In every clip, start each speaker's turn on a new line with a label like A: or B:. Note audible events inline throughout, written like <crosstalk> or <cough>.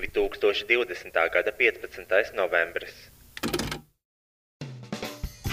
A: 2020. gada 15. novembris.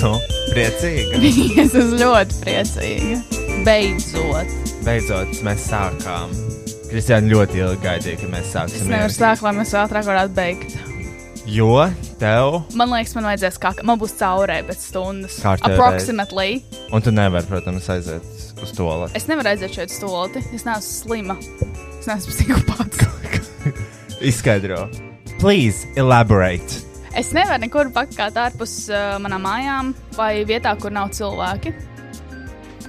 B: Nu, priecīgi!
C: <laughs> Es esmu ļoti priecīga. Beidzot,
B: Beidzot, mēs sākām. Kristiāna ļoti ilgi gaidīja, ka mēs
C: es
B: sāksim.
C: nevaru
B: ierakstīt.
C: sākt, lai mēs ātrāk varētu beigt.
B: Jo tev,
C: Man liekas, man vajadzēs kā man būs caurē pēc stundas.
B: Kārtējo reizi.
C: Approximately.
B: un tu nevari, protams, aiziet uz to lapu.
C: Es nevaru aiziet šeit stulti. Es neesmu slima. Es neesmu <laughs> psihopāts.
B: Izskaidro. Please elaborate.
C: Es nevaru nekur pakāpties ārpus uh, manām mājām vai vietā, kur nav cilvēki.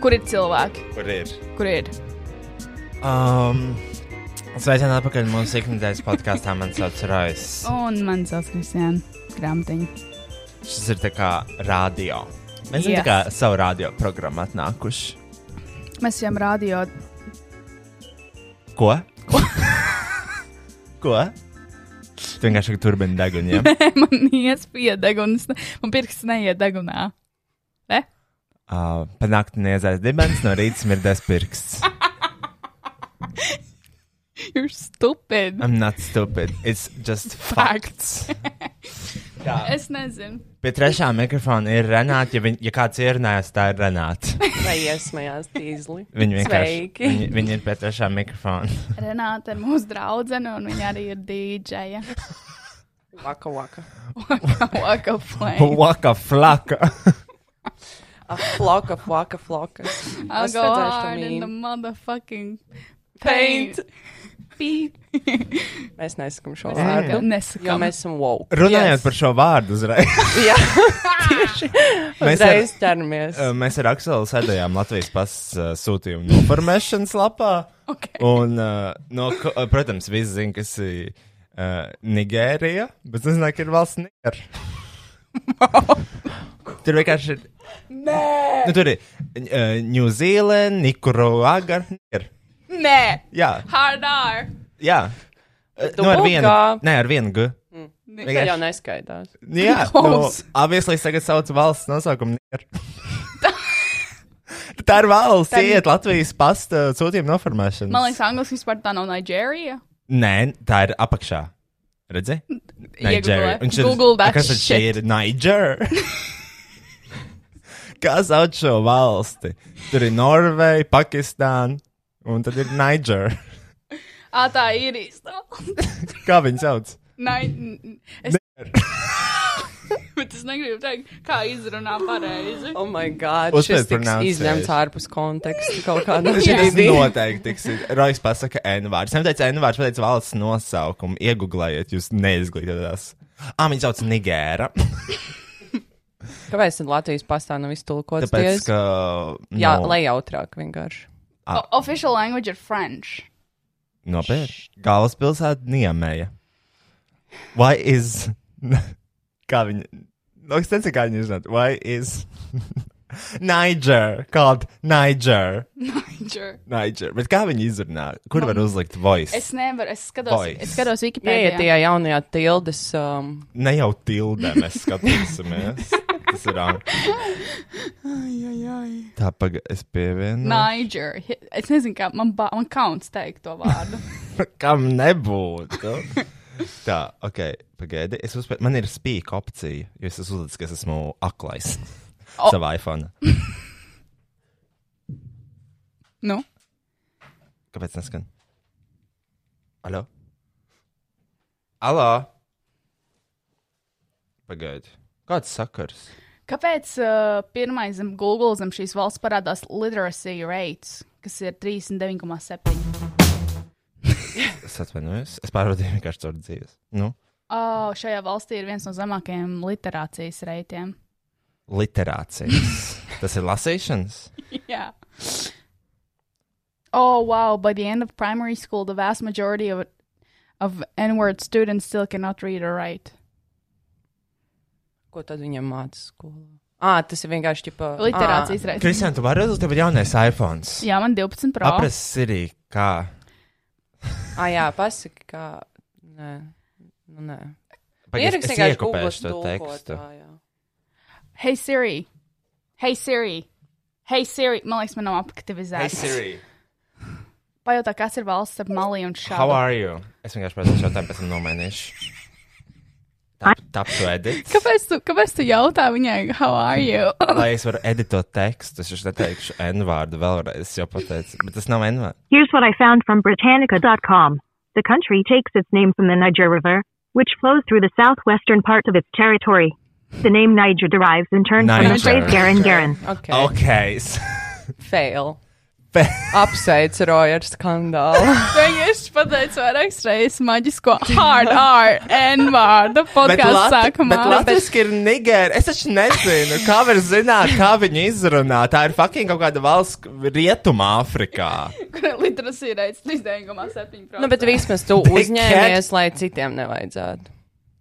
C: Kur ir cilvēki?
B: Kur ir?
C: Kur ir?
B: Um, Sveicināti atpakaļ mūsu ikdienas podkāstā. Man sauc Rojas.
C: Un man sauc Kristiāna Grāmatiņa.
B: Šis ir tā kā radio. Mēs esam
C: Jā.
B: tā kā savu radio programmu atnākuši.
C: Mēs jau rādījām,
B: Ko? Ko? Tu vienkārši turpini degunu.
D: <laughs>
B: Ja?
C: <laughs> man iespēja deguns, man pirksts neiet degunā. Re?
B: uh, Panāktu niezais dibens, no rīta smirdēs pirksts.
C: You're stupid.
B: I'm not stupid. It's just facts. Jā.
C: Es nezinu.
B: Pie trešā mikrofona ir Renāta. Ja, viņ- ja kāds ierunājas, tā ir Renāta.
D: Vai iesmējās tīzli?
B: Viņa vienkārši.
D: Sveiki.
B: Viņa, viņa ir pie trešā mikrofona.
C: Renāte ir mūsu draudzene, un viņa arī ir DJ.
D: Vaka, vaka.
C: Waka flame.
B: Waka flaka.
D: A Ah, Floka, floka, floka.
C: I'll
D: Es
C: go
D: redzēšu to
C: hard in the
D: mīmu.
C: motherfucking paint.
D: Paint.
C: Beep.
D: Mēs nesakām šo vārdu. Jo
C: Nesakām.
D: mēs esam woke.
B: Runājot
D: Yes.
B: par šo vārdu uzreiz. <laughs>
D: Jā,
B: Mēs
D: mēs
B: ar,
D: reiz ķeramies.
B: uh, mēs ar Akselu sēdējām Latvijas pasas uh, sūtījuma noformēšanas lapā.
C: Okay.
B: Un, uh, no, ko- uh, protams, visi zina, kas ir uh, Nigērija, bet es nezinu, ka ir valsts <laughs> Nigērija. Tur vienkārši ir. Nē, nu, tur ir uh, Ņūzīlēna, Nikaraga.
C: Nē,
B: Jā,
C: hard R.
B: jā.
D: Bet
B: Nu, ar Mm. vienu,
D: Dubulgā-
B: nē, ar vienu G.
D: Tā jau neskaidās.
B: Jā, <laughs> nu,
C: Klaus.
B: apvienīgi tagad sauc valsts nosaukumu. <laughs> Niger. Tā ir valsts,
C: Tā ir-
B: iet Latvijas pasta sūtījuma noformēšana.
C: Man liekas, angliski vispār tā nav Nigērija.
B: Nē, tā ir apakšā. Redzi? Nigeria. Un šis-
C: Google that
B: Kas tad šī
C: shit.
B: ir
C: <laughs>
B: Niger? Kā sauc šo valsti? Tur ir Norvēģija, Pakistāna un tad ir Niger.
C: Ā, tā ir īsta. <laughs>
B: Kā viņi sauc?
C: Nai, n- n- es... <laughs> Bet es negribu teikt, kā izrunā pareizi.
D: Oh, my God.
B: Uzspēj
D: Šis tiks
B: pronunciation.
D: izņemts ārpus konteksta kaut
B: <laughs>
D: kādā
B: Tas
D: brīdī.
B: noteikti tiks. Rojas pasaka N-vārds. Viņam teica N-vārds, pateica valsts nosaukumu. Iegūglējiet, jūs neizglītotās. Ā, viņi sauc Nigēra.
D: Kāpēc tad Latvijas pastā nav iztulkots?
B: Tāpēc,
D: diez?
B: ka. nu,
D: Jā,
B: nav-
D: lai jautrāk vienkārši.
C: O- Official language ir French. <laughs>
B: Nopietni. Galvaspilsēta Niemēja. Why is. <laughs> kā viņi. No, es nezinu, kā viņi izrunā. Why is. <laughs> Niger. Called Niger.
C: Niger.
B: Niger. Bet kā viņi izrunā? Kur var uzlikt voice?
C: Es nevaru, es skatos,
B: Voice.
C: es skatos
D: Iet
C: Wikipēdijā.
D: tajā jaunajā tildes. Um,
B: Ne jau tildē mēs skatīsimies. Tas ir ārā. Tā pagaidi, es pievienu.
C: Niger. Hi- Es nezinu, kā man, ba- man kauns teikt to vārdu.
B: Kam nebūtu? Tā, ok, pagaidi. Es uzspē... Man ir spīka opcija, jo es esmu uzlicis, ka es esmu aklais
C: O.
B: savā iPhone.
C: nu,
B: Kāpēc neskan? Alo? Alo? Pagaidi. Kāds sakars?
C: kāpēc uh, pirmais zem Google zem šīs valsts parādās literacy rates, kas ir 39,7?
B: Es atvainojos. Es pārvadīju vienkārši caur dzīves. Nu,
C: Oh, šajā valstī ir viens no zemākajiem literācijas reitiem.
B: literācijas. Tas ir lasīšanas.
C: Yeah. Oh wow! By the end of primary school, the vast majority of of N-word students still cannot read or write.
D: ko tad viņam mācīja skolā? Ah, tas ir vienkārši tipa.
C: Literācijas reizes.
B: Kristian, tu vari redzēt, tev ir jaunais iPhone.
C: Jā, man 12 pro.
B: Apres Siri, kā.
D: Ah, jā, pasaki, kā. Nē, nu nē.
B: Pagaid, es-
D: Ieraksti
B: es
D: vienkārši
B: iekopēšu
D: Google's
B: to tekstu.
D: tulkotājā.
C: Hey Siri. Hey Siri. Hey Siri. Man liekas, man nav
B: Hey
C: apaktivizēts.
B: Siri,
C: Pajautā, kas ir valsts ap Mali un
B: how
C: Šādu.
B: are you? Es vienkārši prasīju jautājumu, pēc tam nomainīšu. Tap, tap to edit.
C: Kāpēc tu, kāpēc tu jautā viņai, how are you? <laughs>
B: Lai es varu editot tekstu, es jau neteikšu N vārdu vēlreiz, es jau pateicu, bet tas nav N vārds.
E: Here's what I found from Britannica.com. The country takes its name from the Niger River, which flows through the southwestern part of its territory. The name Niger derives in turn from the
B: Niger.
E: phrase Garin Garin.
D: Ok. Oh.
B: Ok.
D: Fail. Apsveic Roja ar
B: <laughs>
D: skandālu.
C: Vienkārši pateicu vairākas reizes maģisko
B: <laughs>
C: hard R, N vārdu podkāstu sākumā.
B: bet latviski ir nigeri. Es taču nezinu, kā var zināt, kā viņi izrunā. Tā ir fucking kaut kāda valsts rietumā Āfrikā.
C: Literācija reizes 39,7 pro.
D: nu, bet vismaz tu
B: They
D: uzņēmies, lai citiem nevajadzētu.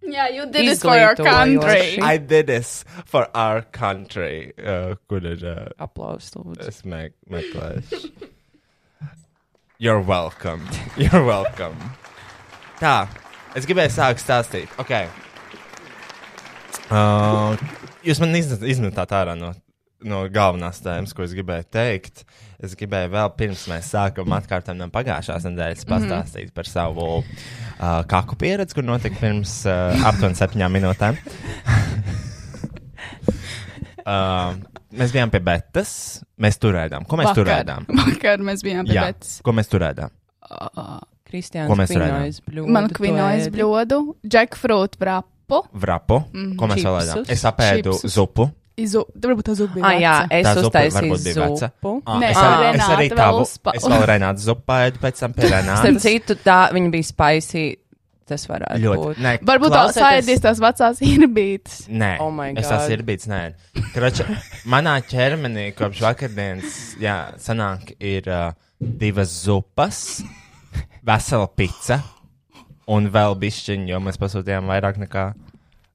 C: Yeah, you did this for your country.
D: Izglītojoši.
B: I did this for our country. Uh, kur ir? Uh,
D: Aplaus, lūdzu.
B: es me meklēšu. You're welcome. <laughs> You're welcome. Tā, es gribēju sākt stāstīt. Okay. Uh, jūs man izmet- izmetāt ārā no, no galvenās tēmas, ko es gribēju teikt. Es gribēju vēl pirms mēs sākam atkārtot no pagājušās nedēļas
C: Mhm.
B: pastāstīt mm -hmm. par savu uh, kaku pieredzi, kur notika pirms uh, aptuveni septiņām
C: <laughs>
B: minūtēm. Uh, mēs bijām pie Betas. Mēs turējām. Ko mēs turējām?
C: Vakar mēs bijām pie
B: Jā,
C: Betas.
B: ko mēs turējām? Ko
D: Kristiāns
B: mēs
D: Kvinojas bļūdu.
C: Man kvinojas bļodu, jackfruit brapu,
B: Vrapu, mm, ko mēs vēl
D: čipsus.
B: ēdām? Es apēdu
C: Mhm. Čipsus.
B: zupu.
C: izu, varbūt tas bija.
D: Ah, jā, es
B: Tā zupa
D: uztaisīju
B: varbūt bija veca.
D: zupu.
B: Ah,
C: Nē,
B: es, arī,
C: Renāta
B: es arī
C: vēl
B: tavu,
C: uzpa-
B: es vēl Renāta zupu ēdu pēc
C: <laughs>
B: tam pie
D: Starp
B: Renāta.
D: citu, tā viņa bija spicy. Tas varētu būt.
B: Nē,
C: Varbūt tā
D: Klausieties.
C: saidīs tās vecās <laughs> irbītes.
B: Nē,
D: Oh my
B: es tas
D: God.
B: ir bijis. Nē, Kroča, manā ķermenī kopš vakardienas, jā, sanāk, ir uh, divas zupas, vesela pica un vēl bišķiņa, jo mēs pasūtījām vairāk nekā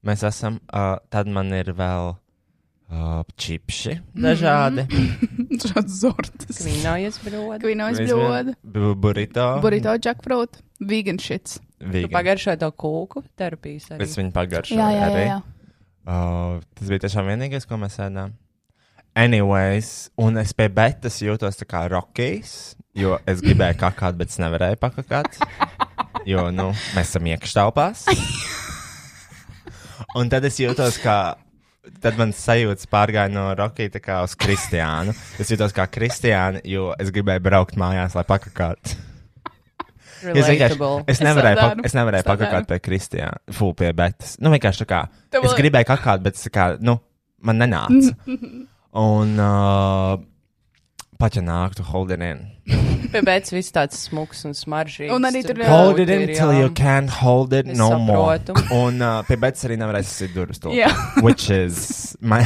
B: mēs esam. Uh, tad man ir vēl Mhm. uh, čipši dažādi.
C: Šāds zortis.
D: Kvinojas bļūdu.
C: Kvinojas
B: Mēs
C: bļodu,
B: vien- Oh. bu- Burrito.
C: burrito jackfruit, vegan shits.
B: Vegan.
D: Pagaršoju to kūku terapijas. arī.
B: Es viņu pagaršoju.
C: Jā, jā, jā. jā.
B: Uh, tas bija tiešām vienīgais, ko mēs ēdām. Anyways, un es pie betas jūtos tā kā rokīs, jo es gribēju kakāt, bet es nevarēju pakakāt. Jo, nu, mēs esam iekštelpās. Un tad es jūtos kā. Tad man sajūta pārgāja no Rukija tā kā uz Kristiānu. Es jutos kā Kristiāna, jo es gribēju braukt mājās, lai pakakātu. Es vienkārši
D: Relatable.
B: es nevarēju,
C: Saldēnu.
B: pa, es nevarēju
C: Saldēnu.
B: pakāpēt pie Kristijā, fū pie Betas. Nu, vienkārši tā kā.
C: Tev
B: Es
C: vēl-
B: gribēju kakāt, bet tā kā, nu, man
C: <laughs>
B: nenāca. Un uh, paķa nāktu holdinien.
D: Pie beigas viss tāds smuks un smaržīgs.
C: Un arī tur
D: grūti
C: Jā,
B: Hold it
D: ir,
B: in till
D: jā.
B: you can't hold it
D: Es
B: no more.
D: saprotu.
B: Un uh, pie Betas arī nevarēja sasīt durvis to.
C: Jā. <laughs>
B: Which is my.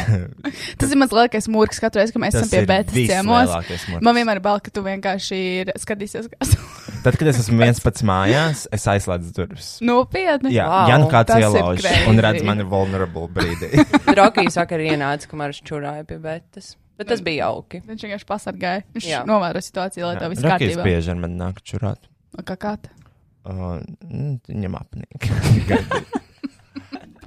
C: Tas ir mans lielākais mūks katru reizi, kad mēs
B: Tas
C: esam pie
B: ir
C: bētas ciemos.
B: vislielākais mūks.
C: Man vienmēr ir bail, ka tu vienkārši ir skatīsies, kas
B: Tad, kad es esmu viens pats mājās, es aizslēdzu durvis.
C: <laughs> <laughs> nopietni.
B: Jā,
D: Wow,
B: wow, Jan kāds
C: tas ir
B: ielauž
C: crazy.
B: un redz mani vulnerable brīdī.
D: Rokijs vakar ienāca, kamēr es čurāju pie betas. Bet tas bija jauki.
C: Viņš vienkārši pasargāja. Viņš
D: Jā.
C: novēroja situāciju, lai tā viss
B: Rakīs
C: kārtībā.
B: bieži ar mani nāk čurāt.
C: Un Kā kā tā?
B: Uh, nu, Viņam apnīk.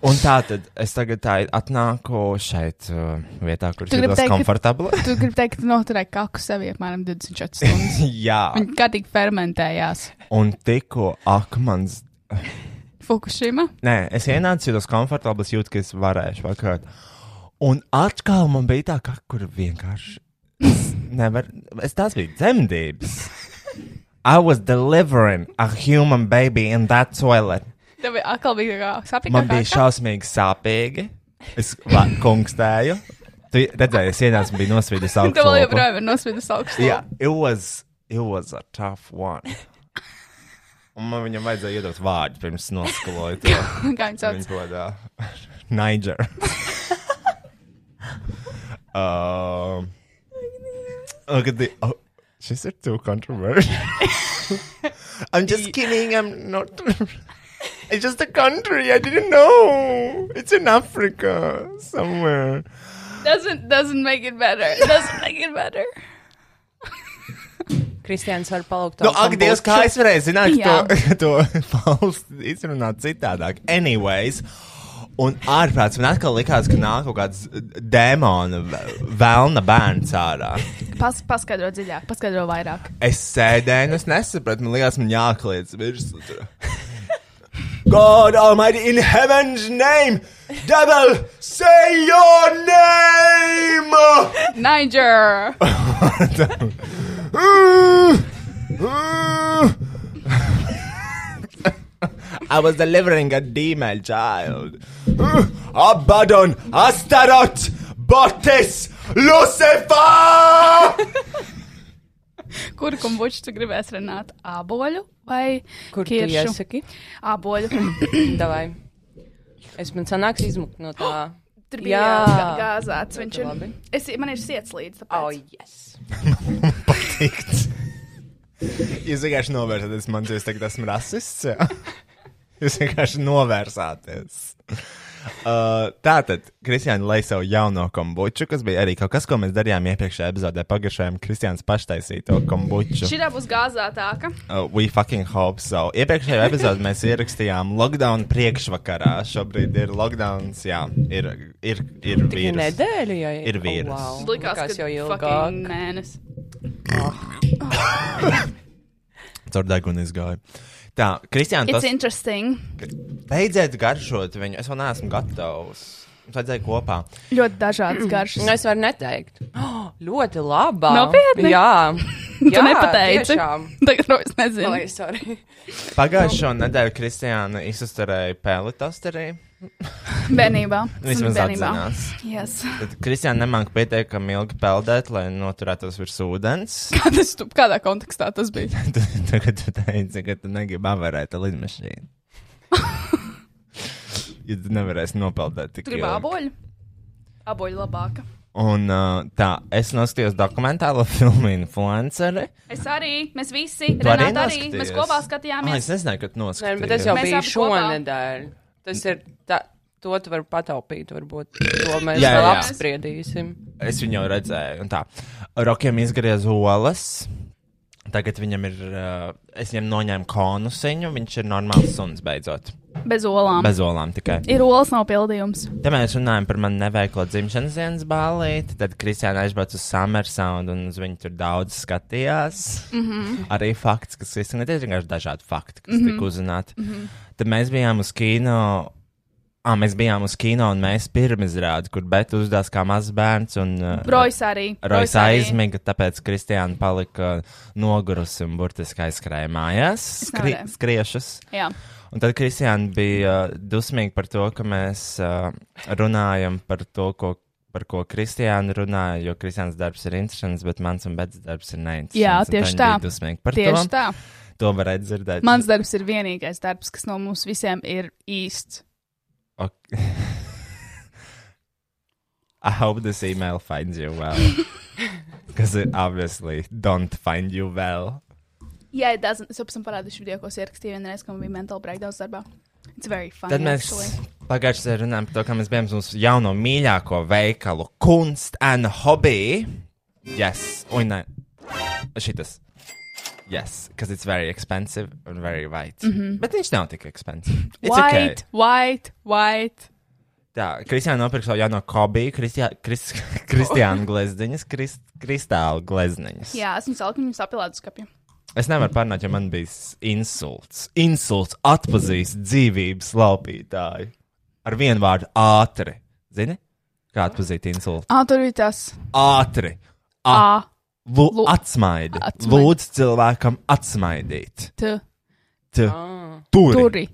B: Un tā tad es tagad tā atnāku šeit, uh, vietā, kur es
C: Tu gribi
B: jūtos
C: teikt, ka-
B: komfortabli. <laughs>
C: Tu gribi teikt, ka noturēji kaku sevi apmēram 24 stundas.
B: <laughs> Jā,
C: Viņa kārtīgi fermentējās.
B: un tikko akmens.
C: Fukushima.
B: Nē, es ienācu, jūtos komfortabli, es jūtu, ka es varēšu vakar. Un atkal man bija tā, kā kur vienkārši. es Nevar, es tās bija dzemdības. I was delivering a human baby in that toilet.
C: Tev bija atkal bija tā kā sapņa.
B: Man bija šausmīgi sāpīgi. Es la- kungstēju. Tu redzēji, es ienācu, un biju
C: <laughs>
B: nosvīdis augstu.
C: Tev vēl joprojām ir nosvīdus augšā.
B: Jā, it was, it was a tough one. Un man viņam vajadzēja iedot vārdu pirms noskaloju to.
C: <laughs> Kā viņš sauc?
B: Viņa podā. <laughs> Niger. um, look at the, oh, šis ir too controversial. I'm just kidding, I'm not. <laughs> It's just a country. I didn't know. It's in Africa somewhere.
C: Doesn't, doesn't make it
D: <laughs>
C: better. Doesn't make it better.
D: Kristians var palūgt.
B: Nu, ak, Dievs, kā es varēju zināt, ka
C: Jā.
B: <laughs> to, to valsts izrunāt citādāk. Anyways, un ārprāts man atkal likās, ka nāk kaut kāds dēmona vē- vēlna bērns ārā.
C: Pas, paskaidro dziļāk, paskaidro vairāk.
B: Es sēdēju, un es nesapratu, man liekas, man jākliedz virsū. tur. God Almighty, in heaven's name, devil, say your name! <laughs>
C: Niger!
B: I <laughs> was delivering a demon child. <laughs> Abaddon, Astaroth, Botis, Lucifer!
C: Kur kumbučs tu gribēsi runāt? Āboļu vai
D: Kur tu
C: kiršu?
D: iesaki? <clears throat>
C: Āboļu.
D: Davai. Es man sanāks izmukt no tā.
C: Tur bija
D: Jā.
C: jā. gāzēts. Viņš ir.
D: labi.
C: Es, man ir sirds līdzi.
D: Oh,
C: Tāpēc.
D: yes.
B: Patikt. Jūs vienkārši novērsāties man, jo es tagad esmu rasists. Jā? Jūs vienkārši novērsāties. Uh, Tātad, Kristiāna lai savu jauno kombuču, kas bija arī kaut kas, ko mēs darījām iepriekšējā epizodē, pagājušajā Kristiānas paštaisīto kombuču.
C: Šī būs gāzētāka.
B: Uh, we fucking hope so. Iepriekšējā epizodē mēs ierakstījām lockdown priekšvakarā. Šobrīd ir lockdown, jā, ir, ir, ir
D: Tikai
B: vīrus.
D: nedēļa, ja
B: Ir vīrus.
D: wow.
C: Likās, ka
D: jau ilgāk.
C: fucking Mēnesis.
B: Caur degunu izgāja. Tā, Kristiāna,
C: It's
B: tas
D: <clears throat>
C: interesting.
B: Beidziet garšot viņu. Es vēl neesmu gatavs. Mums vajadzēja kopā.
C: Ļoti dažādas garšas.
D: Nu, es varu neteikt. <gasps> Oh, ļoti labi.
C: Nopietni?
D: Jā,
C: Tu nepateici.
D: Tiešām.
C: Tagad no es nezinu.
D: Oi, sorry.
B: Pagājušo
C: Nu.
B: nedēļu Kristiāna izsastarēja pēli tosterī.
C: Bērnībā.
B: Vismaz
C: Bērnībā.
B: atzinās.
C: Yes. <laughs>
B: Tad Kristiāna nemāk pieteikami ilgi peldēt, lai noturētos virs ūdens. <laughs>
C: Kā tas tu, kādā kontekstā tas bija?
B: Tu- Tagad tu teici, ka tu negribi avērēt ar
C: <laughs>
B: lidmašīnu. Ja tu nevarēsi nopeldēt tik
C: Tu gribi
B: ilgi.
C: āboļu? Āboļu labāka.
B: Un uh, tā, es nostījos dokumentālo <laughs> filmu Influenceri.
C: Es arī, mēs visi,
B: Tu arī
C: Renāta arī, mēs
B: noskatījies?
C: kopā
B: Ah, es
C: skatījāmies.
B: nezināju, ka tu
D: Nē,
B: noskatījies.
D: bet es jau
C: Mēs
D: biju
C: abi kopā.
D: šonadēļ. Tas ir tā, to tu vari pataupīt, varbūt. To mēs jā,
B: Jā,
D: vēl
B: jā.
D: apspriedīsim.
B: Es viņu jau redzēju, un tā. Rokiem izgriez olas. Tagad viņam ir. Uh, es viņam noņēmu konusiņu. Viņš ir normāls suns beidzot.
C: Bez olām.
B: Bez olām tikai.
C: Ir olas nav pildījums.
B: Te mēs runājam par manu neveiklo dzimšanas dienas ballīti. Tad Kristiāna aizbrauca uz Summersound un uz viņu tur daudz skatījās. Mm -hmm. Arī fakts, kas Kristiāna ir vienkārši dažādi fakti, kas mm -hmm. tika uzzināti. Mm -hmm. Tad mēs bijām uz kino Ah, mēs bijām uz kino un mēs pirmizrādi, kur Bēta uzdās kā mazs bērns un uh,
C: Brojs arī.
B: Rojas aizmiga, tāpēc Kristiāna palika nogurusi un burtiski aizskrēja mājās, skri
C: nevarēju.
B: skriešus.
C: Jā,
B: Un tad Kristiāna bija uh, dusmīga par to, ka mēs uh, runājam par to, ko, par ko Kristiāna runāja, jo Kristiāns darbs ir interesants, bet mans un Bētas darbs ir neinteresants.
C: Jā,
B: Un
C: tieši
B: viņa
C: tā.
B: bija Dusmīga par
C: tieši
B: to.
C: tā.
B: To varētu dzirdēt.
C: Mans darbs ir vienīgais darbs, kas no mums visiem ir īsts.
B: Ok. I hope this email finds you well.
C: <laughs>
B: Because it obviously don't find you well.
C: Jā, yeah, it doesn't. es jau pēc tam parādīšu video, ko es ierakstīju vienreiz, kad man bija mental breakdowns darbā. It's very fun.
B: Tad mēs
C: actually.
B: pagājušajā gadā runājām par to, kā mēs bijām uz mūsu jauno mīļāko veikalu, kunst and hobby. Yes, un ne. Šitas. Yes, because it's very expensive and very white. Mm -hmm. Bet viņš nav tik expensive. It's okay.
C: Mhm. White, white, white.
B: Tā, Kristiāna nopirka savu jauno hobiju, Kristiā- Kris- <laughs>
C: <laughs>
B: Kristiāna glezniņas, krist, kristāla glezniņas.
C: Jā, esmu salikusi viņu sapilādu skapju.
B: Es nevaru pārnāt, ja man bija s- insults. Insults atpazīst dzīvības laupītāju. Ar vienu vārdu ātri. Zini? Kā atzīt insultu?
C: Ah, tur bija tas.
B: Ātri. A,
C: A,
B: lu,
C: lu-
B: atsmaidi.
C: atsmaidi.
B: Lūdzu, cilvēkam atsmaidīt.
C: T,
B: T, turi.
C: turi.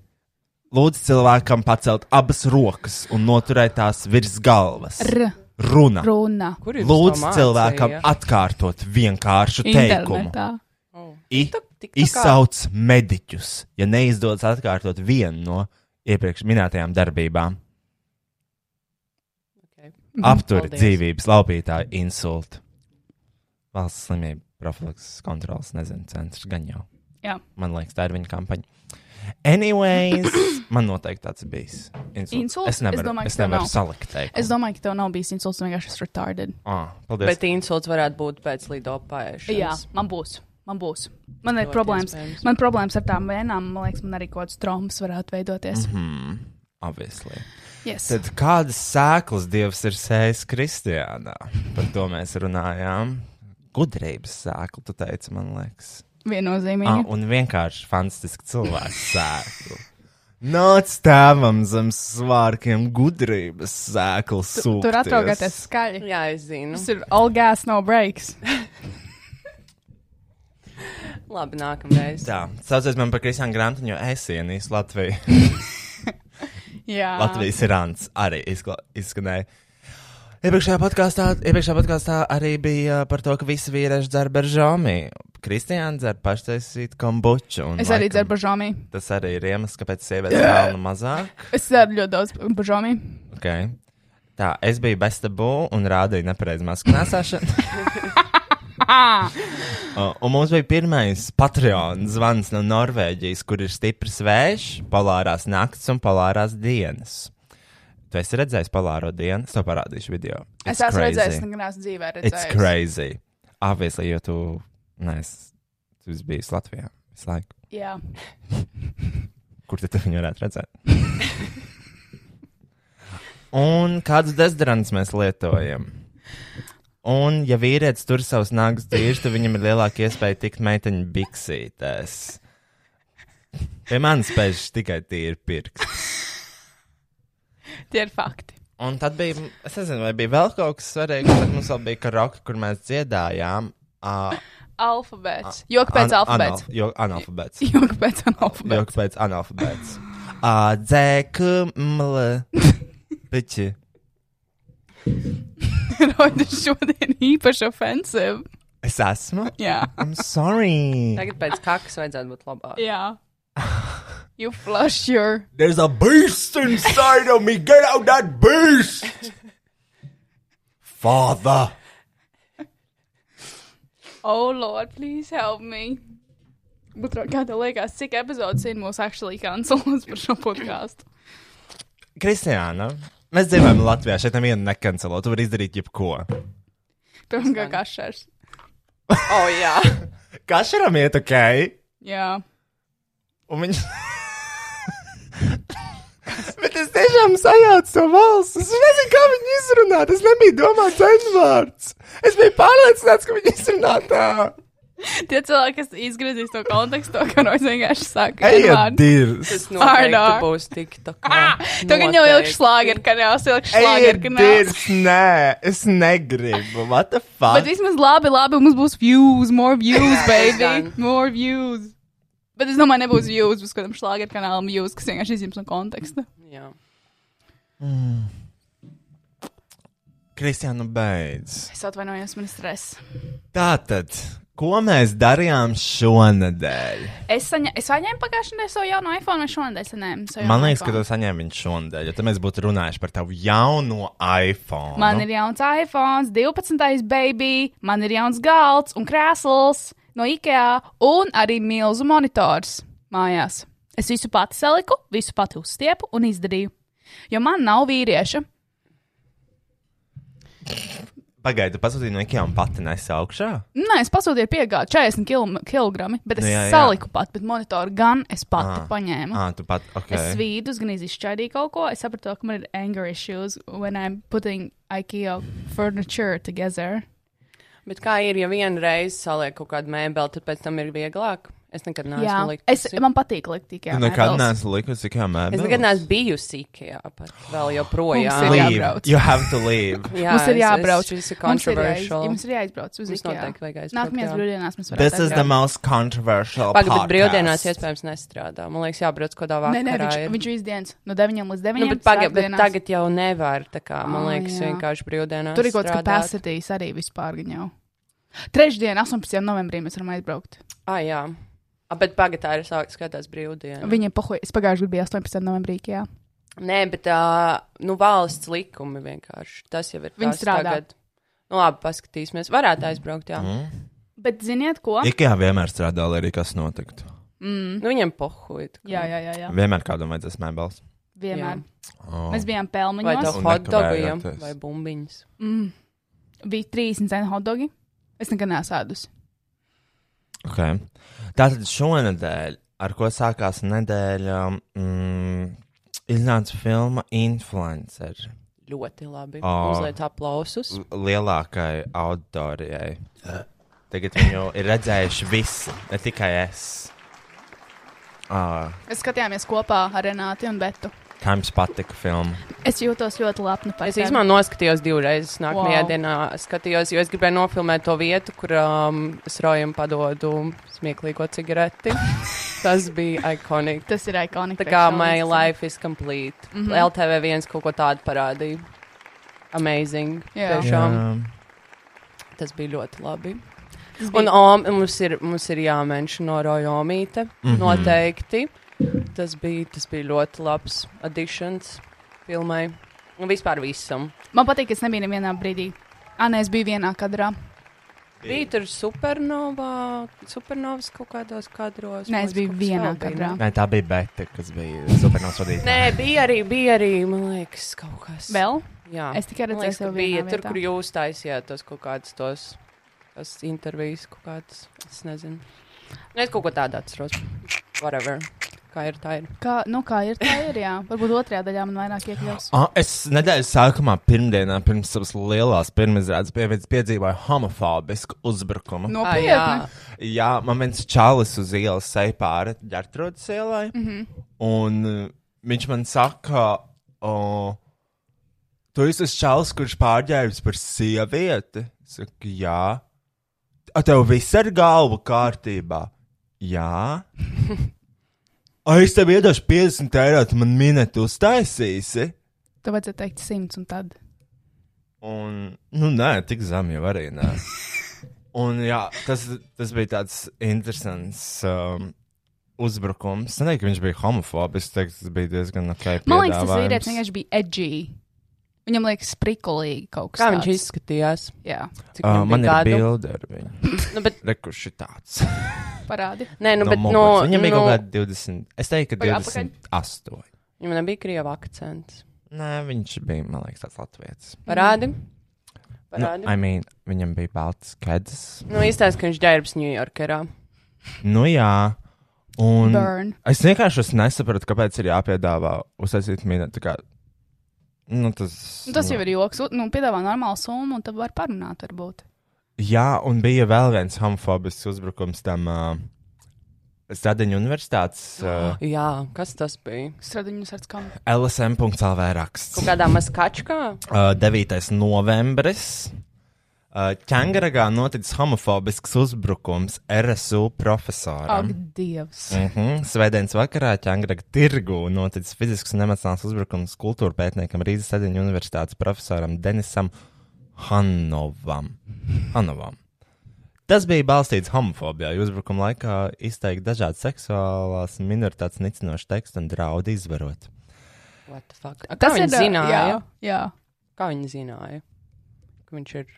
B: Lūdzu, cilvēkam pacelt abas rokas un noturēt tās virs galvas.
C: R,
B: Runa.
C: runa.
D: Kur jūs
B: Lūdzu,
D: to mācīja?
B: cilvēkam atkārtot vienkāršu teikumu.
C: Internetā.
D: Oh.
B: I,
D: Tik- tik tā kā-
B: izsauc mediķus, ja neizdodas atkārtot vienu no iepriekš minētajām darbībām. <laughs>
D: Okay.
B: Aptur
D: Paldies.
B: dzīvības laupītāju insultu. Valsts slimību profilakses kontrols, nezinu, centrs gan jau.
C: Jā.
B: Man liekas, tā ir viņa kampaņa.
C: <coughs>
B: Anyways, man noteikti tāds bijis. Insults.
C: Insults?
B: Es nevaru,
C: Es domāju,
B: es
C: ka tev
B: nevaru
C: nav.
B: salikt.
C: Es domāju, ka tev nav bijis insults, vienkārši esmu retarded.
B: ah, paldies.
D: Bet insults varētu būt pēc lidopājušas.
C: Jā, man būs. Man būs. Man ir
D: Ļoti
C: problēmas.
D: iespējams.
C: Man ir problēmas ar tām vēnām. Man liekas, man arī kaut kāds traumas varētu veidoties. Mm -hmm.
B: Obviously.
C: yes.
B: Tad kādas sēklas dievs ir sējis Kristiānā? Par to mēs runājām. Gudrības sēkla, tu teici, man liekas. Ah,
C: Viennozīmīgi.
B: un vienkārši fantastiski cilvēks sēklu.
C: <laughs>
B: Nāc tēvam zem svārkiem gudrības sēklas
C: Tu- Tur atraugoties skaļi.
D: Jā, es zinu.
C: Tas ir all gas, no breaks.
D: Labi, nākamreiz.
B: Tā, saucies man par Kristiānu Grantiņu, jo es ienīstu Latviju.
C: <laughs> Jā,
B: Latvijas rāns arī izkla- izskanēja. Iepriekšējā podkāstā, iepriekšējā podkāstā arī bija uh, par to, ka visi vīrieši dzer beržāmi. Kristiāna dzer paštaisīt kombuču. un
C: Es arī
B: laikam
C: dzeru bažāmi.
B: Tas arī ir iemesls, kāpēc sievietes pelna mazāk.
C: Es dzeru ļoti daudz bažāmi.
B: Okay. Tā, es biju bez tabū un rādīju nepareizi masku
C: <laughs>
B: nēsāšanu. Uh, un mums bija pirmais Patreon zvans no Norvēģijas, kur ir stiprs vējš, polārās naktis un polārās dienas. Tu esi redzējis polāro dienu? Es tev parādīšu video.
C: Es
B: It's
C: esmu
B: crazy.
C: redzējis, nekad neesmu dzīvē
B: It's
C: redzējis.
B: crazy. Obviously, jo tu, nē, es, tu esi bijis Latvijā visu laiku.
C: Jā,
B: Kur tad tu viņu varētu redzēt? <laughs> Un kādus dezodorants mēs lietojam? Un, ja vīrietis tur savus nāgas tīrus, tad viņam ir lielāka iespēja tikt meiteņu biksītēs. Pie manis pēž tikai tīri pirksti.
C: tie ir fakti.
B: Un tad bija, es nezinu, vai bija vēl kaut kas svarīgs, tad mums vēl bija karaoke, kur mēs dziedājām. Uh,
C: Alfabēts. Joks pēc alfabēts.
B: Jo, analfabēts.
C: <laughs> Joks pēc alfabēta.
B: Joks pēc analfabēts. Ā, Dzēkumle. Piči.
C: <laughs> Rodas šodien īpaši ofensīvi.
B: Es esmu. <laughs>
C: Jā,
B: I'm sorry.
D: Tagad pēc kakas vajadzētu būt labāk.
C: jā. You flush your.
B: There's a beast inside of me. Get out that beast. Father.
C: Oh, Lord, please help me. Bet kā tev liekas, cik epizodes ir mūsu actually cancelēts par šo podkāstu?
B: Kristiāna, mēs dzīvojam Latvijā. Šeit nevienu nekancelo. Tu vari izdarīt jebko.
C: Pirmkārt, kā kašers.
D: O, oh, jā.
B: Kašaram iet ok.
C: Jā.
B: Un viņš. Bet es tiešām sajaucu to valsts. Es nezinu, kā viņu E izrunāt. Es nebiju domāts N-vārds. Es biju pārliecināts, ka viņu izrunā tā.
C: Tie cilvēki, kas izgriezīs to kontekstu, ka no es vienkārši saku,
B: Ejiet,
C: Edvards.
B: dirs!
C: <laughs>
D: Tas noteikti
C: Arnāk.
D: būs tik tā kā.
C: Ah, Tu gan jau ilgi slāgeri, ka jau silkšu slāgeri,
B: Ejiet,
C: ka nē.
B: dirs! Nē, es negribu. What the
C: Bet
B: fuck?
C: vismaz labi, labi, mums būs views, more views, baby,
D: gan.
C: more views. Bet es domāju, nebūs views, būs kādam šlāgeru kanālam views, kas vienkārši izjums no konteksta.
D: Jā.
B: Kristija, nu beidz.
C: Es atvainojos, man ir stress.
B: Tātad, ko mēs darījām šonadēļ?
C: Es, saņa, es saņēmu pagājušajā nedēļā savu jaunu iPhone, vai šonadēļ saņēmu? savu
B: Man
C: jaunu
B: liekas, ka
C: iPhone?
B: to saņēmu viņš šonadēļ, jo tad mēs būtu runājuši par tavu jauno iPhone.
C: Man ir jauns iPhone, 12, baby, man ir jauns galds un krēsls no IKEA, un arī milzu monitors mājās. Es visu pati saliku, visu pati uzstiepu un izdarīju. Jo man nav vīrieša.
B: Pagaidu, pasūtīju no Ikea un pati nesu augšā.
C: Nē, es pasūtīju piegādi 40 kil- kg, bet es
B: Nu,
C: jā,
B: jā, Ah,
C: jā.
B: jā.
C: saliku pat, bet monitoru gan es pati
B: Ā,
C: paņēmu.
B: Ā, tu pat, ok.
C: Es svīdu, gan izšķaidīju kaut ko. Es sapratu, ka man ir anger issues when I'm putting IKEA furniture together.
D: Bet kā ir, ja vienu reizi saliek kaut kādu mēbeli, tad pēc tam ir vieglāk? Es nekad
C: Jā,
D: neesmu
C: es,
D: likusi.
C: man patīk likt IKEA.
B: Tu nekad
C: mēbeles.
B: neesi likusi Ikea mēbeli.
D: Es nekad neesmu bijusi Ikea, pat vēl
C: Mums ir
D: joprojām.
C: jā-
B: Leave.
C: jābrauc.
B: You have to
C: <laughs>
B: leave.
D: Jā,
C: Mums ir
D: es-
C: jābrauc.
D: es-
C: Mums
D: Šis ir
C: ir jāiz-
D: controversial.
C: Jums ir jāizbrauc uz
D: Mums
C: Ikea.
D: noteikti vajag aizbraukt,
C: Nākamajās
D: jā.
C: brīvdienās mēs varam.
B: This is the most controversial.
D: Pagaidiet, bet
B: podcast.
D: brīvdienās iespējams nestrādā. Man liekas, jābrauc kaut kādā
C: Nē, nē,
D: vakarā.
C: viņš,
D: ir.
C: viņš visu dienu no 9 līdz 9.
D: Nu, bet pagaid, bet tagad jau nevar. tā Kā, man
C: Ā,
D: liekas,
C: jā.
D: vienkārši brīvdienās.
C: tur ir kaut kāds
D: strādāt.
C: kapacitīs arī vispār gan jau. Trešdien, 18. novembrī mēs varam aizbraukt.
D: Ah, jā. A, bet pagaid, tā ir sākts skatās brīvdiena. Vi...
C: Viņa pahoja, es pagājušajā gadu biju 18. novembrī, jā.
D: Nē, bet tā, nu, valsts likumi vienkārši. Tas jau ir.
C: Viņi
D: tas
C: strādā.
D: Tagad. Nu, labi, paskatīsimies. Varētu aizbraukt, jā. Mm.
C: Bet ziniet ko?
B: Ikea vienmēr strādā, lai arī kas notiktu.
D: Nu, viņiem pohuit.
C: Jā, jā, jā, jā.
B: Vienmēr kādam vajadzēs mēbeles.
C: vienmēr.
D: Jā.
B: Oh.
C: Mēs bijām
D: Vai
C: pelmeņos, Mm.
D: tev
B: Un
D: hotdogiem,
B: nekavējoties.
D: vai bumbiņas.
C: bija 30 centi hotdogi. Es nekad nesādus.
B: Okay. Tātad šonadēļ, ar ko sākās nedēļa, mm, iznāca filma Influencer
D: Ļoti labi.
B: Ā.
D: Uzliet aplausus.
B: l- lielākai auditorijai. Tagad viņu ir redzējuši visi, ne tikai es. <laughs> Ah,
C: Mēs skatījāmies kopā ar Renāti un Betu.
B: kā jums patika filma?
C: Es jūtos ļoti lepni par
D: Es
C: tevi.
D: īstenībā noskatījos divreiz. Nākamajā
C: Wow.
D: wow. dienā skatījos, jo es gribēju nofilmēt to vietu, kur um, es rojam padodu smieklīgo cigareti. Tas bija ikonik.
C: Tas ir ikoniski.
D: Tā kā my life is complete. Mm -hmm. LTV viens kaut ko tādu parādīja. Amazing.
C: Jā.
D: Tiešām tas bija ļoti labi. Un om, mums ir, mums ir jāmenšina no Rojomīte. Mm -hmm.
F: Mhm.
D: Noteikti. Tas bija, tas bija ļoti labs additions filmai. Un vispār visam.
C: Man patīk, ka es nebiju nevienā brīdī. Anē, es biju vienā kadrā.
D: Bija tur supernovā, supernovas kaut kādos kadros.
C: Nē, es
D: man liekas,
C: biju vienā
D: kaut kas vēl bija, nu?
C: kadrā.
B: Nē, tā bija Bēta, kas bija supernosodīta.
D: Nē, bija arī, bija arī, man liekas, kaut kas.
C: Vēl?
D: Jā,
C: Es tikai
D: Man
C: redzēju,
D: liekas, ka
C: tevi
D: bija
C: vienā
D: tur,
C: vietā.
D: kur jūs taisījāt tos kaut kādus tos, tos intervijas, kaut kādus. Es nezinu. Nu, es kaut ko tādu atceros. Whatever. Kā ir tā? Ir.
C: Kā, nu, kā ir tā, ir jā. Varbūt otrajā daļā man vairāk iekļaus.
B: Ah, es nedēļas sākumā, pirmdienā, pirms savas lielās pirmizrādes, pievietas piedzīvoju homofobisku uzbrukumu. No.
D: Ai,
C: Nopietni.
B: Jā, man viens čalis uz ielas seja pāri ģērbtrūdas ielai, mm -hmm. un uh, viņš man saka, o, tu esi tas čalis, kurš pārģērbs par sievieti? Saku, jā. A, tev viss ir galva kārtībā? Jā. Ai, es tev iedošu 50 eiro, tu man minēti uztaisīsi?
C: Tev vajadzēja teikt simts un tad.
B: Un, nu, nē, tik zem jau arī
C: <laughs>
B: nē. Un, jā, tas, tas bija tāds interesants um, uzbrukums. Es nedomāju, ka viņš bija homofobisks. Es teiktu, tas bija diezgan ok.
C: Man liekas, tas
B: piedāvājums.
C: vīrietis vienkārši bija edgy. Viņam liekas, sprikulīgi kaut kas
D: Kā viņš
C: tāds.
D: izskatījās?
C: Jā,
D: Cik
B: Uh,
D: viņam
B: man ir
D: gadu?
B: bilde ar viņu.
D: Nu, bet,
B: Rekuši tāds.
C: parādi.
D: nē, nu,
B: No
D: bet, nu,
B: Mogurs. Viņam bija
D: nu,
B: kaut kāda 20. Es teiktu, ka
C: Pagaid, apakaļ.
B: 28.
D: Viņam nebija krieva akcents.
B: Nē, viņš bija, man liekas, tāds latvijas.
D: Parādi.
B: Nu,
D: Parādi.
B: I mean, viņam bija balts skedzes.
D: Nu, īstais, ka viņš ģērbs Ņujorkerā.
B: Nu, jā.
D: Mm.
B: Un
C: Burn.
B: es vienkārši es nesapratu, kāpēc ir jāpiedāvā uztaisīt minētu. Kā... Nu, tas
C: Nu, tas jau ir joks. Nu, piedāvā normālu summu, un tad var parunāt, varbūt.
F: Jā, un bija vēl viens homofobisks uzbrukums tam
B: eh,
F: uh, Stadiņu universitātes uh,
D: Jā, kas tas bija?
C: Stradiņus ar skām.
F: LSM.CLV raksts.
D: Kaut kādā maskačkā?
F: Uh, 9. novembris. Uh, Čangaragā noticis homofobisks uzbrukums RSU
C: Ak,
F: profesoram.
C: Dievs!
F: Mhm. Svētdienas vakarā Čangaraga tirgu noticis fizisks un emocionāls uzbrukums kultūra pētniekam Rīgas Sadiņu universitātes profesoram Denisam Hanovam. Hanovam. Tas bija balstīts homofobijā. jo Uzbrukuma laikā izteikti dažādi seksuālās minoritātes nicinoši teksti un draudi izvarot.
D: What the fuck? A, Kā viņi
C: ir,
D: zināja?
C: Jā, jā.
D: Kā viņi zināja? Ka viņš ir.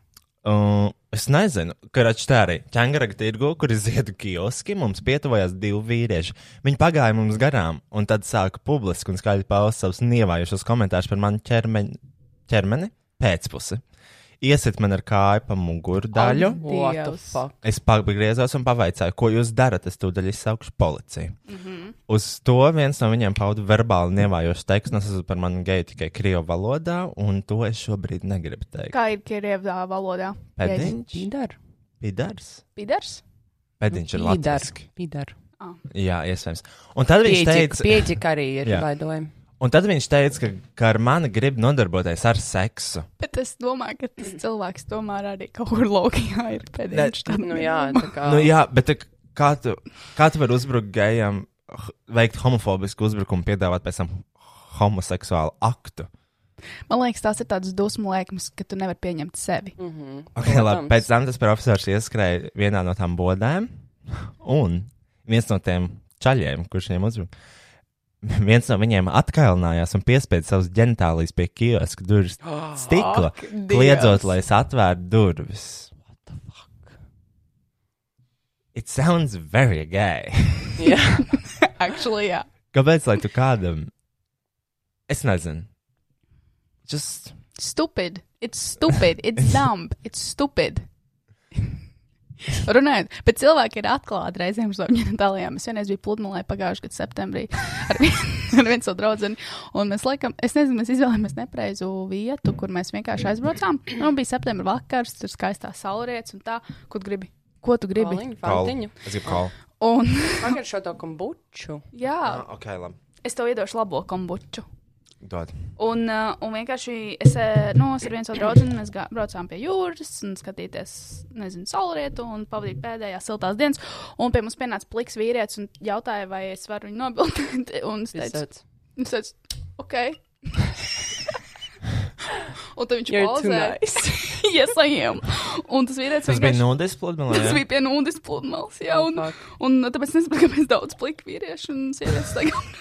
F: Uh, es nezinu, kurš tā arī. Čangaraga tirgu, kur ir ziedu kioski, mums pietuvojās divi vīrieši. Viņi pagāja mums garām, un tad sāka publiski un skaļi paust savus nievājušos komentārus par manu ķermeni, ķermeni pēcpusi. Iesit man ar kāju pa muguru daļu.
C: Ak,
D: What the
C: Dievs.
D: fuck?
F: Es pagriezos un pavaicāju, ko jūs darat. Es tūdaļ izsaukšu policiju. Mm -hmm. Uz to viens no viņiem pauda verbāli nievājošu tekstu. nu, Es esmu par manu geju tikai krievu valodā, un to es šobrīd negribu teikt.
C: Kā ir Krievijā valodā?
F: Pēdiņš,
D: Pidar.
F: pidars.
C: Pidars?
F: Pēdiņš ir
D: Pidar.
F: latviešu.
D: Pidar.
F: Jā, iespējams. Un tad viņš teica,
D: Pieķik arī ir
F: Jā.
D: baidojami.
F: un tad viņš teica ka, ka ar mani grib nodarboties ar seksu.
C: Bet es domāju, ka tas cilvēks tomēr arī kaut kur lokā ir pēdējais.
D: Nu jā, tā kā.
F: Nu, jā, bet tā kā tu, kā tu vari uzbrukt gejam, h- veikt homofobisku uzbrukumu, piedāvāt pēc tam homoseksuālu aktu?
C: Man liekas, tās ir tādas dusmu lēkmes, ka tu nevari pieņemt sevi. Mm.
F: Okay, labi, pēc tam tas profesors ieskrēja vienā no tām bodēm, un viens no tiem čaļiem, kurš viņiem uzbruka, viens no viņiem atkailinājās un piespieda savus ģenitālijas pie kioska durvis
C: Ah,
F: stikla, kliedzot, lai es atvērtu durvis. It sounds very gay. <laughs>
D: jā.
C: <laughs> Actually, jā.
F: Kāpēc, lai tu kādam? Es nezinu. Just.
C: Stupid. It's stupid. It's dumb. It's stupid. Runājot, bet cilvēki ir atklāti reizēm uz savām ģenitālijām. Es vienreiz biju pludmalē pagājušā gada septembrī ar, vien, <laughs> ar vienu savu draugu. Un mēs laikam, es nezinu, mēs izvēlējāmies nepareizu vietu, kur mēs vienkārši aizbraucām. Un bija septembris vakars, tur skaistā saulrietis un tā, kur gribi. Ko tu gribi?
D: Paliņu, fantiņu.
F: Es gribu kalu.
C: Un, <laughs>
D: Pagad šo to kombuču.
C: jā,
F: Ok, labi.
C: es tev iedošu labo kombuču.
F: Dod.
C: Un, uh, un vienkārši es, eh, nu, es ar vienu savu draugu, mēs gā- braucām pie jūras, un skatīties, nezinu, saulrietu, un pavadīt pēdējās siltās dienas. Un pie mums pienāca pliks vīrietis un jautāja, vai es varu viņu nobilst. <laughs> Un es teicu,
D: Visāds.
C: es teicu ok. <laughs> un tad viņš
D: You're too
C: pauzē. Nice. <laughs> yes, I am. Un tas vīrietis
F: Tas bija
C: vienkārši.
F: nudis pludmalē.
C: Tas
F: jā?
C: bija pie nūdes pludmales, jā, un,
D: Oh, Fuck.
C: un tāpēc <laughs> es nesaprotu, kāpēc daudz pliku vīriešu un sievietes tagad.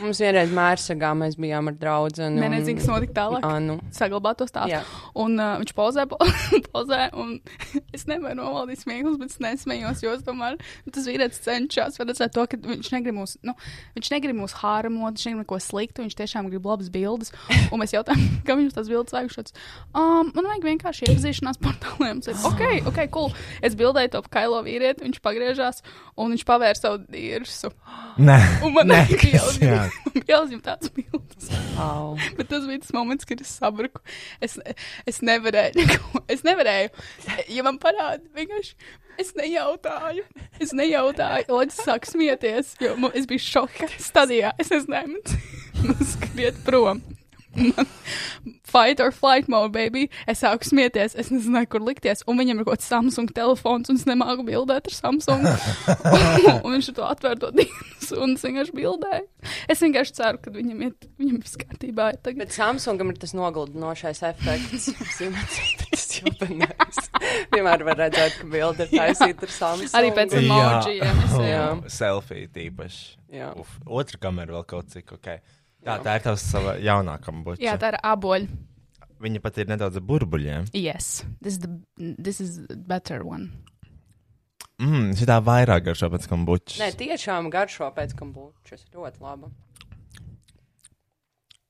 D: Mums vienreiz mērsagā mēs bijām ar draugu.
C: Nē, nezinu, kas notika tālāk.
D: Anu.
C: saglabāt to stāstu.
D: Jā.
C: Un uh, viņš pauzē, <laughs> pa- pauzē, un <laughs> es nevaru novaldīt smieklus, bet es nesmējos, jo es domāju, tas vīrietis cenšas redzēt to, ka viņš negrib mūs, nu, viņš negrib mūs hārmot, viņš negrib neko sliktu, viņš tiešām grib labas bildes. Un mēs <laughs> jautājām, kā viņš tās bildes vajagšots. Um, man vajag vienkārši iepazīšanās portāliem. Es teicu, ok, ok, cool. Es bildēju to kailo vīrieti, viņš pagriežās, un viņš pavēra savu dirsu.
F: Nē,
C: Un man
F: Nē,
C: bija
F: kas
C: <laughs>
F: jā.
C: jāuzņem tāds bildes.
D: Au.
C: <laughs> Bet tas bija tas moments, kad es sabruku. Es, es nevarēju. Neko, es nevarēju. Ja man parāda, vienkārši es nejautāju. Es nejautāju, lai es sāku smieties, jo man, es biju šoka stadijā. Es nezināju, man <laughs> skriet prom. Man, <laughs> fight or flight mode, baby. Es sāku smieties, es nezināju, kur likties. Un viņam ir kaut kāds Samsung telefons, un es nemāku bildēt ar Samsung. un viņš to atvērto dienas, un es vienkārši bildēju. Es vienkārši ceru, ka viņam ir, viņam viss kārtībā. ir Tagad
D: Bet Samsungam ir tas nogludinošais
C: <laughs>
D: efekts. Zīmēts, tas jau panāks. Vienmēr var redzēt, ka bilde ir taisīta ar Samsungu.
C: arī pēc
F: Jā.
C: emocijas.
D: Jā.
F: Selfija tīpaši.
D: Jā.
F: Uf, otra kamera vēl kaut cik ok. Tā, tā ir tavs sava jaunākā buļbuļs.
C: Jā, tā ir aboļa.
F: Viņa pat ir nedaudz ar burbuļiem.
C: Yes, this is the, this is the better one.
F: Mmm, šī tā vairāk garšo pēc kombučas.
D: Nē, tiešām garšo pēc kombučas. Ļoti laba.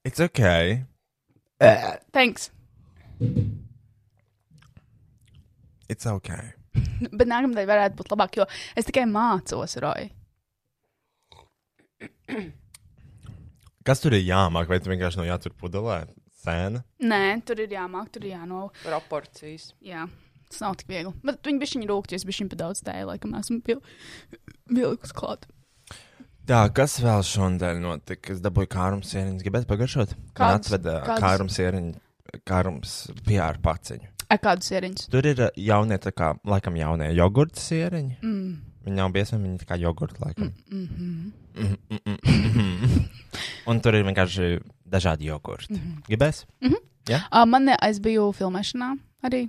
F: It's ok.
C: Thanks.
F: It's ok.
C: Bet nākamajai varētu būt labāk, jo es tikai mācos, Roja.
F: Kas tur ir jāmāk? Vai tu vienkārši no jātur pudelē? Sēna.
C: Nē, tur ir jāmāk, tur ir jāno.
D: Proporcijas.
C: Jā. Tas nav tik viegli. Bet viņi bija viņa rūkties, bija viņa pa daudz tēja, laikam, esmu vil- vilkus klāt.
B: Tā, kas vēl šodien notika? Es dabūju kārums sēriņu, gribētu pagaršot. Kā
C: Kādas-
B: atveda
C: kādas?
B: kārums sēriņu, kārums PR paciņu.
C: Ar kādu sēriņu?
B: Tur ir uh, jaunie, tā kā, laikam, jaunie jogurta sēriņi.
C: Mm.
B: Viņi nav biezmi, viņi ir kā jogurta, laikam.
C: Mm -hmm.
B: Mm, mm, mm, mm, mm. Un tur ir vienkārši dažādi jogurti.
C: Mhm.
B: Gribēs?
C: uh, man ne, es biju filmēšanā arī.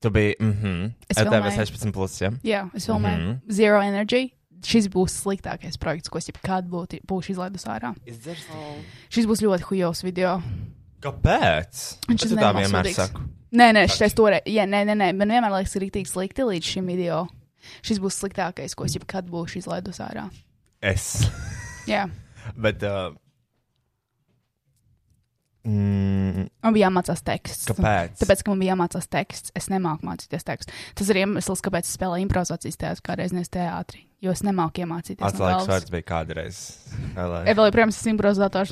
B: Tu biji, mhm,
C: Es
B: LTV
C: filmēju.
B: 16, plus, ja?
C: Jā, es filmēju
B: Mhm.
C: mm -hmm. Zero Energy. Šis būs sliktākais projekts, ko es jebkad būtu- būšu izlaidus ārā. Šis būs ļoti hujos video.
B: Kāpēc?
C: Viņš
B: Es
C: ir
B: tā
C: nenormāls
B: vienmēr
C: sūdīgs.
B: saku.
C: Nē, nē, šis toreiz, jā, nē, nē, nē, man vienmēr liekas, ka ir rīktīgi slikti līdz šim video. Šis būs sliktākais, ko es jebkad būšu izlaidus ārā.
B: Es.
C: Jā,
B: Bet. Uh, mm,
C: man bija jāmācās teksts.
B: kāpēc?
C: Tāpēc, ka man bija jāmācās teksts, es nemāku mācīties tekstu. Tas ir iemesls, kāpēc es spēlēju improvizācijas teātrī, kā reizes teātrī. Jo es nemāku iemācīties. no
B: Atslēgas
C: galvas.
B: vārds bija kādreiz. e.
C: Es vēl joprojām esmu improvizators.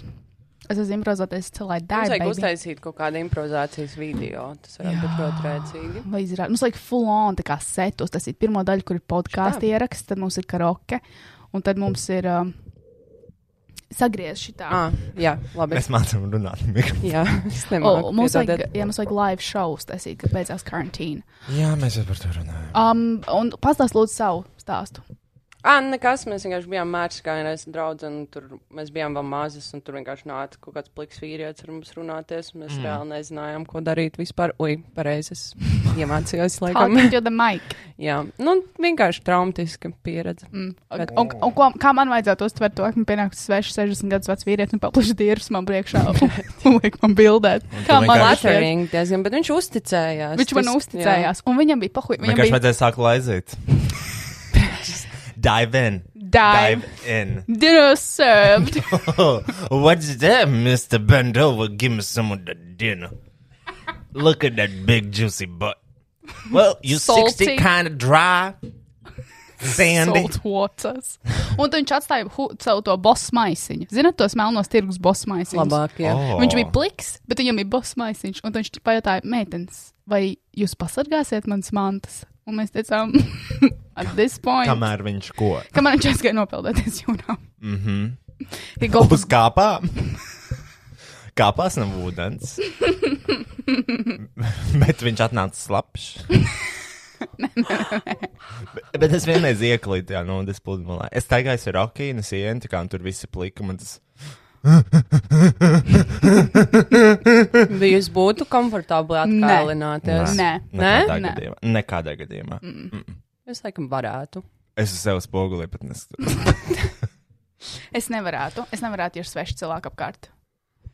C: Es esmu improvizators, lai
D: Mums vajag
C: dārgi.
D: uztaisīt kaut kādu improvizācijas video. Tas varētu būt ļoti rēcīgi.
C: Vai izrādīt? Mums vajag full on, tā kā setos. Tas ir pirmā daļa, kur ir podkāstu ieraksts, tad mums ir karaoke, un tad mums ir um, sagriezt šitā.
D: Ah, jā, labi.
B: Mēs mācām runāt. mikrofonu.
D: Jā, <laughs> es
C: Oh,
D: nemāku.
C: mums,
D: piedodiet.
C: vajag, jā, mums vajag live show, tas ir, kad beidzās karantīna.
B: Jā, mēs jau par to runājam.
C: Um, un pastāst lūdzu savu stāstu.
D: Ah, nekas, mēs vienkārši bijām mērķis, kā vienreiz draugi, un tur mēs bijām vēl mazas, un tur vienkārši nāca kaut kāds pliks vīrietis ar mums runāties, un mēs mm. reāli nezinājām, ko darīt vispār. Ui, pareizi, <laughs> es iemācījos, laikam.
C: Talking to the mic.
D: Jā, nu, vienkārši traumatiska pieredze.
C: Mm.
D: Bet-
C: Un, un ko, kā man vajadzētu uztvert to, ka man pienāks svešs 60 gadus vecs vīrietis un paplaši dīrus man priekšā
B: <laughs>
C: un liek man bildēt? Kā man
B: vienkārši-
C: uztvert?
D: Flattering diezgan, bet viņš uzticējās.
C: Viņš man
D: Tas-
C: uzticējās, un viņam bija pahuļ. Viņam
B: Vienkārši
C: bija
B: vajadzēja sākt laizīt. Dive in.
C: dive.
B: in.
C: Dinner
B: <laughs>
C: served.
B: Oh, what's that, Mr. Bend over? Give me some of the dinner. Look at that big juicy butt. Well, you
C: Salty.
B: 60 kind of dry, sandy.
C: Salt waters. Un tad viņš atstāja hu- savu to bosu maisiņu. Zinat, tos melnos tirgus bosu
D: Jā.
C: maisiņus?
D: Labāk, jā. Oh.
B: Oh.
C: Viņš bija pliks, bet viņam bija bosu maisiņš. Un tad viņš pajautāja, meitenes, vai jūs pasargāsiet manas mantas? Un mēs teicām, <laughs> at this point.
B: Kamēr viņš ko?
C: Kamēr viņš aizgāja nopeldēties jūrā.
B: Mhm.
C: Tik gobs.
B: Uz kāpām? Kāpās nav ūdens. Bet viņš atnāca slapjš. bet, bet es vienreiz ieklīdu tajā nodeļas pludmalē. Es staigāju ar rokīnu, sienu, tā kā un tur viss ir plika. man Tas...
D: Bija jūs būtu komfortabli atkalināties.
C: Nē.
B: nekādā
C: Nē?
B: gadījumā. Nekādā gadījumā.
D: Es laikam varētu.
B: Es uz sevi spoguli pat neskatos.
C: Es nevarētu. Es nevarētu, ja ir sveši cilvēki apkārt.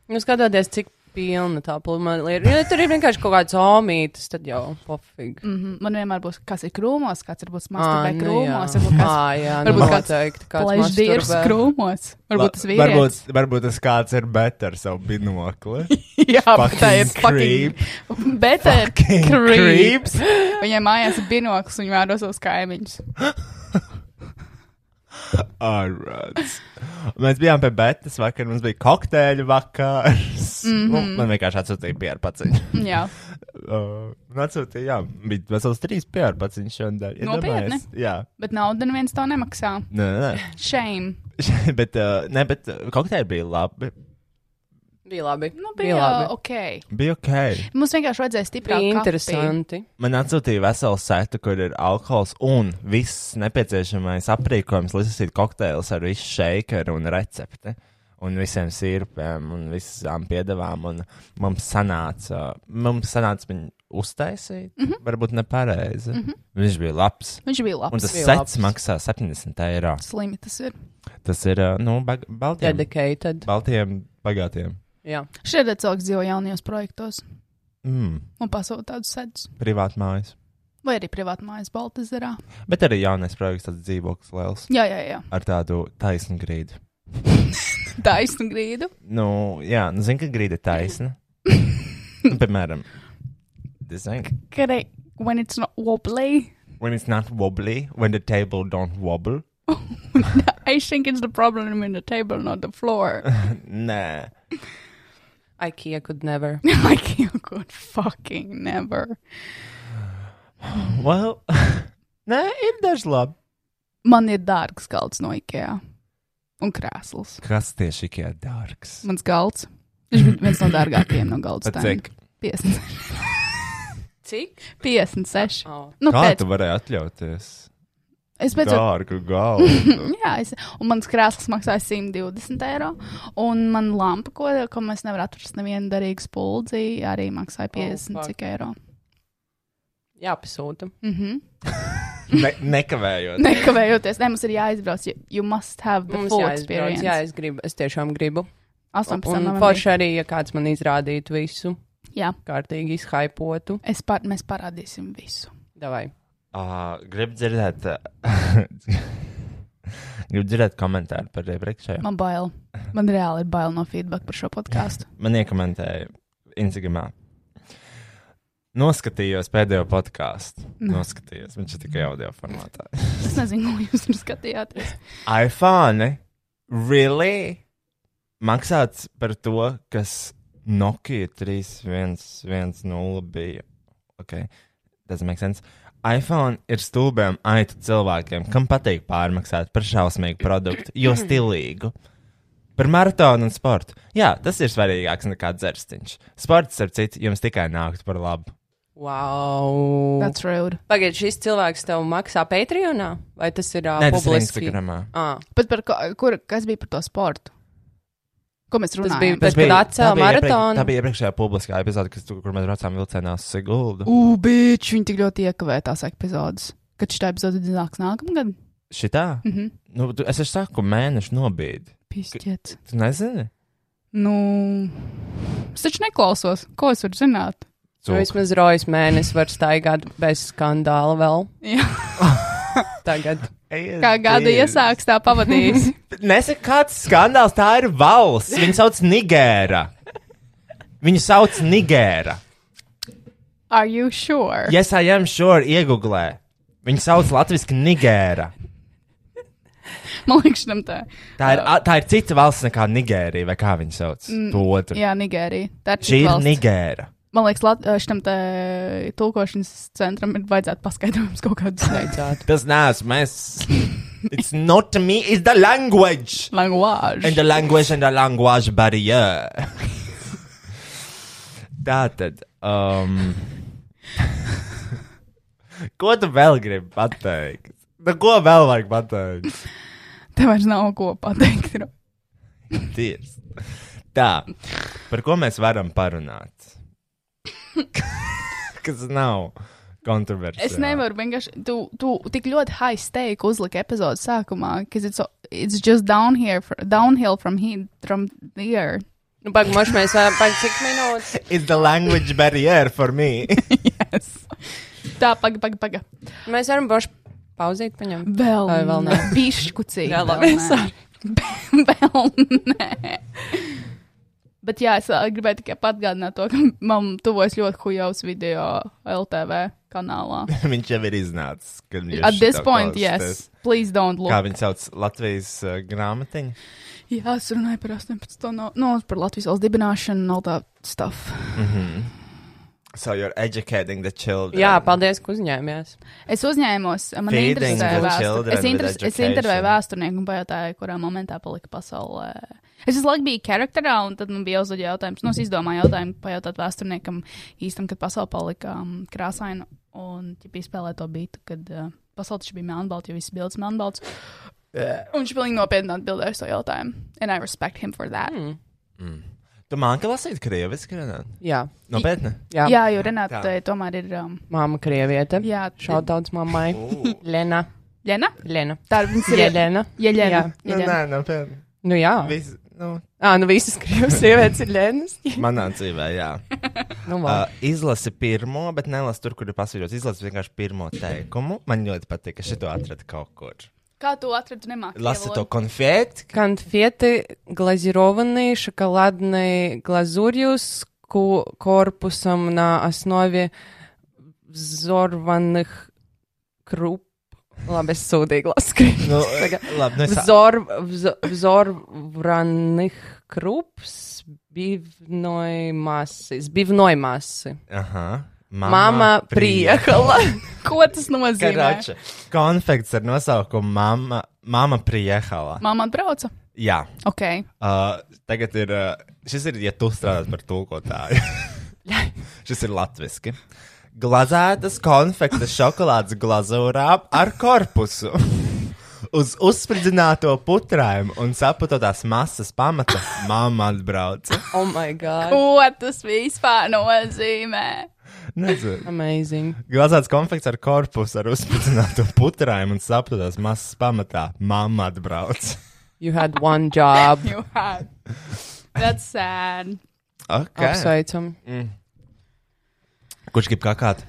D: Jūs Nu, skatāties, cik pilna tā plūma ir. Ja tur ir vienkārši kaut kāds omītis, tad jau pofīgi.
C: Mm -hmm. Man vienmēr būs, kas ir krūmos, kāds varbūt
D: Ā,
C: masturbē
D: nu
C: krūmos,
D: jā.
C: varbūt kāds
D: Ā, jā,
C: varbūt
D: varbūt
C: kāds
D: kāds teikt, kāds
C: plēš dīrs
D: masturbē.
C: krūmos. Varbūt tas vīrietis.
B: varbūt, varbūt tas kāds ir bet ar savu binokli.
C: <laughs> Jā, bet tā ir
B: Fucking
C: fucking. Bet tā ir
B: Fucking
C: creep.
B: creeps.
C: <laughs> Viņai mājās ir binoklis, viņa vēro savus kaimiņus.
B: Arāds. Mēs bijām pie Betas vakar, mums bija kokteļu vakars. Mm -hmm. Man vienkārši atsūtīja pieru paciņu.
C: <laughs> Jā,
B: Uh, atsūtīja, jā, bija vesels trīs pieru paciņu šodien. Ja
C: Nopietni?
B: Jā,
C: bet naudu neviens to nemaksā.
B: nē, nē, <laughs>
C: Shame.
B: nē. bet, uh, ne, bet uh, kokteļi bija labi.
D: Bija labi.
C: Nu,
D: bija labi.
C: bija ok.
B: Bija ok.
C: Mums vienkārši vajadzēja
D: Bija
C: stiprāk.
D: interesanti.
B: Man atsūtīja veselu setu, kur ir alkohols un viss nepieciešamais aprīkojums, lai sasītu kokteļus ar visu šeikeru un recepti. Un visiem sīrpēm un visām piedevām. Un mums sanāca, mums sanāca viņu uztaisīt, mm
C: Mhm.
B: -hmm. varbūt nepareizi. Mm -hmm. Viņš bija labs.
C: Viņš bija labs.
B: Un tas
D: bija
B: sets labs.
D: labs.
B: maksā 70 eiro.
C: Slimi tas ir.
B: Tas ir, uh, nu, bag- baltiem,
D: Dedicated.
B: baltiem bagātiem.
D: Jā.
C: Šeit ir cilvēks dzīvo jaunajos projektos
B: Mm,
C: un pasūta tādus sēdus.
B: privāti mājas.
C: Vai arī privāti mājas Baltazarā.
B: Bet arī jaunais projekts, tāds dzīvoklis liels,
C: Jā, jā, jā.
B: ar tādu taisnu grīdu.
C: Taisnu grīdu.
B: Nu, jā, nu, zinu, ka grīda ir taisna. nu, piemēram, this thing.
C: Kare, when it's not wobbly,
B: When it's not wobbly, when the table don't wobble.
C: <laughs> I think it's the problem in the table, not the floor. <laughs>
B: Nē.
D: IKEA could never.
C: I can't good fucking never.
B: Well, <laughs> nē, ir daži labi.
C: Man ir dārgs galds no IKEA. Un krēsls.
B: Kas tieši ir dārgs?
C: Mans galds. Viņš bija viens no dārgākajiem <laughs> no galda.
B: Pat cik?
C: 56. <laughs>
D: Cik?
C: 56.
D: Oh.
C: Nu,
B: Kā
C: pēc,
B: tu varēji atļauties?
C: es pēc
B: Dārgu galvu.
C: <laughs> Jā, es, un mans krēsls maksāja 120 eiro. Un man lampa, ko, ko mēs nevaram atrast, nevienu derīgu spuldzi, arī maksāja 50 oh,
D: fuck.
C: cik eiro.
D: Jā, pasūta.
C: Mm -hmm.
B: Ne, nekavējot.
C: Nekavējoties, ne, mums ir jāizbrauc. You, you must have the
D: Mums
C: full
D: jāizbrauc.
C: experience.
D: Jā, es gribu. Es tiešām gribu.
C: 18.
D: Un
C: novembrī.
D: forši arī, ja kāds man izrādītu visu,
C: Jā,
D: kārtīgi izhaipotu.
C: es par, mēs parādīsim visu.
D: Davai.
B: Uh, Gribu <laughs> dzirdēt, ā, gribu dzirdēt komentāru par iepriekšējo.
C: Man bail. Man reāli ir bail no feedback par šo podkāstu.
B: Man iekomentēja Instagramā. Noskatījos pēdējo podkāstu.
C: Nu.
B: Noskatījos, viņš ir tikai audio formātā.
C: Es nezinu, ko jūs tur skatījāties.
B: iPhone really maksāts par to, kas Nokia 3110 bija. Okay. Doesn't make sense. iPhone ir stulbiem aitu cilvēkiem, kam patīk pārmaksāt par šausmīgu produktu,
D: <clears throat>
B: jo stilīgu. Par maratonu un sportu. Jā, tas ir svarīgāks nekā dzērstiņš. Sports, ar citu, jums tikai nākt par labu.
D: Wow!
C: That's rude.
D: Pagaidiet, šis cilvēks tev maksā Patreonā? Vai tas ir uh,
B: Nē, tas ir
D: publiski?
B: Instagramā.
D: Ah,
C: Bet par ko, kur, kas bija par to sportu? Ko mēs runājam?
D: bija
B: Tas
D: Bet kad
B: bija-
D: atcēla
B: tā bija iepriek-
D: maratonu?
B: Tā bija iepriekšējā publiskā epizode, kas tu- kur mēs braucām vilcienā uz Siguldu.
C: Ugh, bitch, viņi tik ļoti iekavēja tās epizodes. Kad šī epizode nāks nākamgad, Mhm.
B: Šitā? Mm -hmm. nu, tu- es jau saku, mēnešu nobīdi.
C: pišķiet.
B: Tu nezini?
C: Nu, es taču neklausos. Ko es varu zināt?
D: nu vismaz rojas mēnesis var staigāt bez skandāla vēl.
C: Jā.
D: Tagad.
C: Kā gada iesāks, tā pavadīs.
B: Nesaka, kāds skandāls tā ir valsts. Viņu sauc Nigēra. Viņu sauc Nigēra.
C: <laughs> Are you sure?
B: Yes, I am sure, iegooglē. Viņu sauc Latvijasiski Nigēra.
C: Man liekas, tam tā.
B: Tā ir, a- tā ir cita valsts nekā Nigērija, vai kā viņi sauc. Mm, to otru.
C: Jā, Nigērija. Tā ir
B: Šī
C: cita
B: ir
C: valsts.
B: Nigēra.
C: Man liekas, Lat- šitam te tulkošanas centram ir vajadzētu paskaidrojums kaut
B: <laughs>
C: kādus
D: Beidzot.
B: Tas neesmu mēs. It's not me, it's the language. And
C: languāžus.
B: the language and the language barrier. Tātad. Um, ko tu vēl gribi pateikt? Nu, ko vēl vajag pateikt?
C: Tev vairs nav ko pateikt. Ro.
B: Tirs. Tā, par ko mēs varam parunāt? <laughs> Kas nav kontroversiāli.
C: Es nevaru vienkārši. Tu, tu tik ļoti high stake uzliki epizodes sākumā, ka it's, it's just down here, fr- downhill from here. From here.
D: Nu, pagaid, moši mēs vēl pagaid cik minūtes.
B: It's the language barrier for me. <laughs>
C: Yes. Tā, paga, paga, paga.
D: Mēs varam boši pauzīt paņemt.
C: Vēl,
D: Ai, vēl
C: <laughs>
D: nē.
C: Bišķu cīņa.
D: Jā, labi,
C: <laughs> Vēl nē. Bet jā, es ā, gribēju tikai atgādināt to, ka man tuvojas ļoti hujaus video LTV kanālā.
B: Viņš jau ir iznācis. kad jūs
C: At this
B: šito
C: point,
B: klausāties.
C: yes. Please don't look.
B: Kā viņi sauc Latvijas uh, grāmatiņu?
C: Jā, es runāju par 18. No, no, par Latvijas valsts dibināšanu un all that stuff.
B: So you're educating the children.
D: Jā, paldies, ka uzņēmies.
C: Es uzņēmos, man
B: Feeding
C: interesē
B: the
C: vēsture.
B: children
C: Es, interes,
B: with
C: es intervēju
B: education.
C: vēsturnieku un pajautāju, kurā momentā palika pasaulē. Es visu laiku biju karakterā, un tad man bija jāuzdod jautājums. Nu, es izdomāju jautājumu pajautāt vēsturniekam īstam, kad pasaule palika um, krāsaina un ja izspēlē to bītu, kad uh, pasaule taču bija melnbalta, jo visas bildes melnbalts. Un viņš pilnīgi nopietni atbildēja uz to jautājumu. And I respect him for that. Mm.
B: Tu māki lasīt krieviski, Renāta?
D: Jā,
B: Nopietni.
D: jā. jā.
C: Jā, jo Renāta tai tomēr ir. Um,
D: Māma krieviete.
C: jā,
D: Šautauts mammai. Lena.
C: Lena?
D: Lena.
C: Tā ir viņas ir.
D: Jelena.
C: Jelena.
B: Nu,
C: Jelena.
B: nē, nopietni.
D: Nu jā.
B: Vis, nu,
D: Ā, nu visas krievas sievietes ir Lenas.
B: manā dzīvē, <laughs> jā.
D: Nu,
B: Uh,
D: labi.
B: izlasi pirmo, bet nelasi tur, kur ir pasvītrots. Izlasi vienkārši pirmo teikumu. Man ļoti patīk, ka šito atradi kaut kur.
C: Kā tu atradi nemāki?
B: Lasi to konfeti.
D: Конфеты глазированные, шоколадной глазурью с ку- корпусом на основе взорванных круп. Ладно, без суды <laughs> глаз.
B: Nu, labi, nu es
D: Взор, взо- взорванных круп с бивной массы. С бивной массы.
B: Aha.
D: Mama priekala.
C: Ko tas nozīmē?
F: Karača. Konfekts ar nosaukumu Mama, mama Priehala.
C: Māma atbrauca.
F: Jā,
C: Ok.
F: uh, tagad ir. Uh, šis ir, ja tu strādā par tulkotāju. šis ir latviešu. Glazētas konfektes šokolādes glazūrā ar korpusu. Uz uzspridzināto putrājumu un saputotās masas pamata mamma atbrauca.
D: <laughs> Oh, my God.
C: Ko tas vispār nozīmē?
F: Nezinu.
D: Amazing.
F: Glazētas konfekts ar korpusu, ar uzspridzināto putrājumu un saputotās masas pamatā mamma atbrauca.
D: You had one job.
C: You had. That's sad.
F: Okay.
D: Apsveicam.
F: Mm. Kurš grib kakāt?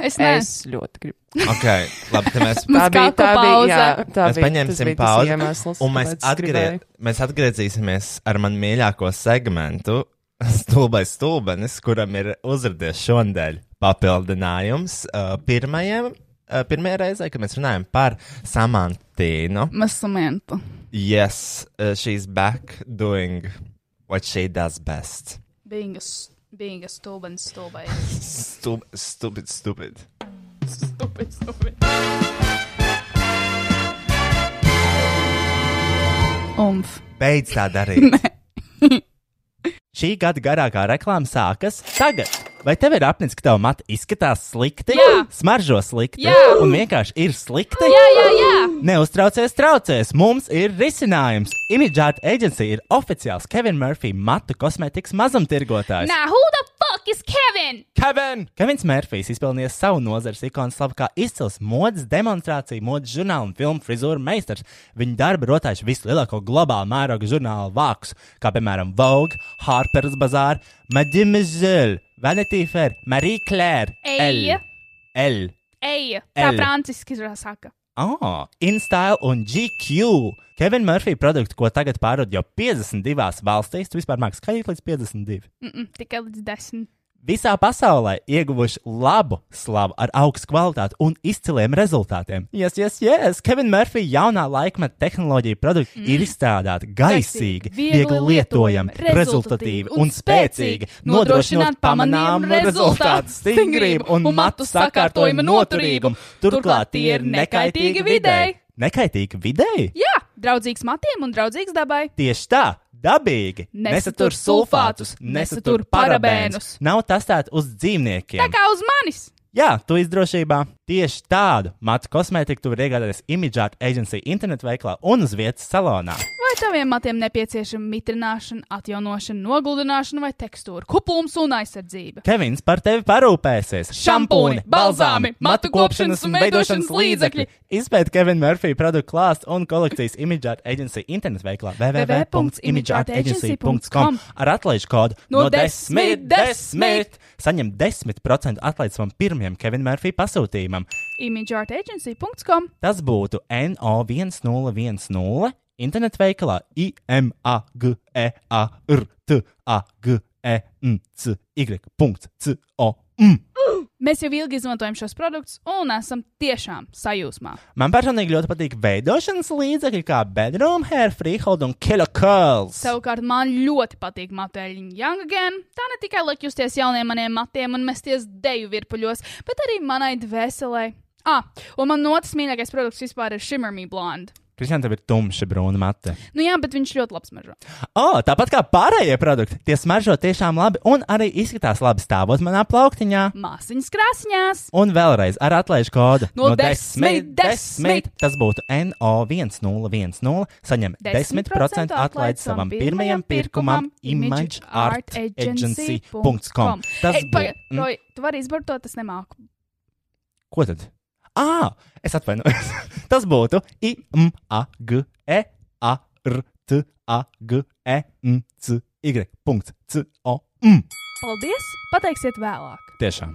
C: Es
D: Es
C: nezinu.
D: ļoti gribu.
F: Okay, labi, tad mēs
C: Mums kāku pauze.
D: jā, tā
F: Mēs
D: bija, tas
F: paņemsim
D: bija tas
F: pauzi.
D: iemesls,
F: Un mēs,
D: kāpēc es gribēju.
F: atgrie, mēs atgriezīsimies ar manu mīļāko segmentu, <laughs> Stulbais stulbenis, kuram ir uzrādījies šodien papildinājums. Uh, pirmajam, uh, pirmajā reizē, kad mēs runājam par Samantīnu,
C: Masamentu.
F: yes, uh, she's back doing what she does best.
C: Being a, s- being a stulben stulbai.
F: Stub, stupid, stupid.
C: Stupid, stupid. Umf.
F: Beidz tā
C: <laughs>
F: darīt. Šī gada garākā reklāma sākas tagad. Vai tev ir apnicis, ka tava mata izskatās slikti,
C: Jā.
F: smaržo slikti
C: Jā.
F: un vienkārši ir slikti?
C: Jā, jā, jā.
F: Neuztraucies, traucēs! Mums ir risinājums! Imidžāta aģentūra ir oficiāls Kevina Murphy matu kosmētikas mazumtirgotājs.
C: Now, who the fuck is Kevin?
F: Kevin! Kevins Mērfijs izpelnījis savu nozares ikonu slavu kā izcils modes demonstrācija, modes žurnāla un filmu frizūra meistars. Viņa darba rotājuši vislielāko globālu mēroga žurnālu vākus, kā piemēram Vogue, Harper's Bazaar, Mademoiselle, Vanity Fair, Marie Claire,
C: Eja.
F: L,
C: Eja. Tā
F: L.
C: franciski saka.
F: Ah, InStyle un GQ. Kevina Murphy produktu, ko tagad pārdod jau 52 valstīs, tu vispār mākslinieks skaitīt līdz 52.
C: Mm -mm, tikai līdz desmit.
F: Visā pasaulē ieguvuši labu slavu ar augstu kvalitāti un izciliem rezultātiem. Yes, yes, yes! Kevina Murphy jaunā laikmeta tehnoloģija produkti mm. ir izstrādāti gaisīgi,
C: Gaisīgi, viegli
F: viegli lietojami, rezultatīvi un spēcīgi, nodrošināt pamanāmu rezultātu, stingrību un matu sakārtojuma noturīgumu. Turklāt tie ir nekaitīgi videi. Nekaitīgi videi?
C: Jā, draudzīgs matiem un draudzīgs dabai.
F: Tieši tā, dabīgi.
C: Nesatur sulfātus, nesatur parabēnus.
F: Nav tas tāds uz dzīvniekiem.
C: Tā kā uz manis.
F: Jā, tu esi drošībā. Tieši tādu matu kosmētiku tu vari iegādāties Imidžāta aģentūra internetu veiklā un uz vietas salonā.
C: Vai taviem matiem nepieciešama mitrināšana, atjaunošana, noguldināšana vai tekstūra, kuplums un aizsardzība?
F: Kevins par tevi parūpēsies.
C: Šampūni, balzāmi, matu kopšanas un veidošanas līdzekļi.
F: Izpēt Kevina Murphy produktu klāstu un kolekcijas Imidžāta aģentūra internetu veiklā www.imidžātaagency.com ar atlaižu kodu
C: No desmit, desmit.
F: Saņem 10% atlaidi savam pirmajam Kevina Murphy pasūtījumam.
C: imageartagency.com
F: Tas būtu NO1010 internetu veikalā E IMAGEARTAGENCY.com.
C: Mēs jau ilgi izmantojam šos produktus un esam tiešām sajūsmā.
F: Man personīgi ļoti patīk veidošanas līdzekļi, kā bedroom hair, freehold un kilo curls.
C: Savukārt man ļoti patīk matēļiņa Young Again. Tā ne tikai liek justies jauniem maniem matiem un mesties deju virpuļos, bet arī manai dvēselē. Ah, un man otrs mīļākais produkts vispār ir Shimmer Me Blonde.
F: Kristian, tev ir tumša brūna mate.
C: Nu jā, bet viņš ļoti labs maržo.
F: Oh, tāpat kā pārējie produkti, tie smaržo tiešām labi un arī izskatās labi stāvot manā plauktiņā.
C: Māsiņas krāsņās!
F: Un vēlreiz ar atlaižu kodu
C: No desmit, desmit.
F: Tas būtu NO1010. Saņem
C: 10%
F: 10% atlaidi
C: atlaidi
F: savam
C: savam
F: pirmajam
C: pirmajam
F: pirkumam
C: pirkumam
F: imageartagency.com.
C: imageartagency.com.
F: Tas mm.
C: Ei,
F: būtu.
C: pagaid, Roy, tu vari izbart to, tas nemāku.
F: Ko tad? Ā, es atvainojos. <laughs> Tas būtu E, IMAGEARTAGENCY.com.
C: Paldies! Pateiksiet vēlāk!
F: Tiešām.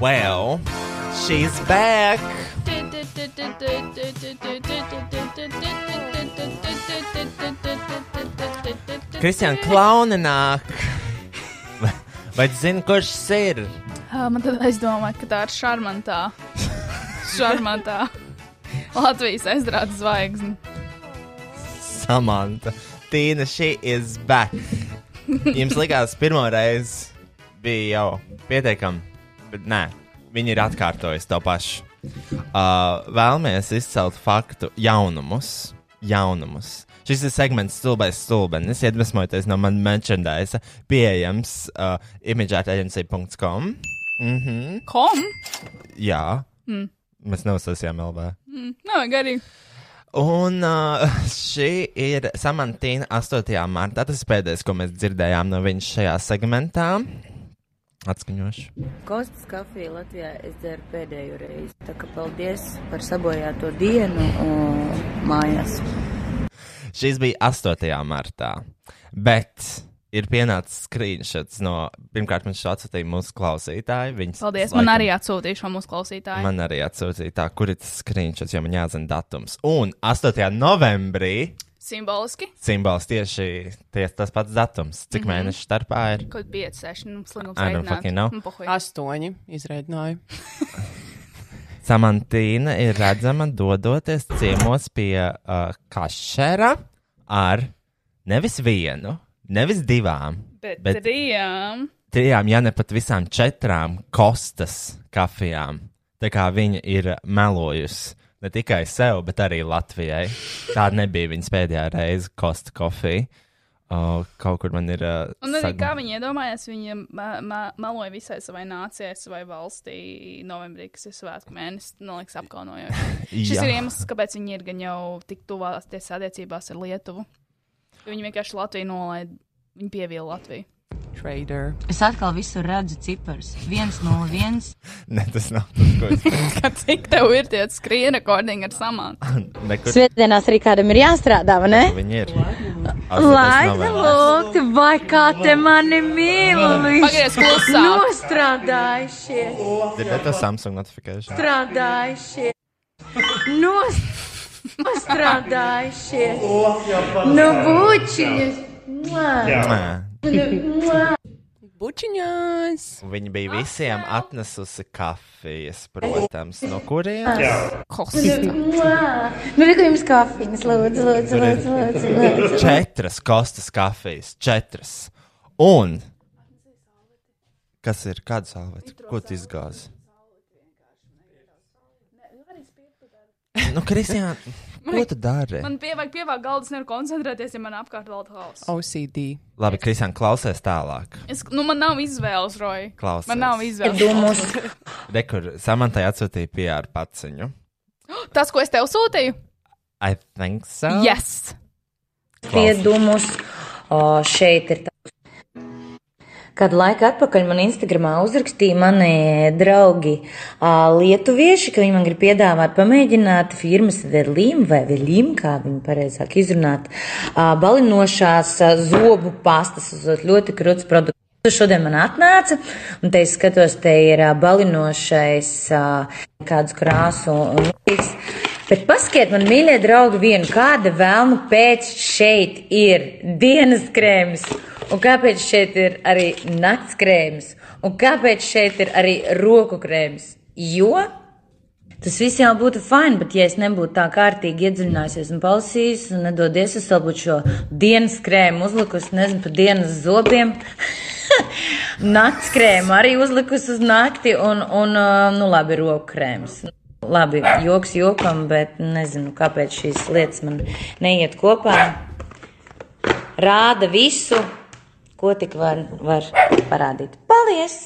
F: Well, she's back.
B: Kristian, klauni nāk! Vai tu zini, kurš tas ir?
C: Ā, Man tad aizdomā, ka tā ir
F: <laughs>
C: šarmantā. Šarmantā. Latvijas aizrādes zvaigzne.
F: <laughs> Samanta. Tīna, she is back. Jums likās, pirmo reizi bija jau pietiekami, bet nē, viņi ir atkārtojuši to pašu. Uh, vēlamies izcelt faktu jaunumus. jaunumus. Šis ir segments stulbais stulbenis, iedvesmojoties no manas merchandise, pieejams uh, imageartagency.com.
C: Kom?
F: Jā, mm. mēs neuzsāsījām LV.
C: Nav garīgi.
F: Un uh, <laughs> šī ir Samantīna 8. martā. Tas ir pēdējais, ko mēs dzirdējām no viņas šajā segmentā. Atskaņošu.
G: Kostas kafiju Latvijā es dzeru pēdējo reizi. Tā kā paldies par sabojāto dienu uh, mājās.
F: Šis bija 8. martā. Bet ir pienācis screenshots no pirmkārt, man šo atsūtīja mūsu klausītāji. Viņas
C: Paldies.
F: laikam-
C: Man arī atsūtīja šo mūsu klausītāju.
F: Man arī atsūtīja tā, kur ir tas screenshots, jo man jāzina datums. Un 8. novembrī
C: Simboliski.
F: simbols tieši tie, tas pats datums. Cik
C: Mhm.
F: mm -hmm. mēnešu starpā ir?
C: Kaut 5, 6, nu, slimums.
F: I don't fucking know.
D: Astoņi izraidināju.
F: Samantīna ir redzama dodoties ciemos pie uh, kašera ar nevis vienu, nevis divām,
C: Bet, bet
F: bet
C: trijām.
F: trijām, ja ne pat visām četrām kostas kafijām. Tā kā viņa ir melojusi ne tikai sev, bet arī Latvijai. Tā nebija viņas pēdējā reize, kosta kofija. Uh, kaut kur man ir. Uh,
C: Un arī
F: sag-
C: kā viņi iedomājās, viņi ma- ma- meloja visai savai nācijai, savai valstī novembrī, kas ir svētku mēnesis, man liekas, apkaunojoši.
F: <laughs>
C: Šis
F: Jā.
C: ir iemesls, kāpēc viņi ir gan jau tik tuvās tiesas attiecībās ar Lietuvu. Jo Viņi vienkārši Latviju nolaida, viņi pievīla Latviju. <laughs>
D: Trader.
G: Es atkal visur redzu ciparus. 101.
F: <laughs> Ne, tas nav tas, ko es
C: Kā cik tev ir tie skrieni rekordīgi ar samānu?
F: nekur.
H: Svētdienās arī kādam ir jāstrādā, vai ne?
C: <laughs>
F: Viņi ir.
H: Laika lūgti, vai kā te mani mīli?
C: Pagries
G: <laughs>
C: klusā!
H: Nostrādājušie,
F: Dzirdēt to Samsung notifikāciju.
H: strādājušie, nostrādājušie, nu bučiņas. Mua,
D: Bučiņās!
F: Viņa bija visiem atnesusi kafijas, protams, no kurienes.
H: mua. Nu, reku jums kafijas, lūdzu, lūdzu, lūdzu, lūdzu, lūdzu.
F: Četras kostas kafijas, četras. Un kas ir kāda salvete? Ko tu izgāzi? Nu, Kristija, ko tu dari?
C: <laughs> Man pievāk, pievāk galdas, nevar koncentrēties, ja man apkārt valda
F: Oh.
C: hauss.
D: OCD.
F: Labi, Kristija, klausies tālāk.
C: Es, nu, man nav izvēles, Roja.
F: Klausies.
C: Man nav izvēles.
F: Rekur, Samantai atsūtīja PR paciņu.
C: Tas, ko es tev sūtīju?
F: I think so.
C: Yes!
G: Piedumus o, šeit ir. tā- Kādu laiku atpakaļ man Instagramā uzrakstīja mani draugi ā, lietuvieši, ka viņi man grib piedāvāt pamēģināt firmas Verlīm vai Verlīm, kā viņi pareizāk izrunāt, ā, balinošās ā, zobu pastas, uzot ļoti krūts produkts. Tu šodien man atnāca, un te es skatos, te ir ā, balinošais ā, kāds krāsu un līdzīgs. Bet paskiet man, mīļie draugi, vienu kāda vēlmu pēc šeit ir dienas krēms, un kāpēc šeit ir arī nakts krēms, un kāpēc šeit ir arī roku krēms. Jo Tas viss jau būtu fini, bet ja es nebūtu tā kārtīgi iedziļinājusies un palasījis, un nedodies, es vēl būtu šo dienas krēmu uzlikusi, nezinu, pa dienas zobiem. Nakts krēmu arī uzlikusi uz nakti, un, un ā, nu, labi, roku krēms. Labi, joks jokam, bet nezinu, kāpēc šīs lietas man neiet kopā. Rāda visu, ko tik var, var parādīt. Paldies!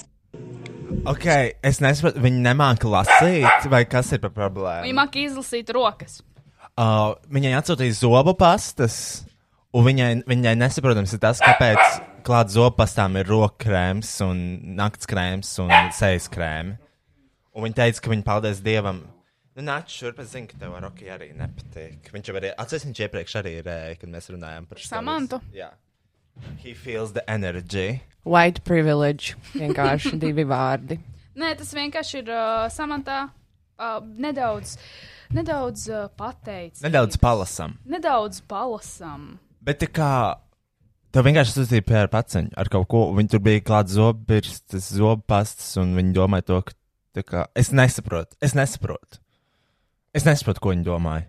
F: Ok, es nesaprotu, viņi nemāķi lasīt, vai kas ir par problēmu?
C: Viņi māk izlasīt rokas.
F: Uh, viņai atsūtīja zobu pastas, un viņai, viņai nesaprotams ir tas, kāpēc klāt zobu pastām ir rokkrēms, un nakts krēms un sejas krēms. Un viņa teica, ka viņa paldies Dievam. Nu, nāc, šurp, es zinu, ka tev ar Roki arī nepatīk. Viņš jau arī, atceries, viņš iepriekš arī rēja, kad mēs runājām par šo.
C: Samantu?
F: visu. Jā. He feels the energy.
D: White privilege. Vienkārši divi vārdi.
C: Nē, tas vienkārši ir uh, samantā uh, nedaudz, nedaudz uh, pateicis.
F: Nedaudz palasam.
C: Nedaudz palasam.
F: Bet tā kā tev vienkārši sūtīja PR paciņu ar kaut ko, un viņi tur bija klāts zobirstas, zobpastas, un viņi domāja to, ka tā kā, es nesaprotu, es nesaprotu. Es nesaprotu, ko viņi domāja.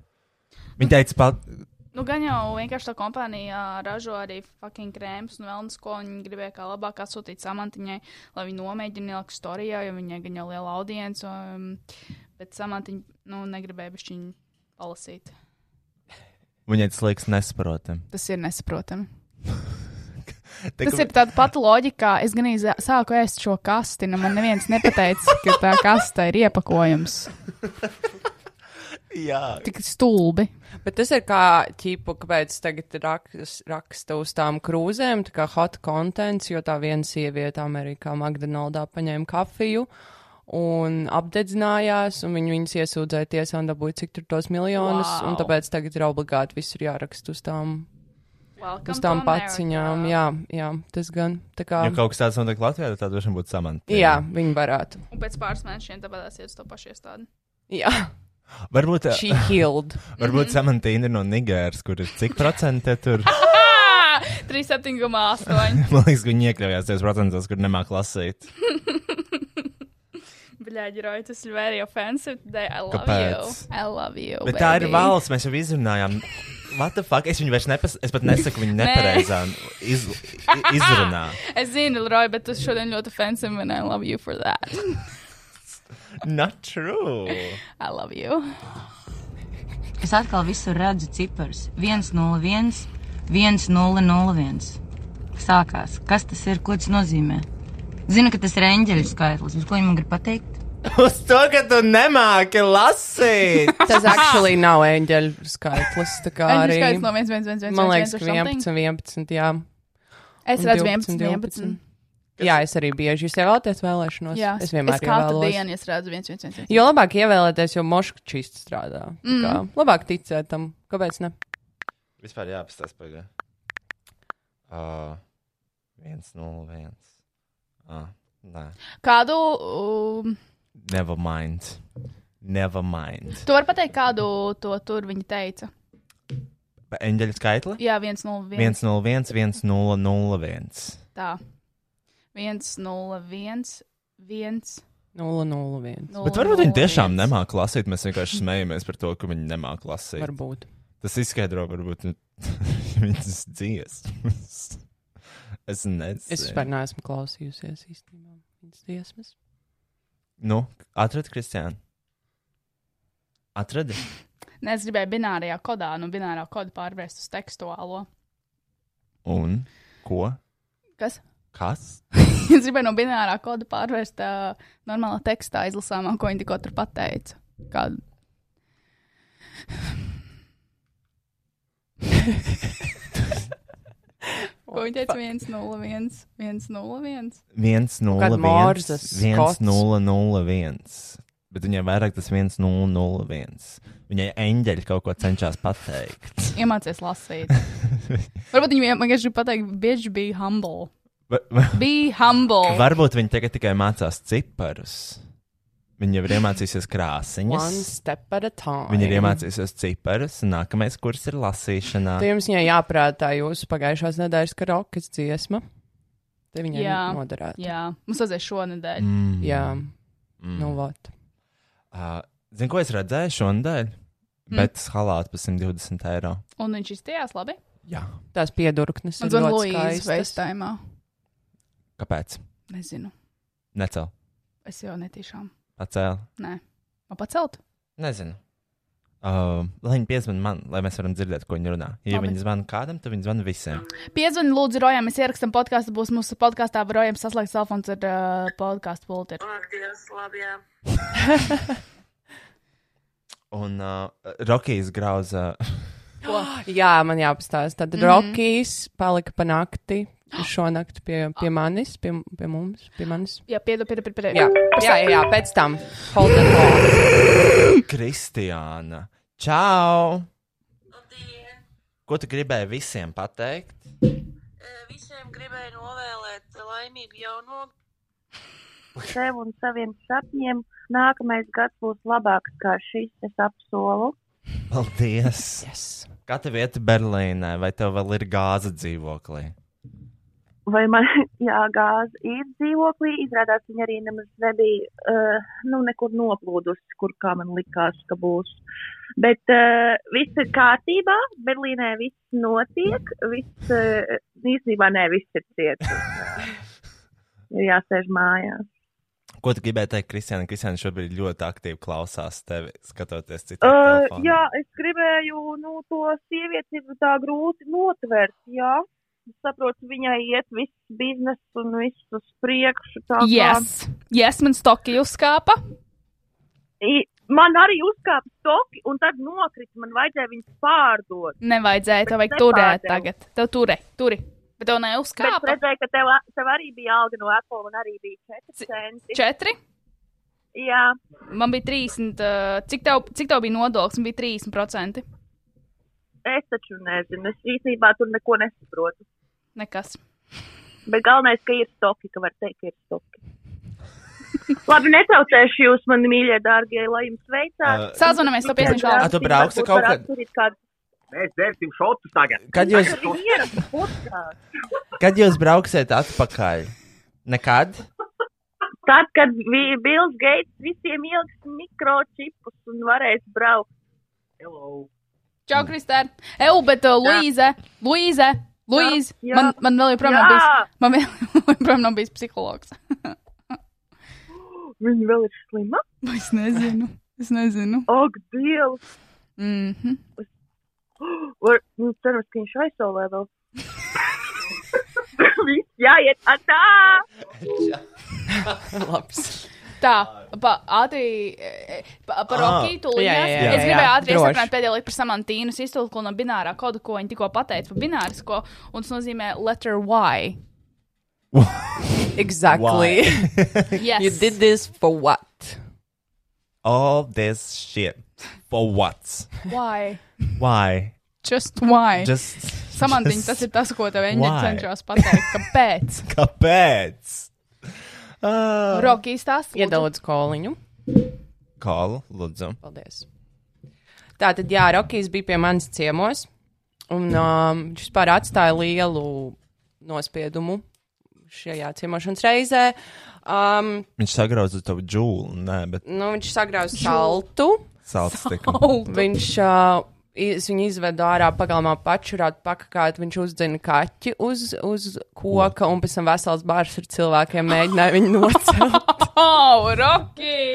F: Viņi teica, pat,
C: Nu, gan jau vienkārši tā kompānija ā, ražo arī fucking krēmus un vēlnes, ko viņi gribēja kā labāk atsūtīt samantiņai, lai viņi nomēģina ielikt storijā, jo viņai gan jau liela audience, um, bet samantiņa, nu, negribēja bišķiņu palasīt.
F: Viņai tas liekas nesaprotami.
C: Tas ir
F: <laughs>
C: nesaprotami. Tas ir tāds pats loģika. Es gan īstenībā sāku ēst šo kasti, un man neviens nepateica, ka tā kasta ir iepakojums.
F: <laughs> Jā,
C: Tik stulbi.
D: Bet tas ir kā ķīpa, kāpēc tagad raks, raksta uz tām krūzēm, tā kā hot contents, jo tā viena sieviete Amerikā McDonaldā paņēma kafiju un apdedzinājās, un viņu viņas iesūdzēja tiesā un dabūja cik tur tos miljonus, wow. un
C: Wow.
D: tāpēc tagad ir obligāti visur jāraksta uz tām,
C: Welcome
D: uz tām paciņām. Jā, jā, tas gan tā kā.
F: ja kaut kas tāds notiek Latvijā, tad tā droši vien būtu samantīga.
D: Jā, viņi varētu.
C: Un pēc pāris mēnešiem dabūjās iet uz to pašu iestādi.
D: Jā,
F: Varbūt, eh,
D: šī hild.
F: varbūt samantīna ir no Nigēras, kur ir cik procenti tur. <laughs>
C: Ah! 37,8.
F: Man liekas, ka viņi iekļāvās 10%, kur nemāk lasīt.
C: Bļaigi, Roy, tas ir very offensive. Today. I love
F: Kāpēc?
C: you. I love you.
F: Bet tā ir
C: baby.
F: valsts, mēs jau izrunājām. What the fuck? Es viņu vairs nepas, es pat nesaku viņu nepareizā iz, i- izrunā.
C: Es zinu, Roy, bet tas šodien ļoti offensive, and I love you for that.
F: Not true.
C: I love you.
G: Es atkal visur redzu ciparus. 101, 1001. Sākās. Kas tas ir? Ko tas nozīmē? Zinu, ka tas ir eņģeļu skaitlis, bet ko viņi man grib pateikt?
F: Uz to, ka tu nemāki lasīt.
D: Tas actually nav eņģeļu skaitlis, tā kā
C: Arī
D: arī.
C: skaits no 1, 1, 1, 1.
D: Man liekas, ka 11, 11, jā.
C: Es
D: un
C: redzu
D: 12,
C: 11, 11.
D: Jā, es arī bieži jūs ievēlaties vēlēšanos.
C: Jā,
D: es vienmēr
C: es katru
D: ievēlos.
C: dienu es redzu 1, 1, 1.
D: Jo labāk ievēlēties, jo moškas čīsti strādā. Mm. Kā, labāk ticēt tam, kāpēc ne?
F: Vispār jāapstāsta pagaidi. Uh, 101. Uh, nē.
C: Kādu, um,
F: Never mind. Never mind.
C: tu vari pateikt, kādu to tur viņi teica?
F: Pa Eņģeļu skaitli?
C: Jā, 1, 0, 1.
F: 101, 1001.
C: Tā. 1, 0, 1, 1.
D: 0,01.
F: Bet varbūt viņi tiešām nemāki lasīt. Mēs vienkārši smejamies par to, ka viņi nemāki lasīt.
D: Varbūt.
F: Tas izskaidro, varbūt <laughs> nu, viņas dziesmas. Es nezinu.
D: Es vispār neesmu klausījusies īstenībā. Viņas dziesmas.
F: Nu, atradi, Kristiāna. Atradi.
C: Nē, es gribēju binārajā kodā, nu, binārā kodu pārvērst uz tekstuālo.
F: Un ko?
C: Kas?
F: Kas?
C: <laughs> Es gribēju no binārā koda pārvērst uh, normālā tekstā izlasāmā, ko viņi tikko tur pateica.
D: <laughs>
C: Kādu. Ko viņi teica? 1, 0, 1, 1, 0, 1.
F: 101.
D: Morzes
F: 1001. Bet viņai vairāk tas 1001. Viņai eņģeļi kaut ko cenšas pateikt.
C: Iemācies
D: <laughs>
C: lasīt. Varbūt viņi vienkārši grib pateikt, bitch, be humble.
F: Va- va-
C: Be humble.
F: Varbūt viņi tagad tikai mācās ciparus. Viņi jau ir iemācījusies krāsiņas.
D: One step at a time.
F: Viņi ir iemācījusies ciparus. un Nākamais kurs ir lasīšanā.
D: Tad jums viņai jāprātā jūsu pagājušās nedēļas karokas dziesma. Te viņai
C: Jā.
D: noderētu.
C: Jā, mums vajadzēja šonadēļ.
F: Mm.
D: Jā. Mm. Nu, vat.
F: Uh, Zini, ko es redzēju šonadēļ?
D: Hm?
F: Mm. Bet halāti par 120 eiro.
C: Un viņš izstājās labi.
F: Jā.
D: Tās piedurknes.
C: Man
D: ir
C: zvanīja
D: ļoti
C: Luīza
D: skaistas.
C: FaceTime.
F: Kāpēc?
C: Nezinu.
F: Necēl.
C: Es jau netīšām.
F: Pacēl.
C: Nē, man pacelt.
F: Nezinu. Uh, lai viņi piezvan man, lai mēs varam dzirdēt, ko viņi runā.
C: Labi.
F: Ja Labi. viņi zvana kādam, tad viņi zvana visiem.
C: Piezvani, lūdzu, Rojam, mēs ierakstām podkāstu. Būs mūsu podkāstā, vai Rojam saslēgts telefons ar uh, podkāstu pulteri.
F: Un uh, Rokijas grauza.
D: Jā, man jāpastāsta. Tad mm -hmm. Rokijs palika pa nakti šonakt pie, pie manis, pie, pie mums, pie manis.
C: Jā, piedod, piedod, piedod.
D: Jā,
C: piedod.
D: jā, jā, jā pēc tam. Hold the call.
F: Kristiāna. Čau! Ko tu gribēji visiem pateikt?
I: Visiem gribēju novēlēt laimīgu jaunu <laughs> Sev un saviem sapņiem nākamais gads būs labāks kā šis, es apsolu.
F: Paldies!
D: Yes.
F: Kā tev iet Berlīnē, vai tev vēl ir gāza dzīvoklī?
I: Vai man <laughs> jāgāz ir dzīvoklī? Izrādās viņa arī nemaz nebija, uh, nu, nekur noplūdusi, kur kā man likās, ka būs. Bet uh, viss ir kārtībā, Berlīnē viss notiek, viss uh, īstenībā ne, viss ir cietis. Jāsēž mājās.
B: Ko tu gribēji teikt, Kristiāna? Kristiāna šobrīd ļoti aktīvi klausās tevi, skatoties citā
I: Uh,
B: telefonā.
I: jā, es gribēju, nu, to sievieti ir tā grūti notvērt, jā. Es saprotu, viņai iet viss biznes un viss uz priekšu. Tā kā-
C: Yes, yes man stoki uzkāpa.
I: I- Man arī uzkāpa stoki, un tad nokrita. Man vajadzēja viņus pārdot.
C: Nevajadzēja, tev vajag
I: Bet
C: turēt
I: nepārdevu.
C: tagad. Tev turē, turi. Bet tev
I: Bet es
C: neuzkāpa.
I: redzēju, ka tev, tev arī bija alga no Apple, un arī bija 4 centi.
C: Četri.
I: Jā,
C: Man bija 30. uh, Cik tev, cik tev bija nodoklis? Man bija 30%.
I: es taču nezinu. Es īstenībā tur neko nesaprotu.
C: Nekas.
I: Bet galvenais, ka ir stoki, ka var teikt, ka ir stoki. <laughs> Labi, netraucēšu jūs, mani mīļie, dārgie, lai jums veicās.
B: Ā,
C: Sazvanamies, tev pieciem
B: Ā, Uh, tu brauksi kaut kad?
I: kad?
J: Mēs dzersim šotus tagad.
B: Kad jūs, kad jūs brauksiet atpakaļ? Nekad?
I: Tad, kad bija Bills Gates, visiem ieliks mikročipus un varēs braukt.
C: Čau, Kristēn. Eju, bet uh, Luīze, Luīze, Luīze.
I: Jā, jā.
C: Man, man vēl joprojām nav
I: Jā.
C: bijis, man vēl <laughs> joprojām nav bijis psihologs. <laughs>
I: Viņa vēl ir slima.
C: es nezinu. Es nezinu.
I: Ak, Dievs!
C: Mm -hmm.
I: Var- nu, Cerams, ka viņš aizsolē vēl. <laughs> Viss jāiet atā!
D: Labs.
C: Tā, pa, ātri e, e, pa, par
B: Ah.
C: Rokītu
D: Jā, jā,
C: līnijas.
D: jā,
C: Es
D: jā,
C: gribēju
D: jā,
C: ātri
D: droši.
C: izsakāt pēdējo lietu par samantīnas iztulku no binārā kodu, ko viņi tikko pateica par binārisko, un tas nozīmē letter Y.
D: Exactly.
C: Yes.
D: <laughs> you did this for what?
B: All this shit. For what?
C: Why?
B: Why?
C: Just why? Just,
B: Just.
C: Samantiņa,
B: just-
C: tas ir tas, ko tev Eņģeļa
B: Why?
C: cenšas pateikt. Kāpēc?
B: Kāpēc? Uh,
C: Rokīs tās
D: Iedalīts koliņu.
B: Kalu, lūdzu.
D: Paldies. Tā tad, jā, Rukijs bija pie manis ciemos. Un um, viņš vispār atstāja lielu nospiedumu šajā ciemošanas reizē. Um,
B: Viņš sagrauza to džūlu, nē, bet
D: nu, viņš sagrauza saltu.
B: salts tika.
D: Viņš uh, iz, viņu izveda ārā pagalmā pačurāt, pakakāt, viņš uzdzina kaķi uz, uz koka un pēc tam vesels bārs ar cilvēkiem mēģināja viņu nocelt.
C: Oh, Roki!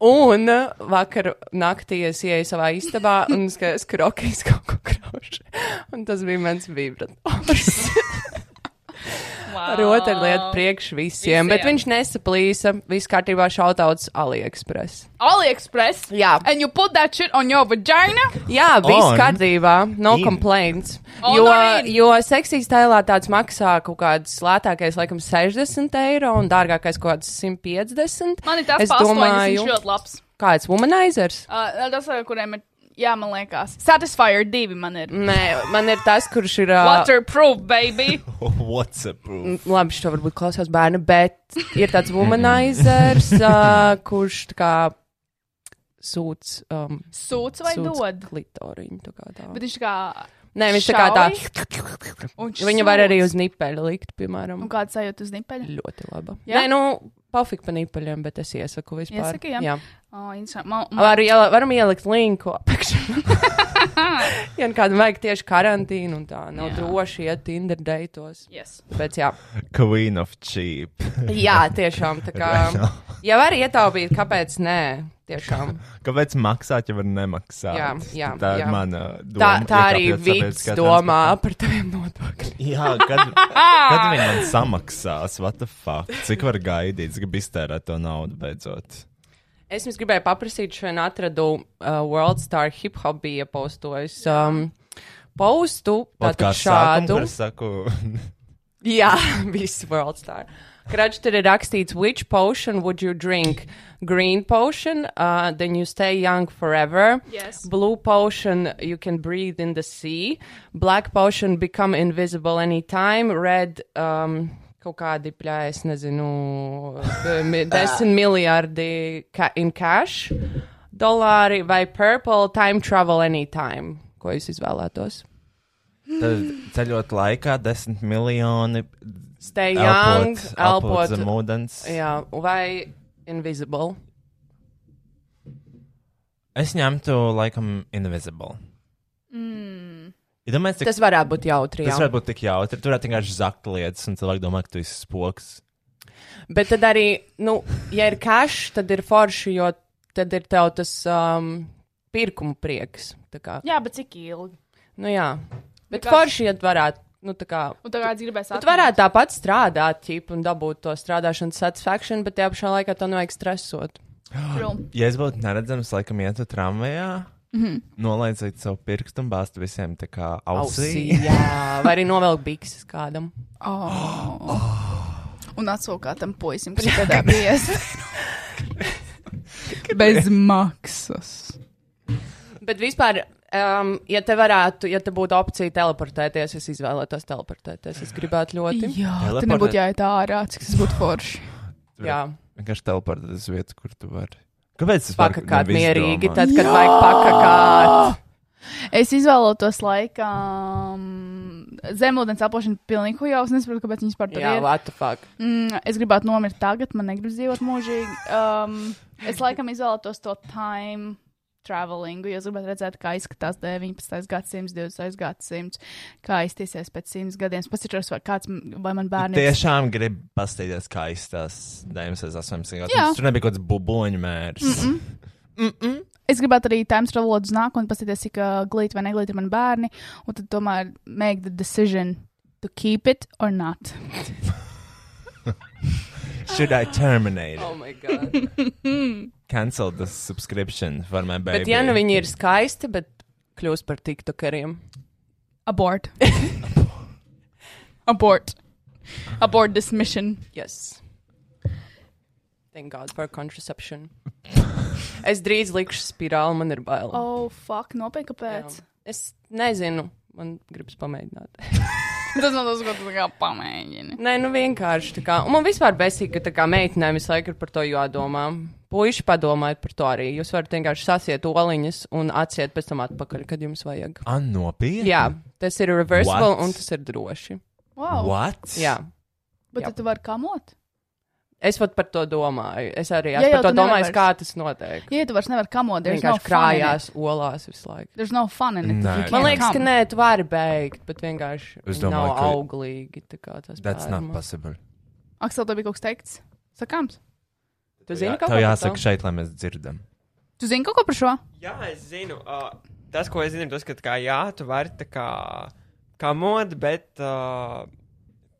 D: Un uh, vakar naktī es ieju savā istabā un skatos, ka rokas kaut ko krauši. Un tas bija mans vibrators.
C: Wow.
D: Ar rotaļlietu priekš visiem,
C: Visiem.
D: bet viņš nesaplīsa. Viss kārtībā šautauts AliExpress.
C: AliExpress.
D: Jā.
C: And you put that shit on your vagina?
D: Jā, viss
B: Un-
D: kārtībā, no
B: In.
D: complaints.
C: Un
D: Jo,
C: arī-
D: jo seksīs tēlā tāds maksā kaut kāds lētākais, laikam, 60 eiro un dārgākais kaut kāds 150.
C: Man ir tas
D: es
C: pārspējums, viņš
D: domāju,
C: ļoti labs.
D: kāds womanizers.
C: Uh, tas, ar kuriem ir, jā, man liekas, Satisfier divi man ir.
D: Nē, man ir tas, kurš ir. ā,
C: Waterproof,
D: <laughs>
C: baby!
B: <laughs> What's up? bro?
D: Labi, šo varbūt klausās bērni, bet ir tāds womanizers, uh, kurš tā kā sūdz. Um,
C: Sūds vai
D: sūdz
C: dod?
D: Klitoriņu, tā kā tā.
C: Bet viņš kā.
D: Nē, viņš tā kā tā.
C: Un viņš
D: Viņa var
C: sūc.
D: arī uz nipeļu likt, piemēram.
C: Un kāds sajūta uz nipeļa?
D: Ļoti laba.
C: Jā?
D: Jā, Nē, nu, pofik par nipaļiem, bet es iesaku vispār.
C: Iesaki, jā.
D: jā.
C: Oh, interesanti. Man, man,
D: Var, iela, varam ielikt linku apakšā. <laughs> ja nu kādam vajag tieši karantīnu un tā,
C: Jā.
D: nav jā. droši iet Tinder deitos.
C: yes.
D: Bet jā.
B: Queen of cheap.
D: jā, tiešām tā kā. Ja var ietaupīt, kāpēc nē? Tiešām.
B: Kāpēc maksāt, ja var nemaksāt?
D: Jā, jā,
B: tā ir
D: jā.
B: mana doma.
D: Tā, tā arī
B: iekāpjot
D: vids
B: sabiedriskā
D: domā par taviem nodokļiem.
B: <laughs> Jā, kad, kad viņi
D: <laughs>
B: man samaksās, what the fuck? Cik var gaidīt, cik iztērēt to naudu beidzot?
D: Es jums gribēju paprasīt, šodien atradu uh, World Star Hip Hop bija postojis. Um, Postu tātad
B: Podkāsts sākumu,
D: šādu.
B: kur es saku,
D: Jā, <laughs> viss World Star. Krač, tur ir rakstīts, which potion would you drink? Green potion, uh, then you stay young forever.
C: Yes.
D: Blue potion, you can breathe in the sea. Black potion, become invisible anytime. Red, um, kaut kādi pļā, es nezinu, uh, mi- desmit miljardi ca in cash, dolāri vai purple, time travel anytime. Ko jūs izvēlētos?
F: <laughs> Tad ceļot laikā desmit miljoni
D: Stay young,
F: elpot, elpot
D: elpot.
F: zem ūdens.
D: Jā, vai invisible.
F: Es ņemtu, laikam, invisible.
C: Mm.
F: Ja domāju, cik,
D: Tas varētu būt jautri.
F: tas
D: Jā.
F: var būt tik jautri. Tur varētu vienkārši zakt lietas, un cilvēki domā, ka tu esi spoks.
D: Bet tad arī, nu, ja ir cash, tad ir forši, jo tad ir tev tas um, pirkuma prieks. Tā kā,
C: Jā, bet cik ilgi?
D: nu, jā. Bet
C: Vienkārši-
D: forši, ja tu varētu, nu, tā kā.
C: Un tagad gribēs
D: Tu varētu tāpat strādāt, ķip, un dabūt to strādāšanas satisfaction, bet tajā pašā laikā to nevajag stresot.
C: prom.
F: Ja es būtu neredzams, laikam, ietu tramvajā, mm
D: Mhm.
F: -hmm. nolaidzītu savu pirkstu un bāztu visiem tā kā ausī.
D: Ausī, jā, vai arī novelk bikses kādam.
C: Oh. Un atsūkā tam
D: <laughs>
C: puisim, kas tādā biezā. Bez maksas.
D: Bet vispār, um, ja te varētu, ja te būtu opcija teleportēties, es izvēlētos teleportēties. Es gribētu ļoti.
C: Jā,
F: Teleportēt.
C: tā nebūtu jāiet ārā, cik tas būtu forši.
D: Jā.
F: Vienkārši teleportēt uz vietu, kur tu vari. Kāpēc tas
D: Pakakāt
F: nav
D: mierīgi,
F: izdomāts?
D: tad, kad vajag pakakāt.
C: Es izvēlētos laikam zemūdens aplošanu pilnīgi hujā. Es nesaprotu, kāpēc viņi vispār tur
D: Jā,
C: ir.
D: what the fuck.
C: Mm, es gribētu nomirt tagad, man negrib dzīvot mūžīgi. Um, es laikam izvēlētos to time travelingu, jo es gribētu redzēt, kā izskatās 19. gadsimts, 20. gadsimts, kā iztiesies pēc 100 gadiem. Es Paskatīšos, vai kāds m- vai man bērni
F: Tiešām gribu paskatīties, kā izskatās 98.
C: Jā.
F: gadsimta. Tur nebija kaut kāds buboņu mērs. Mm -mm.
C: Es gribētu arī time travelot uz nākotni, paskatīties, cik uh, glīti vai neglīti ir mani bērni, un tad tomēr make the decision to keep it or not.
F: Should I terminate?
D: Oh
F: it?
D: my god.
F: Cancel the subscription for my baby.
D: Bet, ja nu viņi ir skaisti, bet kļūst par tiktokeriem.
C: Abort. Abort. Abort this mission.
D: Yes. Thank God for contraception. es drīz likšu spirāli, man ir bail.
C: Oh, fuck, nopietni,
D: Jā.
C: kāpēc?
D: es nezinu, man gribas pamēģināt.
C: Tas nav tas, ko tu kā pamēģini.
D: Nē, nu vienkārši tā kā. un Man vispār besīk, ka tā kā meitenēm visu laiku ir par to jādomā. Puiši padomājiet par to arī. Jūs varat vienkārši sasiet oliņas un atsiet pēc tam atpakaļ, kad jums vajag.
F: An Ah, nopietni?
D: Jā, tas ir reversible
F: What?
D: un tas ir droši. Oh.
C: Wow.
F: What?
D: Jā.
C: Bet
D: Jā.
C: tad tu vari kamot?
D: Es pat par to domāju. Es arī
C: Jā,
D: es
C: jau
D: par to
C: tu
D: domāju,
C: nevari
D: kā tas notiek.
C: Ja tu vairs nevari kamot, tad
D: Vienkārši krājās olās visu laiku.
C: There's no fun in it.
F: Nē.
C: if you
D: Man
C: can't
D: liekas, ka
C: come.
D: nē, tu vari beigt, bet vienkārši
F: Es
D: viņi nav
F: domāju, ka-
D: auglīgi. tā kā Tas
F: That's not
D: pērma.
F: possible.
C: Aksel, tev bija kaut kas teikts? Sakāms.
D: Tu
F: Jā,
D: zini, kā
F: tev jāsaka šeit, lai mēs dzirdam.
C: Tu zini kaut ko par šo?
K: Jā, es zinu. Uh, tas, ko es zinu, ir tas, ka tā kā, jā, tu vari tā kā, kā mod, bet. Uh,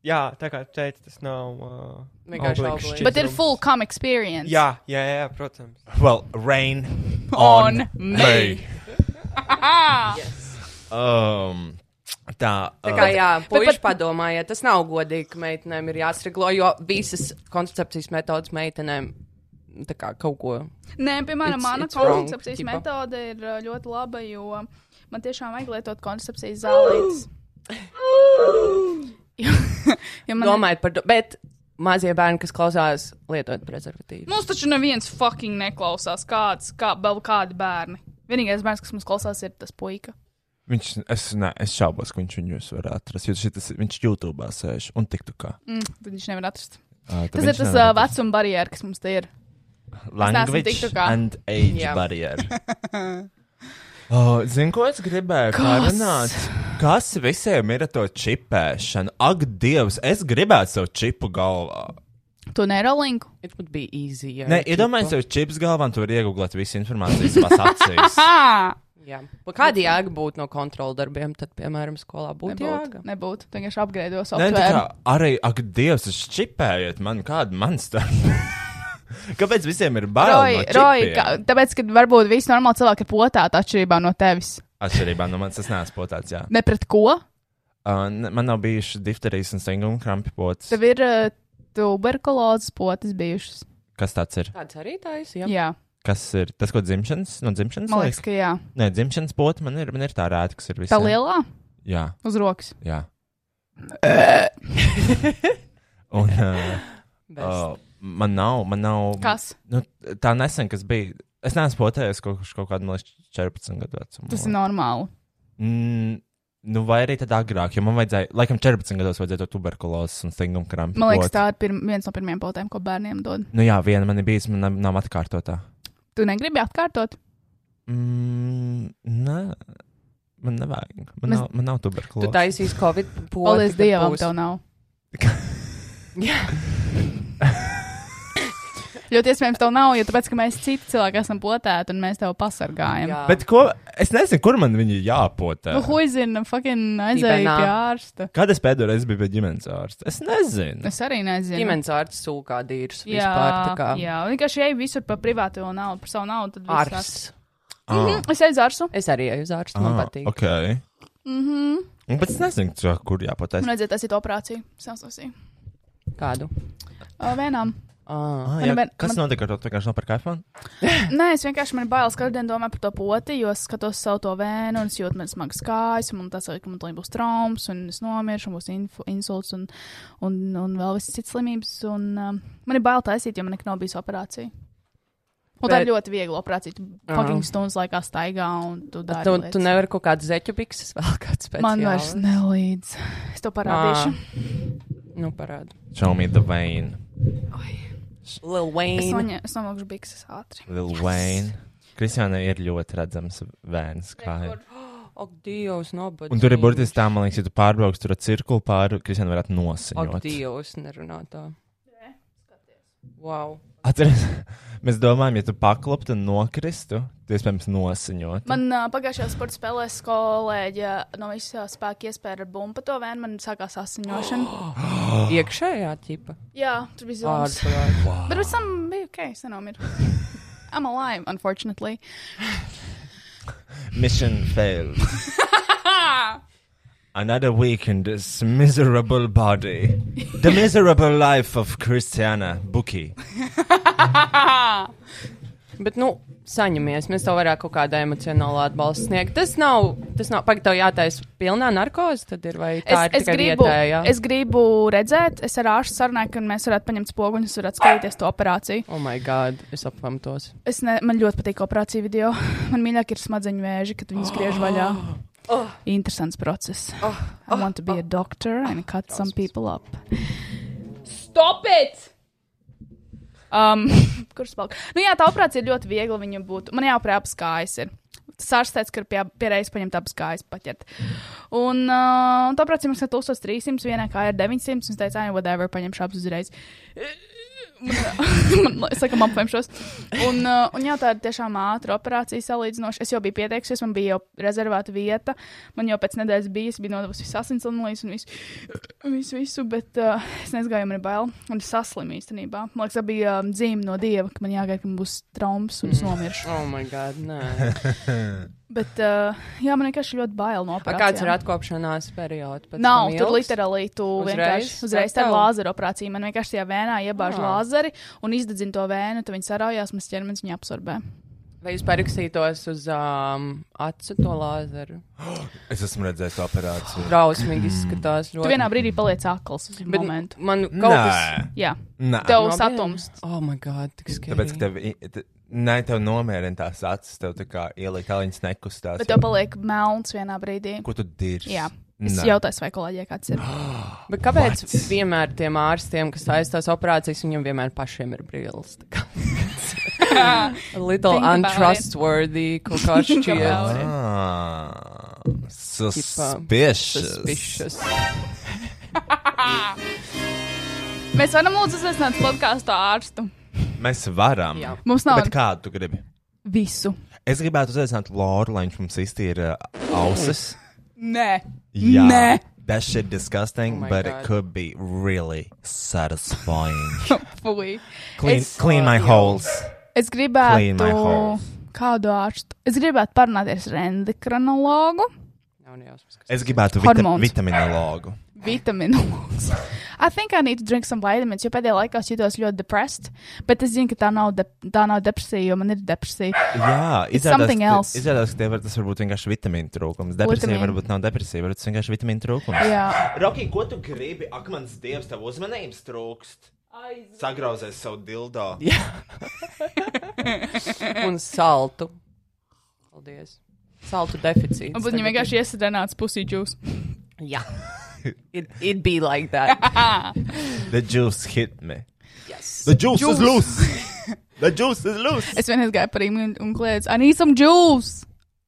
K: jā, tā kā tu teici, tas nav. Uh,
D: Vienkārši
K: auglīgs
D: auglīgs.
K: šķidrums.
C: Bet ir full come experience.
K: Jā, jā, jā, protams.
F: Well, rain
C: On
F: on,
C: me.
F: me. um, tā,
D: Tā kā
F: uh,
D: jā,
C: bet-
D: puiši padomājiet, tas nav godīgi, ka meitenēm ir jāsreglo, jo visas koncepcijas metodas meitenēm tā kā kaut ko.
C: <laughs> Nē, piemēram,
D: It's-
C: mana
D: it's wrong,
C: koncepcijas
D: tipa.
C: metode ir uh, ļoti laba, jo man tiešām vajag lietot koncepcijas
D: <gasps>
C: zālītes. Jo- <laughs> jo man-
D: Domājiet par to, bet mazie bērni, kas klausās, lietojot prezervatīvu.
C: Mums taču neviens fucking neklausās. Kāds, kā, vēl kādi bērni. Vienīgais bērns, kas mums klausās, ir tas puika.
F: viņš, es, ne, es šaubos, ka viņš viņus var atrast. Jo šitas, viņš YouTube sēž un tiktu kā.
C: Mm, tad viņš nevar atrast.
F: Uh,
C: Tas ir tas uh, vecuma barjeras, kas mums te ir.
F: language
C: TikTokā.
F: and age
D: Jā.
F: yeah. barrier. Oh, Zinu, ko es gribēju parunāt? Kas visiem ir ar to čipēšanu? Ak, Dievs, es gribētu savu čipu galvā.
C: To neirolinku.
D: It would be easy. ja
F: Nē,
D: ir
F: iedomājieties,
D: tipo-
F: jau čips galvā, un tu vari iegūt visu informāciju savās acīs.
C: Ah!
D: Jā. Pa Kāda jēga būtu no kontrola darbiem, tad, piemēram, skolā būtu
C: Nebūtu.
D: jēga?
C: Nebūtu. Tu vienkārši apgrēdos
F: Nē, nu, tā kā
C: aptvērumu.
F: arī, ak, Dievs, es čipējiet man kādu monstru. <laughs> Kāpēc visiem ir
C: Roji,
F: bail? no
C: Roji,
F: čipiem?
C: kā, tāpēc, ka varbūt visi normāli cilvēki ir potāti atšķirībā no tevis.
F: Atšķirībā no manis tas neesmu potāts, jā.
C: Ne pret ko?
F: Uh, ne- man nav bijuši difterijas un stinguma krampi pots.
C: Tev ir uh, tuberkulozes potes bijušas.
F: Kas tāds ir?
D: Tāds arī tāds, jā.
C: Jā, jā
F: Kas ir tas, ko dzimšanas? No dzimšanas
C: man liekas,
F: liekas?
C: ka jā.
F: Nē, dzimšanas pota man ir, man ir tā rēta, kas ir visur.
C: Tā lielā
F: Jā,
C: uz rokas.
F: jā.
C: <laughs>
F: un uh,
D: Best.
B: Ah,
F: uh, man nav, man nav.
C: Kas?
F: Nu, tā nesen, kas bija. Es neesmu potējies kaut, kaut kādu, man liekas, 14 gadu vecumu.
C: Tas ir normāli.
F: Mm,
B: Nu, vai arī tad agrāk, jo man vajadzēja, laikam, 14 gados vajadzēja to tuberkulozes un stinguma krampu.
C: Man liekas, tā ir pirm, viens no pirmajiem potēm, ko bērniem dod.
B: Nu, jā, viena man ir bijusi, man nav- nav atkārtotā.
C: Tu negribi atkārtot?
B: Mm, nē, man nevajag. Man,
C: Mēs-
B: nav, man nav
D: Tu
B: tuberkulozes.
D: taisīsi Covid pūli.
C: Paldies Dievam, tev nav.
D: <laughs> Jā.
B: <laughs>
C: Ļoti iespējams, tev nav, jo tāpēc, ka mēs citi cilvēki esam potēti un mēs tev pasargājam.
D: Jā.
B: <laughs> Bet ko? Es nezinu, kur man viņi jāpotē.
C: Ah. Nu, huizina, fucking aizēja
D: Dibenā.
C: pie ārsta.
B: Kad es pēdējo reizi biju pie ģimenes ārsta? Es nezinu.
C: Es arī nezinu.
D: Ģimenes ārsts sūkā dīrs.
C: jā,
D: Vispār tā kā.
C: jā, vienkārši ej visur par privāto naudu, par savu naudu. tad viss ārsts.
D: Ārsts.
B: Ah,
C: Es eju uz ārstu.
D: Es arī eju uz ārstu. Man
B: ah,
D: patīk.
B: ok.
C: Mhm.
B: Un pēc es nezinu, cā, kur jāpotē.
C: Man vajadzēja taisīt operāciju. Sasosīju.
D: Kādu?
C: Vēnām.
D: Ah.
B: Ah,
C: Man
B: jā,
C: vien-
B: kas
C: man-
B: notika ar to? Tu vienkārši nopirki iPhone?
C: Nē, es vienkārši man ir bailes, ka rudien domā par to poti, jo es skatos savu to vēnu un es jūtu, man ir smags kājas, un man tas ir, ka man tā būs traumas, un es nomiršu, un būs infu, insults, un, un, un vēl visas citas slimības. Un, um, man ir bail taisīt, jo man nekad nav bijusi operācija. Un Bet... tā ir
D: Bet-
C: ļoti viegla operācija. Tu
D: Jā.
C: fucking stundas laikā staigā, un tu dari.
D: Tu,
C: lietas.
D: tu nevari kaut kādu zeķu bikses vēl kāds pēc
C: Man vairs nelīdz. Es to parādīšu.
D: Ah, Nu, parādi.
B: Show me the vein.
D: Lil
C: Es,
D: Wayne.
C: noņem, es nomakšu bikses ātri.
B: Lil Wayne. Kristiāna ir ļoti redzams vēns. kā ir.
D: Ak, Dievs, nobadzīgs.
B: Un tur ir burtiski tā, man liekas, ja tu pārbrauks tur ar cirkuli pāri, Kristiāna varētu
D: Ak,
B: nosiņot.
D: Dievs, nerunā tā. Wow.
B: Atceries, <laughs> mēs domājam, ja tu paklaptu un nokristu, tu iespējams nosiņot.
C: Man uh, pagājušajā sporta spēlē kolēģa no visā spēka iespēja ar bumbu pa to vēnu. Man sākās asiņošana.
D: Iekšējā tipa.
C: Jā, tur bija zonas.
D: Ārprāt.
C: Bet pēc tam bija ok, es
D: <laughs>
C: nenomiru. I'm alive, unfortunately.
B: Mission
C: <laughs>
B: failed. Another week in this miserable body. The miserable life of Christiana Buki.
D: Bet, nu, saņemies. Mēs tev varētu kaut kādu emocionālu atbalstu sniegt. Tas nav, tas nav, pagaidi, tev jātaisa pilnā narkoze, tad ir vai tā
C: Es,
D: ir
C: es,
D: tikai
C: gribu,
D: vietējā?
C: es gribu redzēt, es ar ārstu sarunāju, ka mēs varētu paņemt spoguļus, varētu skatīties to operāciju.
D: Oh, my God, es apvamtos.
C: Es ne, man ļoti patīk operācija video. <laughs> Man mīļāk ir smadzeņu vēži, kad viņas griež
D: Oh.
C: vaļā. Interesants process. I want to be a doctor and cut some people up. Stop it! Um, <laughs> kurš palika? Nu jā, tā operācija ir ļoti viegla. Viņa būtu. Man jāoperē abas kājas. ir. Tas ārsts teica, ka ir pie, pie reizes paņemt abas kājas paķert. Un uh, tā operācija maksā 1300, vienā kāja ir 900. un Es teicu, ah, whatever, paņemšu abas uzreiz. <laughs> Man- man- Es laikam apvemšos. Un, uh, un jā, tā ir tiešām ātra operācija salīdzinoši. Es jau biju pieteikusies, man bija jau rezervēta vieta. Man jau pēc nedēļas bija, es biju nodevusi visas asins analīzes un visu, visu, visu bet uh, es nezgāju, man ir bail. Un es saslimu īstenībā. Man liekas, tā bija um, dzīme no dieva, ka man jāgaida, ka man būs traumas un es nomiršu.
D: Oh, my God, nē.
C: Bet uh, jā, man vienkārši ļoti bail no
D: A,
C: operācijas.
D: kāds ir atkopšanās periods? Pēc
C: Nav,
D: tam
C: tur
D: ilgs?
C: literāli tu
D: Uzreiz?
C: vienkārši uzreiz tā
D: Gatavi?
C: ir lāzera operācija. Man vienkārši tajā vēnā iebāž
D: Ah.
C: lāzeri un izdedzina to vēnu, tad viņi saraujās, mums ķermenis viņu absorbē.
D: Vai jūs parakstītos uz um, acu to lāzeru?
B: Es esmu redzējis to operāciju.
D: Drausmīgi izskatās.
C: Tu vienā brīdī paliec akls uz Bet,
D: Bet
C: momentu.
D: man kaut kas.
B: Nē,
C: Jā,
B: nē.
C: tev
D: Nopietni?
C: satums.
D: Oh, my God, tik skaisti.
B: Tāpēc, ka tev, i- te- nē, tev nomierina tās acis, tev tā kā ielikt aliņas nekustās.
C: Bet tev paliek melns vienā brīdī.
B: Ko tu dirzi?
C: Jā. Es
B: Nē.
C: jautāju, vai kolēģiem
D: <gasps>
C: kāds ir.
D: Bet kāpēc What? vienmēr tiem ārstiem, kas aizstās operācijas, viņiem vienmēr pašiem ir brīvs?
C: <laughs>
D: Little
C: Think about it.
D: untrustworthy, kaut kā šķiet.
C: about it.
B: Ah, Suspicious.
D: Suspicious.
C: Mēs varam lūdzu uzaicināt podkāstu ārstu.
B: Mēs varam.
D: Jā.
C: Mums nav
B: Bet kādu tu gribi?
C: visu.
B: Es gribētu uzaicināt Loru, lai viņš mums iztīra uh, ausis.
C: Nē, <laughs>
B: Yeah.
C: Nah.
B: That shit disgusting,
D: Oh my
B: but
D: God.
B: it could be really
C: <laughs>
B: satisfying.
C: fuj.
B: clean
C: Es-
B: clean my holes.
C: Es
B: Clean my
C: gribētu
B: holes.
C: kādu ārstu. Es gribētu parunāties ar endokrinologu.
D: Nav ne jausmas, kas-
B: Es gribētu vita
C: Hormons.
B: vitaminologu.
C: vitamīnos. I think I need to drink some vitamins, jo pēdējā laikā es jutos ļoti depressed, bet es zinu, ka tā nav, de tā nav depresija, jo man ir depresija.
F: <laughs>
B: Jā,
C: It's
B: izrādās,
C: something
B: ka-
C: else.
B: Izrādās, ka tev var- tas var būt vienkārši vitamīnu trūkums. Depresija
C: Vitamīnu.
B: varbūt nav depresija, varbūt tas vienkārši vitamīnu trūkums.
C: Jā,
B: Roki, ko tu gribi? Ak, mans dievs, tev uzmanības trūkst. Sagrauzēs savu dildo.
D: Un saltu. Paldies. Saltu deficīts.
C: Un viņi vienkārši iesadenāts pusīdžūs.
D: Jā. It, it'd be like that.
B: The juice hit me.
D: Yes.
B: The juice, is loose. The juice is loose.
C: Es vienreiz gāju par īmu un, un kliedzu, I need some juice!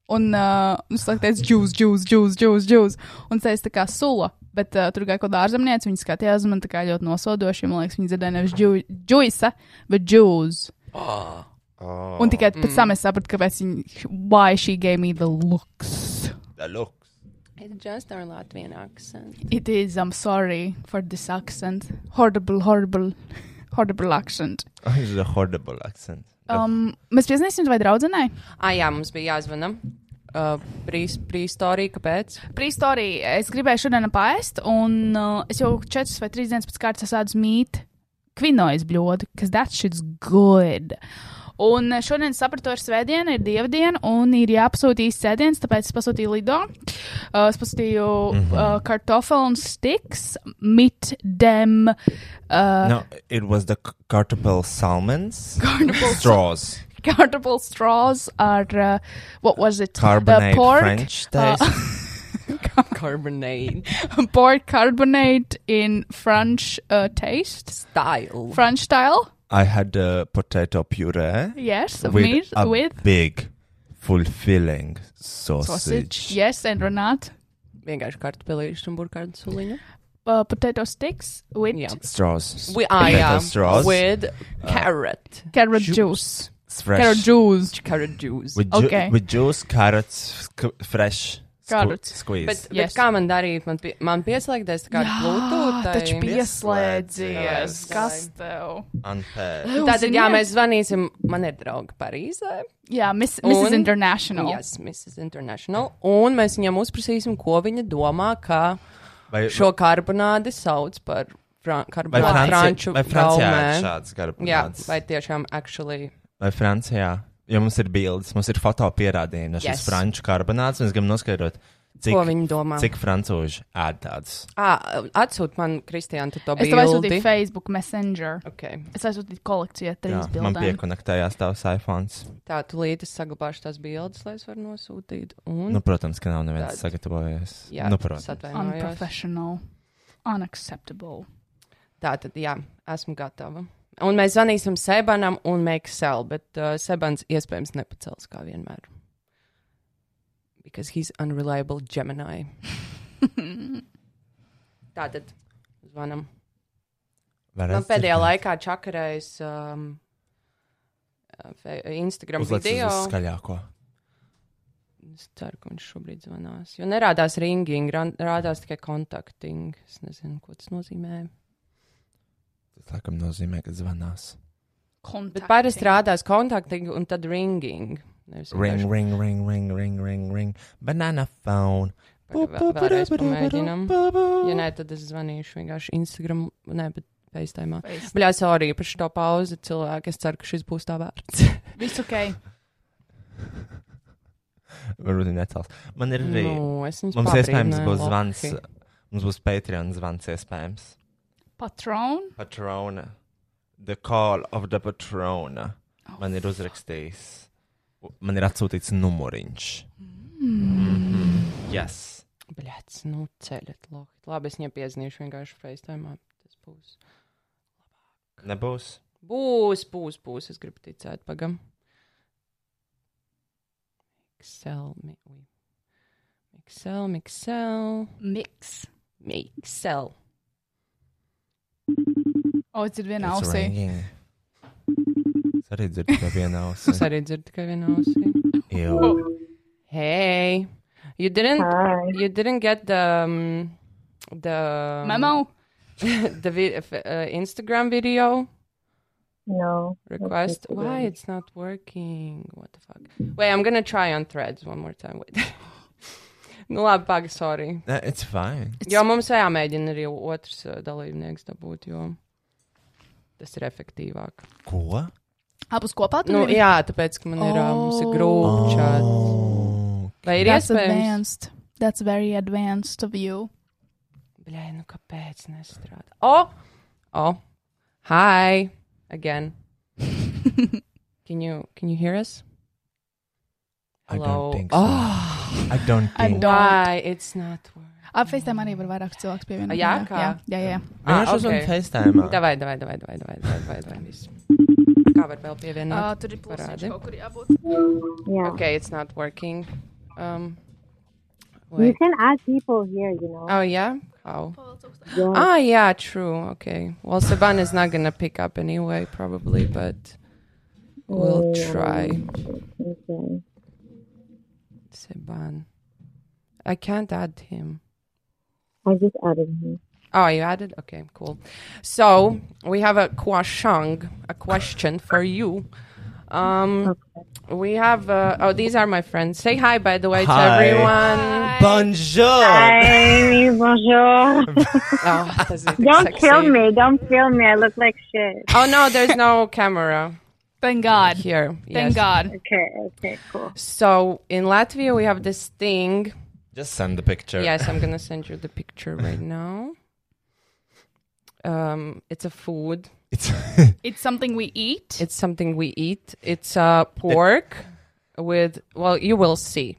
C: Un uh, viņš uh, teica, juice, juice, juice, juice, juice. Un teica, tā kā sula. Bet uh, tur gāja kaut kāda ārzemniece, viņa skatījās uz mani tā kā ļoti nosodoši. Man liekas, viņa dzirdēja nevis ju- juice, bet juice.
D: Oh.
B: Oh.
C: Un tikai pēc tam es sapratu, kāpēc viņa, why she gave me the looks.
B: The look.
D: It just our Latvian accent.
C: It is, I'm sorry for this accent. Horrible, horrible, horrible accent.
B: It's Oh, a horrible accent.
C: Um, mēs piezīmēsim vai draudzenei?
D: Ah, jā, mums bija jāzvana. Uh, Prīstorija, kāpēc?
C: Prīstorī, es gribēju šodien pāriest, un uh, es jau četras vai trīs dienas pēc kārtas sādu mīt kvinojas bļodu, kas that's shit's good. Un eh, šodien sapratu, ir svētdiena, ir dievdiena, un ir jāpasūta īsts sēdiens, tāpēc es pasūtīju lido. Uh, es pasūtīju mm
B: Mhm.
C: -hmm. uh, kartofelu un stiks, mit dem. <laughs> Uh,
B: No, it was the c- cartapel salmons.
C: Cartapel
B: straws.
C: Cartable straws are uh, what was it?
B: Carbonate
C: uh, pork,
B: French
C: uh,
B: taste.
D: Carbonate
C: <laughs> pork carbonate in French uh, taste,
D: style.
C: French style.
B: I had uh, potato puree.
C: Yes,
B: with
C: meat
B: a
C: with
B: big, fulfilling sausage.
C: sausage. Yes, and renat
D: Vienkārši kartupelīšu un burkānu suliņu.
C: uh, potato sticks with
D: Jā.
B: Straws.
D: We are, jā.
B: Potato straws. Uh,
D: With carrot.
C: carrot juice.
B: It's fresh.
C: Carrot juice.
D: Carrot juice.
B: With, ju-
C: Okay.
B: with juice, carrots, squ- fresh. squ-
C: Carrots.
B: Squeeze.
D: Bet,
C: Yes.
D: bet kā man darīt? Man, pie, man pieslēgties tā kā ar Bluetooth.
C: taču pieslēdzies.
D: Pieslēdzies.
C: Kas tev?
B: Unfair.
D: Tātad, jā,
C: Ziniet-
D: mēs zvanīsim. Man ir draugi Parīzē.
C: Jā, Miss, Mrs.
D: Un-
C: International.
D: Yes, Mrs. International. Un mēs viņam uzprasīsim, ko viņa domā, ka
B: Vai,
D: šo karbonādi sauc par fran
B: vai,
D: karbonādi
B: Franci
D: franču
B: vai Francijā
D: raumē.
B: ir šāds
D: Jā,
B: garapulāts?
D: vai tiešām actually.
B: Vai Francijā? Jo mums ir bildes, mums ir foto pierādījumi no šīs yes.
D: Yes.
B: franču karbonāts, un es gribu noskaidrot, cik,
D: Ko viņi domā?
B: cik francūži ēd tādas.
D: Ah, atsūt man, Kristian, tu to
C: Es tev
D: bildi.
C: aizsūtīju Facebook Messenger.
D: Okay.
C: Es aizsūtīju kolekciju ar
B: Jā,
C: trīs
B: man
C: bildēm.
B: piekonektējās tavs iPhone.
D: Tā, tu līdzi saglabāšu tās bildes, lai es varu nosūtīt. Un,
B: Nu, protams, ka nav neviens
D: Tad-
B: sagatavojies.
D: jā,
B: nu,
D: es
B: protams.
D: atvainojos.
C: Unprofessional. Unacceptable.
D: Tā tad, jā, esmu gatava. Un mēs zvanīsim Sebanam un Meksel, bet uh, Sebans iespējams nepacels kā vienmēr. Because he's unreliable Gemini. Tā tad zvanam.
B: Varētu
D: Man pēdējā
B: dzirdēt.
D: laikā čakarējis um, uh, fe- Instagram
B: Uzliec uz
D: video.
B: skaļāko.
D: Es ceru, ka viņš šobrīd zvanās. Jo nerādās ringing, ra- rādās tikai contacting. Es nezinu, ko tas nozīmē.
B: Tas laikam nozīmē, ka zvanās.
D: Bet
C: Kontakti.
D: parasti rādās contacting un tad ringing. Nevis
B: Ring,
D: vienkārši-
B: ring, ring, ring, ring, ring, ring. Banana phone. <laughs>
D: Paga- vēl- Vēlreiz pamēģinam. Ja nē, tad es zvanīšu vienkārši Instagram, nē, bet FaceTime.
C: Face-
D: Bļā, sorry par šo pauzi, cilvēki. Es ceru, ka šis būs tā vērts.
C: Viss ok.
B: Varbūt netāls. Man ir arī.
D: nu, es viņus
B: Mums iespējams
D: pabrīdināju,
B: būs
D: Loki.
B: zvans. Mums būs Patreon zvans iespējams.
C: Patron.
B: Patrona. The call of the patrona.
C: Oh,
B: Man ir uzrakstījis. U- Man ir atsūtīts numuriņš. Mhm. Yes.
D: Bļāc, nu ceļot, lohi. Labi, es viņiem piezīmēšu vienkārši FaceTime. Tas būs.
B: Nebūs.
D: Būs, būs, būs. Es gribu ticēt, pagam. Excel, mi- ui. Excel, Excel,
C: Mix.
D: Excel.
C: O, es dzirdu vienā
B: It's
C: ausī.
B: ringing. Es arī dzirdu, ka viena
D: Es <laughs>
B: ausī.
D: arī dzirdu tikai vienu ausi.
B: Ew.
D: Hey, you didn't, you didn't get the, um, the
C: Memo.
D: the vi- f- uh, Instagram video
L: No.
D: request. Why it's not working? What the fuck? Wait, I'm gonna try on Threads one more time. Wait. <laughs> nu labi, pag, sorry.
B: Nē, It's fine.
D: Jo mums jāmēģina arī otrs uh, dalībnieks dabūt, jo tas ir efektīvāk.
B: Ko?
C: Abus kopā tu
D: Nu,
C: gribi?
D: jā, tāpēc, ka man ir oh. mums ir grūti čāt. Vai ir
C: That's
D: iespējams?
C: advanced. That's very advanced of you.
D: Bļai, nu kāpēc nestrādā? O! O! Hi!
C: <laughs>
D: Again! can you, can you hear us?
B: I don't
D: Hello.
B: think so.
D: Ah.
B: I don't
C: I
B: think.
C: don't.
D: Why? It's not worth
C: Apfeistēm arī var vairāk cilvēku pievienot.
D: Jā,
C: jā,
D: kā?
C: jā. jā, jā.
B: Vienkārši uzvan FaceTime.
D: Ah, Davai, davai, davai, davai, davai, davai, davai, davai.
C: <laughs>
D: viss. Kā var vēl pievienot?
C: Uh, tur ir plusiņš
D: Parādi.
C: kaut kur jābūt.
D: Yeah. Okay, it's not working. Um,
I: You
D: wait.
I: can add people here, you know.
D: Oh, yeah? How?
I: Yeah.
D: Ah, yeah, true. Okay. Well, Saban is not going to pick up anyway, probably, but we'll
I: Yeah.
D: try.
I: Okay.
D: Saban. I can't add him.
I: I just added him.
D: Oh, you added? Okay, cool. So we have a question, a question for you. Um, we have. Uh, oh, these are my friends. Say hi, by the way,
B: Hi.
D: to everyone.
B: Bonjour!
I: Hi, bonjour.
C: <laughs>
D: Oh, does it
I: don't
D: sexy?
I: kill me. Don't kill me. I look like shit.
D: Oh no, there's no camera
C: Thank God.
D: here.
C: Thank
D: Yes.
C: God.
I: Okay, okay, cool.
D: So in Latvia we have this thing.
B: Just send the picture.
D: Yes, I'm gonna send you the picture right now. Um, it's a food.
B: It's <laughs>
C: It's something we eat.
D: It's something we eat. It's uh, pork with well, you will see,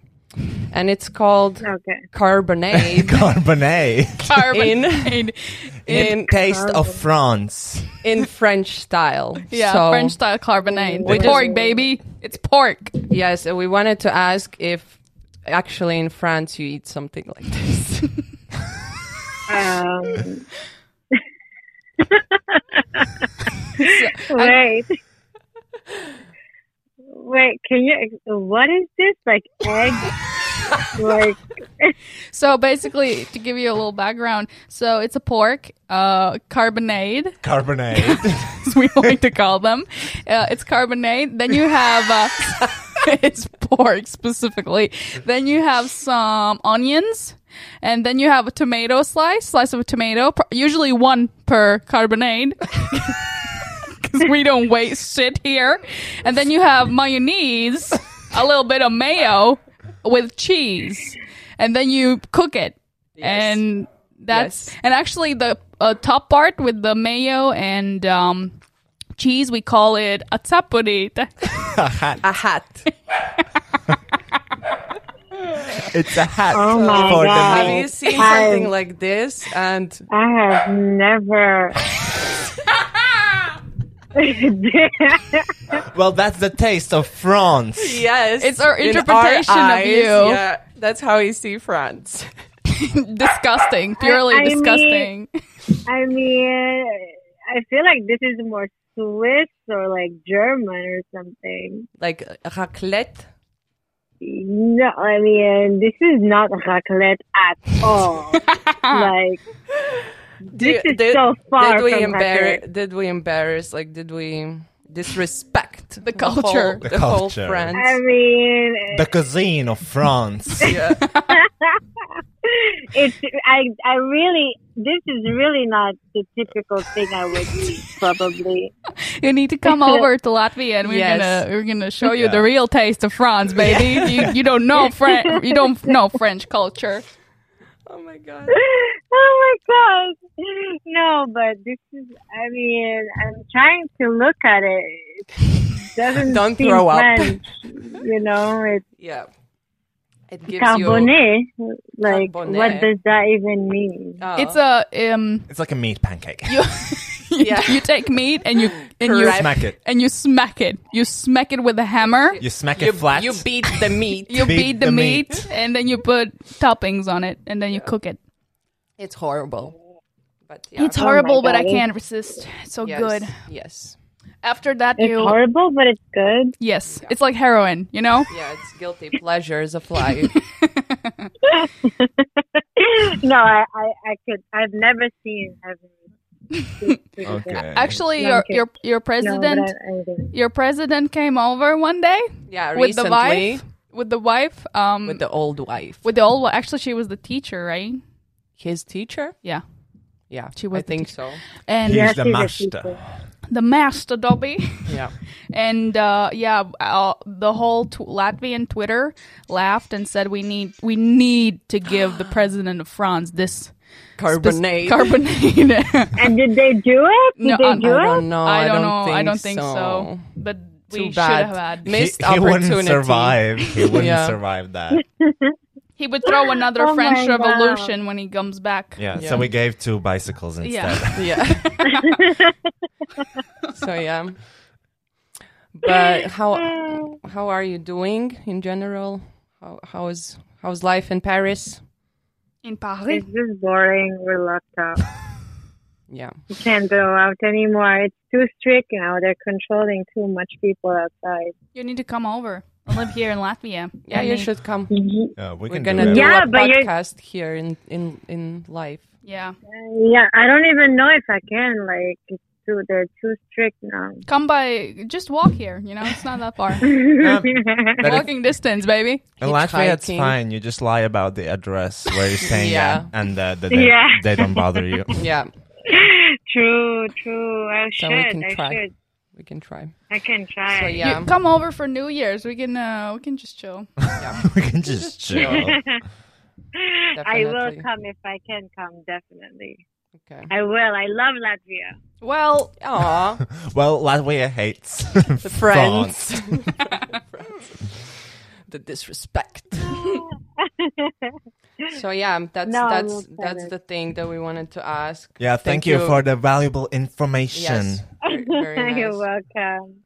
D: and it's called
I: Okay.
D: <laughs>
C: <laughs>
D: carbonade
B: carbonate.
D: in in
B: In taste of France.
D: in French style.
C: yeah,
D: So-
C: French style carbonade.
D: We
C: It's
D: just-
C: pork, baby. It's pork.
D: Yes, uh, we wanted to ask if actually in France you eat something like this.
I: Um, wait. Wait, can you? ex- What is this? Like egg? like
C: So basically, to give you a little background, so it's a pork uh, carbonade,
B: Carbonate.
C: as we <laughs> like to call them. Uh, it's carbonade. Then you have uh, <laughs> it's pork specifically. Then you have some onions, and then you have a tomato slice, slice of a tomato, pr- usually one per carbonade. <laughs> Because we don't waste shit here. And then you have mayonnaise, a little bit of mayo with cheese, and then you cook it. And that's
D: Yes.
C: and actually the uh, top part with the mayo and um, cheese we call it a tapurita.
D: A hat.
B: it's a hat
I: Oh my
B: for the
D: <laughs> Have
I: God.
B: meat.
D: you seen
I: Hi.
D: something like this? And
I: I have never. <laughs>
B: Well, that's the taste of France.
D: yes,
C: It's our
D: in
C: interpretation of
D: eyes,
C: you.
D: Yeah, that's how we see France.
C: <laughs> disgusting, purely
I: I mean-
C: disgusting.
I: I mean, I feel like this is more Swiss or like German or something.
D: Like raclette.
I: No, I mean, this is not raclette at all. like,
D: Do-
I: this is so far
D: Did we
I: from
D: embarrass?
I: raclette.
D: Did we embarrass? Like, did we disrespect the
C: culture.
D: The,
B: The
D: whole,
B: culture.
D: France.
I: I mean,
B: The cuisine of France.
D: yeah.
I: it's I I really this is really not the typical thing I would eat, probably.
C: You need to come over to Latvia, and we're
D: Yes.
C: gonna we're gonna show you the real taste of France, baby. You, you don't know French. You don't know French culture.
D: Oh my god.
I: oh my gosh. No, but this is I mean, I'm trying to look at it. It doesn't
D: Don't
I: seem
D: throw up.
I: French, you
D: <laughs>
I: know, it's
D: Yeah. It gives you.
I: carboné. Like
D: Carboné.
I: what does that even mean?
D: Oh.
C: It's a um.
B: It's like a meat pancake.
C: You, you,
D: Yeah.
C: you take meat and you and you
B: smack it.
C: and you smack it. You smack it with a hammer.
B: You smack
D: you,
B: it flat.
D: you beat
C: <laughs>
D: the meat.
C: You beat,
B: beat
C: the,
B: the
C: meat,
B: meat.
C: and then you put toppings on it, and then you cook it.
D: It's horrible. But yeah.
C: It's horrible, but I
I: God.
C: can't resist. It's so
D: yes,
C: good.
D: Yes.
C: After that,
I: It's
C: you
I: horrible, but it's good.
C: yes, it's like heroin. You know.
D: Yeah, it's guilty pleasures
C: <laughs>
D: of life.
I: no, I, I, I could. I've never seen. I've
B: okay.
C: Actually,
I: No, I'm
C: your
I: kidding.
C: your your
I: no,
C: president.
I: but I, I didn't.
C: Your president came over one day
D: Yeah,
C: with the
D: recently
C: wife, with the wife, um,
D: with the old wife.
C: with the old. Well, actually, she was the teacher, right?
D: his teacher?
C: Yeah,
D: Yeah.
C: She was
D: I
C: the
D: think
C: teacher.
D: so.
C: and
B: He's
I: Yes,
B: the
I: he's a
B: master.
I: teacher.
C: the master Dobby, <laughs>
D: Yeah.
C: and uh, yeah, uh, the whole tw- Latvian Twitter laughed and said we need we need to give
D: <gasps>
C: the president of France this
D: Carbonate.
C: carbonate.
D: <laughs>
I: And did they do it? Did
C: No,
I: they
C: I-
I: do
D: I
I: it?
D: don't know.
C: I don't know. I don't think so. But we
D: Too
C: should
D: bad.
C: have had.
D: Missed
B: he wouldn't
D: opportunity.
B: survive. He wouldn't
D: Yeah.
B: survive
D: <laughs>
B: that.
C: He would
I: <gasps>
C: throw another
M: Oh
C: French
M: my God.
C: Revolution when he comes back.
B: Yeah, So we gave two bicycles instead.
D: <laughs>
B: <laughs>
C: Yeah.
D: yeah. <laughs> so yeah. But how how are you doing in general? How how is how's life in Paris?
C: In Paris.
M: It's just boring. We're locked up.
D: Yeah.
M: You can't go out anymore. It's too strict now. They're controlling too much people outside.
C: You need to come over. I live here in Latvia.
D: Yeah, you should come.
B: Yeah, we
D: We're
B: can do
D: gonna
B: it.
D: do
M: Yeah,
D: a
M: but you're-
D: podcast here in in in live.
C: Yeah.
M: Yeah, I don't even know if I can. Like, it's too. They're too strict now.
C: Come by, just walk here. You know, it's not that
D: <laughs>
C: far.
D: Um,
B: But it-
C: Walking distance, baby.
B: in Latvia, it's
D: Hitchhiking.
B: fine. You just lie about the address where you're staying
D: Yeah.
B: at, and uh, they, they-
M: Yeah.
B: they don't bother
D: <laughs>
B: you.
D: Yeah.
M: true, true. I
D: So we
M: should.
D: can
M: I
D: try.
M: should.
D: We can try.
M: I can try.
D: So yeah.
C: You come over for New Year's. We can uh, we can just chill.
B: we can just chill.
M: <laughs> I will
D: Definitely.
M: come if I can come. Definitely.
D: Okay.
M: I will. I love Latvia.
C: Well,
D: Aw,
B: Well, Latvia hates
D: the
B: France.
D: friends. the disrespect. so yeah, that's
M: No, I
D: that's
M: love
D: that's
M: Paris.
D: the thing that we wanted to ask.
B: Yeah, thank, you, for the valuable information.
D: Yes, very, very
M: You're
D: nice.
M: welcome.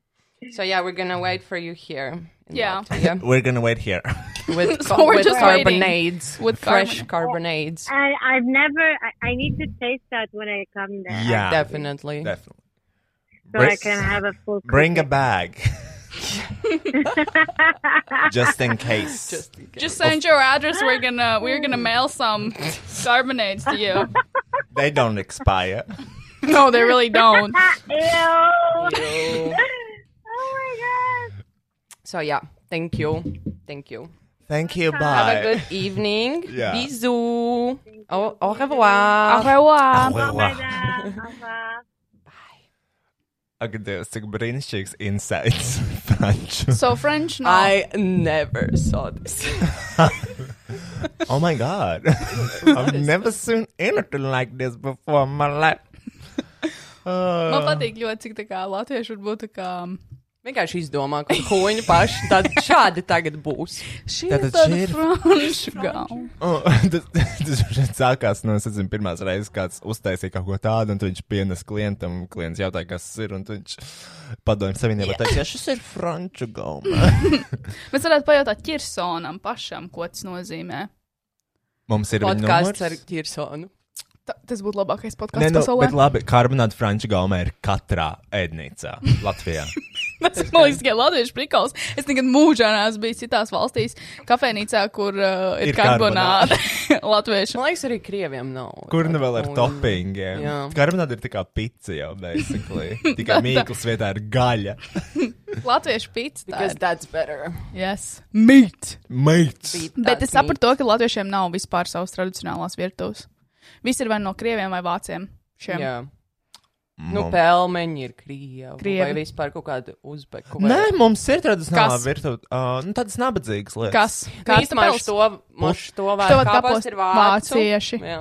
D: So yeah, we're gonna wait for you here. in
C: Yeah.
D: Latvia
B: We're gonna wait here. <laughs>
D: with
C: <laughs> So
D: ca-
C: we're
D: with
C: just waiting.
D: carbonades,
C: With Oh.
D: with fresh carbonades.
M: I, I've never. I, I need to taste that when I come there.
B: Yeah,
D: Definitely.
B: definitely.
M: So I
B: Bring-
M: can have a full. <laughs>
B: Bring a
M: cooking.
B: bag, <laughs> just in case.
D: Just in case.
C: just send your address. We're gonna we're gonna mail some <laughs> carbonades to you.
B: They don't expire.
C: No, they really
D: <laughs>
C: don't.
M: Ew.
D: Yo.
C: <laughs>
M: Oh my god.
D: so yeah, thank you, thank you.
B: Thank you. Bye.
D: Have a good evening.
B: <laughs> Yeah.
D: Bisous. Au, au
C: Au
D: revoir.
C: revoir.
B: Au revoir.
M: Mama.
B: Ak, Dievs, cik brīnišķīgs insights <laughs> franču.
C: So French, no.
D: I never
B: <laughs>
D: saw this.
B: Oh my god.
C: <laughs>
B: I've never seen anything like this before in my
C: <laughs>
B: life.
C: Man
B: Uh,
C: patīk ļoti, cik tā kā latvieši var būt tā kā.
D: Vienkārši izdomā, ka koņi paši tad šādi tagad būs.
C: Šī
B: Tātad
C: ir tāda
B: šī ir
C: franču gauma.
B: <laughs> uh, tas, tas šeit sākās no, es nezinu, pirmās reizes kāds uztaisīja kaut ko tādu, un tu viņš pienes klientam, un klients jautāja, kas tas ir, un tu viņš padomju savienībā yeah. teica, ja šis ir franču gauma.
C: <laughs> Mēs varētu pajautāt Kirsonam pašam, ko tas nozīmē.
B: Mums ir viņa
D: Podkāsts ar
B: numurs?
D: Kirsonu.
C: Ta, tas būtu labākais
B: Nē,
C: podkāsts
B: nu,
C: pasaulē.
B: bet labi, karbonāta franču gauma ir katrā ēdnīcā Latvijā.
C: Tas man liekas, ka latviešu prikals. Es nekad mūžā neesmu bijis citās valstīs, kafejnīcā, kur uh, ir,
B: Ir
C: ir karbonāde.
D: Man
C: <laughs> latviešu.
D: liekas, arī krieviem nav.
B: <laughs> Kur nu vēl ar toppingiem?
D: Jā.
B: Karbonāta ir tā kā pica jau, basically. Tikai mīklas vietā ir gaļa.
C: Latviešu pizza. tā
D: Because
C: ir.
D: that's better.
C: Yes. Meat.
B: Mates!
D: Beat
C: Bet
D: that
C: es sapratu to, ka latviešiem nav vispār savas tradicionālās virtuves. Viss ir vai no krieviem vai vāciem.
D: meat.
C: Šiem.
D: Jā. Nu, pelmeņi ir krievi.
C: Krievi.
D: Vai vispār kaut kāda uzbeku. vai-
B: Nē, mums ir tādas
C: Kas?
B: virtuves, uh, nu, tādas nabadzīgas lietas.
C: Kas?
D: Nu,
C: Kāds
D: īstenībā uz
C: pils?
D: to mums to
C: Štovā
D: vajag. Kāpēc
C: kapos
D: ir vācu?
C: vācieši.
D: Jā.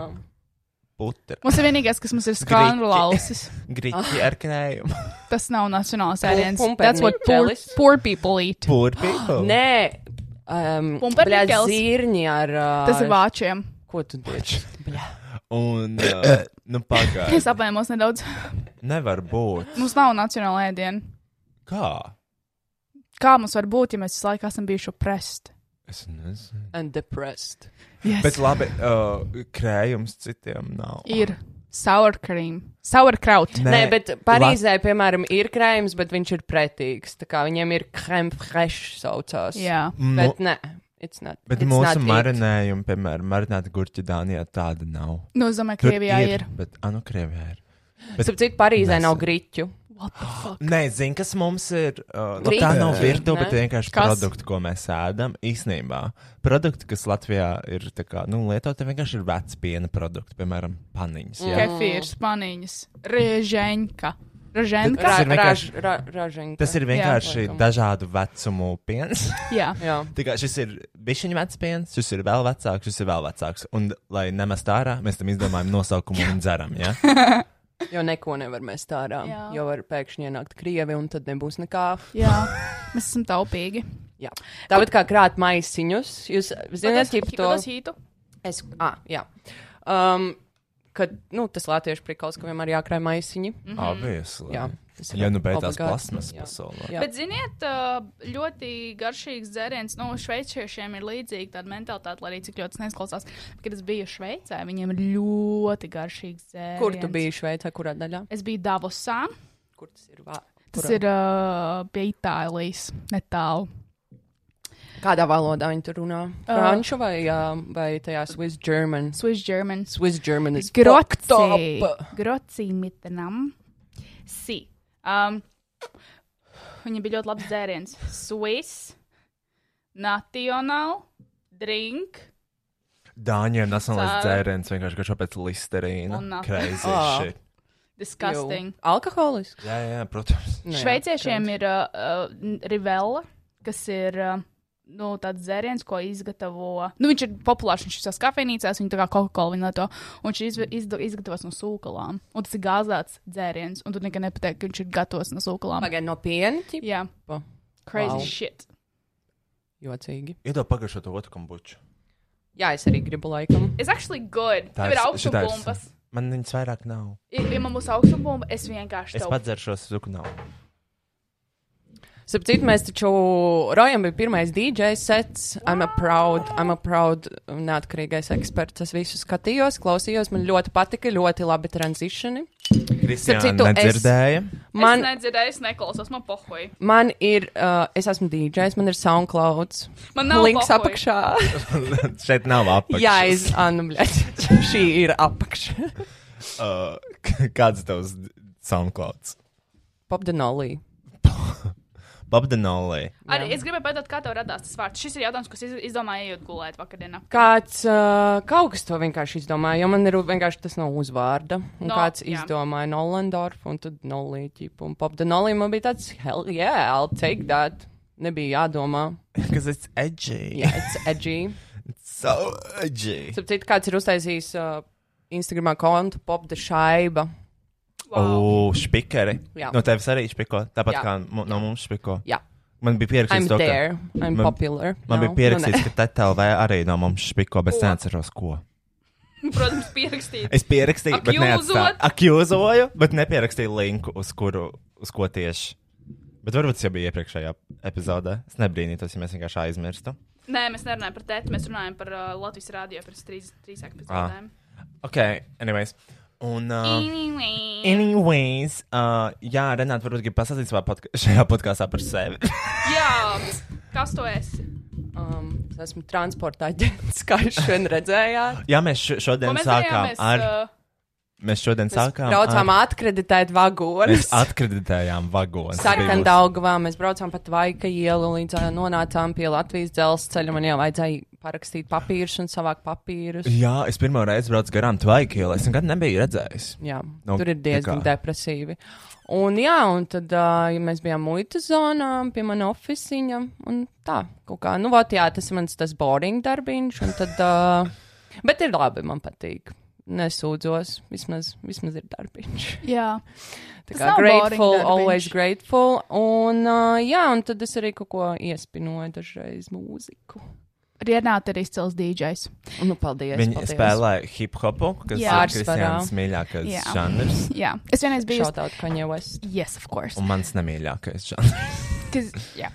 B: Putra.
C: Mums ir vienīgais, kas mums ir skanrlausis.
B: Grīķi ar <laughs> krējumu.
C: Tas nav nacionāls ēdiens.
D: Pum-
C: That's what poor,
D: pumpernickelis.
C: poor people eat.
B: Purpīko.
D: Nē. Um,
C: Pumpernikels.
D: bļa, Zirņi ar. Uh,
C: Tas ir vāčiem.
D: Ko tu dieči?
B: <coughs> Un, uh, nu, pagaidi.
C: Es apvainojos nedaudz.
B: Nevar būt.
C: Mums nav nacionāla ēdiena.
B: Kā?
C: Kā mums var būt, ja mēs visu laiku esam bijuši opresti?
B: Es nezinu.
D: And depressed.
C: Yes.
B: Bet labi, uh, krējums citiem nav.
C: Ir sauerkrīm, sauerkraut.
D: Nē, bet Parīzē, piemēram, ir krējums, bet viņš ir pretīgs. Tā kā viņiem ir krēms fresh saucās.
C: Jā.
B: Nu,
D: Bet nē, it's not.
B: Bet
D: it's
B: mūsu
D: not it.
B: marinējumi, piemēram, marināta gurķa Dānijā tāda nav.
C: Nu, es domāju,
B: Tur
C: Krievijā ir.
B: ir. Bet, ah, nu, Krievijā ir.
D: Starp citu, Parīzē
B: Nesen.
D: nav grīķu.
B: Nē, zini, kas mums ir. Uh, nu,
D: Grīķi?
B: tā nav virtuve,
D: Nē.
B: bet vienkārši
C: Kas?
B: produkti, ko mēs ēdam. Īsnībā produkti, kas Latvijā ir tā kā, nu, lietoti, vienkārši ir veci piena produkti, piemēram, paniņas.
C: ir.
B: jā.
C: Kefīrs, paniņas, rieženka. Rieženka?
B: Tas
D: Ra,
B: ir
D: raž,
B: vienkārši-
D: ra, ražinka.
B: Tas ir vienkārši
D: laikam.
B: dažādu vecumu <laughs> piens.
C: Jā.
D: Jā.
B: Tā kā šis ir bišķiņa vecs piens, šis ir vēl
D: <laughs>
B: vecāks, šis ir vēl vecāks. Un, lai nemest ārā, mēs tam izdomājam nosaukumu un dzeram. Ja?
D: Jo neko nevar mest ārā.
C: Jā.
D: Jo var pēkšņi ienākt krievi un tad nebūs nekā.
C: Jā, mēs esam taupīgi.
D: Jā. Tāpat kā krāt maisiņus, jūs zināt,
C: Patas-
D: kā to
C: patas hītu?
D: Es, ah, jā. Um, kad nu, tas latviešu prikals, ka vienmēr jākrāj maisiņi.
C: Mhm.
B: Obviously.
D: Jā, tas ir
B: Ja nu beigās
D: obligāti.
B: plasmas
D: Jā.
B: pasaulē.
D: Jā.
C: Bet, ziniet, ā, ļoti garšīgs dzēriens. Nu, šveiciešiem ir līdzīga tāda mentalitāte, lai arī cik ļoti tas neizklausās. Bet, Kad es biju Šveicē, viņiem ir ļoti garšīgs dzēriens.
D: Kur tu biji Šveicē, kurā daļā?
C: Es biju Davosā.
D: Kur tas ir? Vā...
C: Tas
D: kurā?
C: ir uh, pie Itālijas, netālu.
D: Kādā valodā viņi tur runā?
C: Ā.
D: Franču vai, uh, vai tajā Swiss German?
C: Swiss German.
D: Swiss German is fucked
C: Grotsi.
D: up.
C: Grotsi mitenam. Si. Um, viņa bija ļoti labs dzēriens. Swiss. National. Drink.
B: Dāņiem nacionālais
C: Tā.
B: dzēriens vienkārši garšo pēc listerīna.
C: Un nafta.
B: Crazy
D: Ā.
B: shit.
C: Disgusting.
D: Alkoholis.
B: Jā, jā, protams.
D: Nu
C: Šveiciešiem ir uh, uh, rivela, kas ir. Uh, Nu, tāds dzēriens, ko izgatavo. Nu, viņš ir populārs. Viņš ir visās kafejnīcās, viņa tā kā Coca-Cola viņa lieto. Un viņš izve- izda- izgatavos no sūkām. Un tas ir gāzēts dzēriens. Un tu nekad nepateici, ka viņš ir gatavs no sūkām.
D: Pagaid, no piena? ķip?
C: Jā,
D: Pa.
C: crazy
D: Wow.
C: wow. shit.
D: Jocīgi.
B: Iedod pagaršo to otru kombuču.
D: Jā, es arī gribu laikam.
C: It's actually good. Tev ir augstu
B: šitā ir-
C: bumbas.
B: Man viņas vairāk nav.
C: Ja ja man būs augstu bumba, es vienkārši
B: Es
C: tev
B: padzeršos zuku nav.
D: Sapratu, mēs taču Rojam bija pirmais DJ sets. I'm a proud, I'm a proud um, neatkarīgais eksperts. Es visu skatījos, klausījos. Man ļoti patika, ļoti labi tranzicioni.
B: Kristiāna nedzirdēja.
D: Man,
C: Es nedzirdēju, es neklausos, man pohoju.
D: man ir, uh, es esmu DJs, man ir SoundCloud.
C: Man nav
D: links
C: pohuj.
D: apakšā.
B: Šeit nav apakšas.
D: Jā, es, anu, bļaļ, šī ir apakša.
B: Uh, k- <laughs> kāds tavs d- soundclouds?
D: Popdenolī.
B: Babdenolī.
C: Arī es gribēju pajautāt, kā tev radās tas vārds. Šis ir jautājums, kas iz- izdomāja iet gulēt vakardienā.
D: Kāds, uh, kaut kas to vienkārši izdomāja, jo man ir vienkārši tas nav uzvārda. Un
C: No,
D: no, kāds
C: jā.
D: jā. izdomāja Nolandorfu un tad Nolīķipu un Popdenolī man bija tāds, hell yeah, I'll take that. Nebija jādomā.
B: <laughs> Because it's edgy.
D: Jā, it's edgy.
B: <laughs> It's so edgy.
D: Starp citu, kāds ir uztaisījis uh, Instagramā kontu Popda šaiba.
B: Wow. O, špikeri.
D: Jā.
B: No tevis arī špiko. Tāpat
D: Jā.
B: kā mu- no mums špiko.
D: Jā.
B: Man bija
D: I'm
B: pierakstīts, to,
D: there.
B: ka
D: I'm
B: man,
D: popular
B: Man
D: now.
B: bija
D: Nu,
B: pierakstīts,
D: nē.
B: ka TTLV arī no mums špiko, bet es neatceros, ko.
C: Protams, pierakstīt.
B: Es pierakstīju, bet neatstāju.
C: Akjūzot.
B: Akjūzoju, bet nepierakstīju linku, uz, kuru, uz ko tieši. Bet varbūt tas jau bija iepriekšējā epizodē. Es nebrīnītos, ja mēs vienkārši aizmirstu.
C: Nē, mēs nerunājam par tēti, mēs runājam par uh, Latvijas rādio pirms trīs, trīs
B: Ah.
C: epizodēm.
B: Ok, anyways. Un, uh,
C: Anyway.
B: anyways, uh, jā, Renāta, varbūt gribi pasakāt savā podka šajā podkāstā par sevi. <laughs>
C: Jā, kas tu esi?
D: Um, es esmu transporta aģents, <laughs> kā jūs šodien redzējāt.
B: jā, mēs šo-
C: Ko
B: šodien
C: mēs
B: sākām
C: darījām? Mēs,
B: ar.
C: uh,
B: Mēs šodien sākām.
D: Braucām
B: ar...
D: atkreditēt vagonus.
B: Mēs atkreditējām vagonu.
D: Sarkandaugavā mēs braucām pat Vaika ielu, līdz ā, nonācām pie Latvijas dzelzceļa. Man jau vajadzēja parakstīt papīrus un savākt papīrus.
B: Jā, es pirmo reizi braucu garām Tvaikielē. Es nekad nebiju redzējis.
D: Jā,
B: Nu,
D: nu, tur ir
B: tā
D: diezgan
B: kā.
D: depresīvi. Un, jā, un tad uh, ja mēs bijām muitas zonā pie mana oficiņa. Un tā, kaut kā, nu, vat, jā, tas ir mans tas boring darbiņš. un Tad, uh, bet ir labi, man patīk. Nesūdzos, vismaz, vismaz ir darbiņš.
C: Jā.
D: Tā
C: Tas
D: kā
C: nav
D: grateful,
C: boring darbiņš.
D: always grateful. Un, uh, jā, un tad es arī kaut ko iespinoju dažreiz mūziku.
C: Rienāta ir izcils DJs.
D: Nu, paldies.
B: Viņa
D: paldies.
B: spēlē hip hopu, kas
C: Jā.
B: ir Kristiānas mīļākais
C: Jā.
B: žanrs.
C: Jā, es vienreiz biju. uz-
D: Shout out Kanye West.
C: Yes, of course.
B: Un mans nemīļākais
C: <laughs>
B: žanrs.
C: Kas, jā.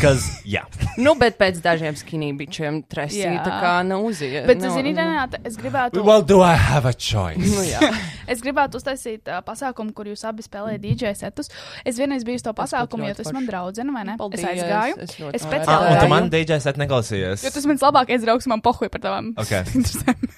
B: Kas, jā.
D: <laughs> Nu, bet pēc dažiem skinībičiem tresī
C: Jā.
D: tā kā nav uziet.
C: Bet, zini, Renāta, es gribētu.
B: Well, do I have a choice?
D: Nu, jā.
C: Es gribētu uztaisīt uh, pasākumu, kur jūs abi spēlējat DJ setus. Es vienreiz biju uz to pasākumu, jo
D: ļoti
C: tas
D: forši.
C: man draudzene, vai ne?
D: Paldies,
C: es aizgāju.
D: es ļoti
C: es
D: novērtēju.
B: Ah, un
C: speciāli.
B: tu
D: Jā.
B: man DJs at neklausījies.
C: Jo tas mans labākais draugs man pohoja par tavām
B: Ok.
C: <laughs> interesēm.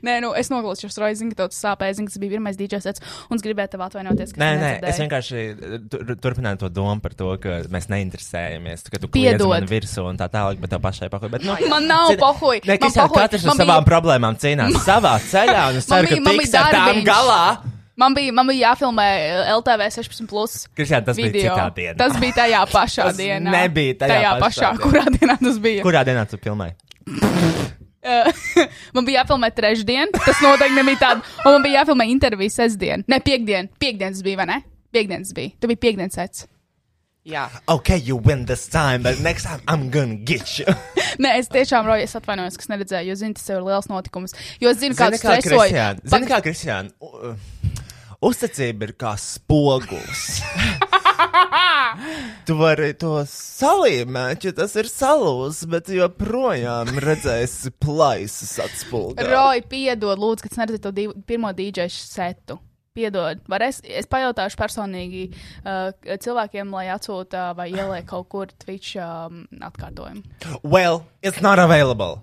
C: Nē, nu es noklausījos Roja, zinu, ka tev tas sāpēja, zinu, ka tas bija pirmais DJ sets, un es gribēju tev atvainoties, ka
B: Nē,
C: tu
B: nē,
C: nedzirdēji.
B: es vienkārši tur- turpināju to domu par to, ka mēs neinteresējamies. Ka tu
C: Piedod.
B: piedod virsū un tā tālāk, bet tev pašai pakoja. Bet,
C: <laughs>
B: nu,
C: Man nav
B: Zini,
C: pohoja.
B: Nē,
C: Man
B: Kristiāna,
C: pohoja.
B: katrs ar
C: Man bija-
B: savām problēmām cīnās savā ceļā, un es
C: Man
B: ceru, ka
C: bija- man bija
B: tiks ar tām
C: darbiņš.
B: galā.
C: Man bija, man bija jāfilmē eh, LTV 16. Plus
B: Kristiāna, tas bija
C: video.
B: citā dienā.
C: Tas bija tajā pašā
B: Tas
C: dienā.
B: nebija tajā
C: tajā
B: pašā
C: pašā,
B: dienā.
C: kurā dienā tas bija.
B: Kurā dienā tu filmēji?
C: Uh, <laughs> man bija jāfilmē trešdien, tas noteikti nebija tāds. Un man bija jāfilmē intervija sestdien. Ne, piekdien. Piektdienas bija, vai ne? Piektdienas bija. Tu biji piekdienas sets.
D: Jā.
B: Okay, you win this time, but next time I'm gonna get <laughs> you.
C: Nē, es tiešām roju, es atvainojos, kas neredzēju, jo zinu, tas jau ir liels notikums. Jo es zinu, kāds
B: Zini, kā
C: stresoja.
B: Kristiāna, zini, kā Kristiāna, u- uh, uzticība ir kā
C: <laughs>
B: spogulis. tu vari to salīmēt, ja tas ir salūzis, bet joprojām redzēsi plaisas atspūgā.
C: Roja, piedod, lūdzu, ka es neredzēju to div, pirmo dīdžeju setu. Piedod, varēs, es pajautāšu personīgi uh, cilvēkiem, lai atsūta vai ieliek kaut kur Twitch um, atkārtojumu.
B: Well, it's not
C: <laughs>
B: available.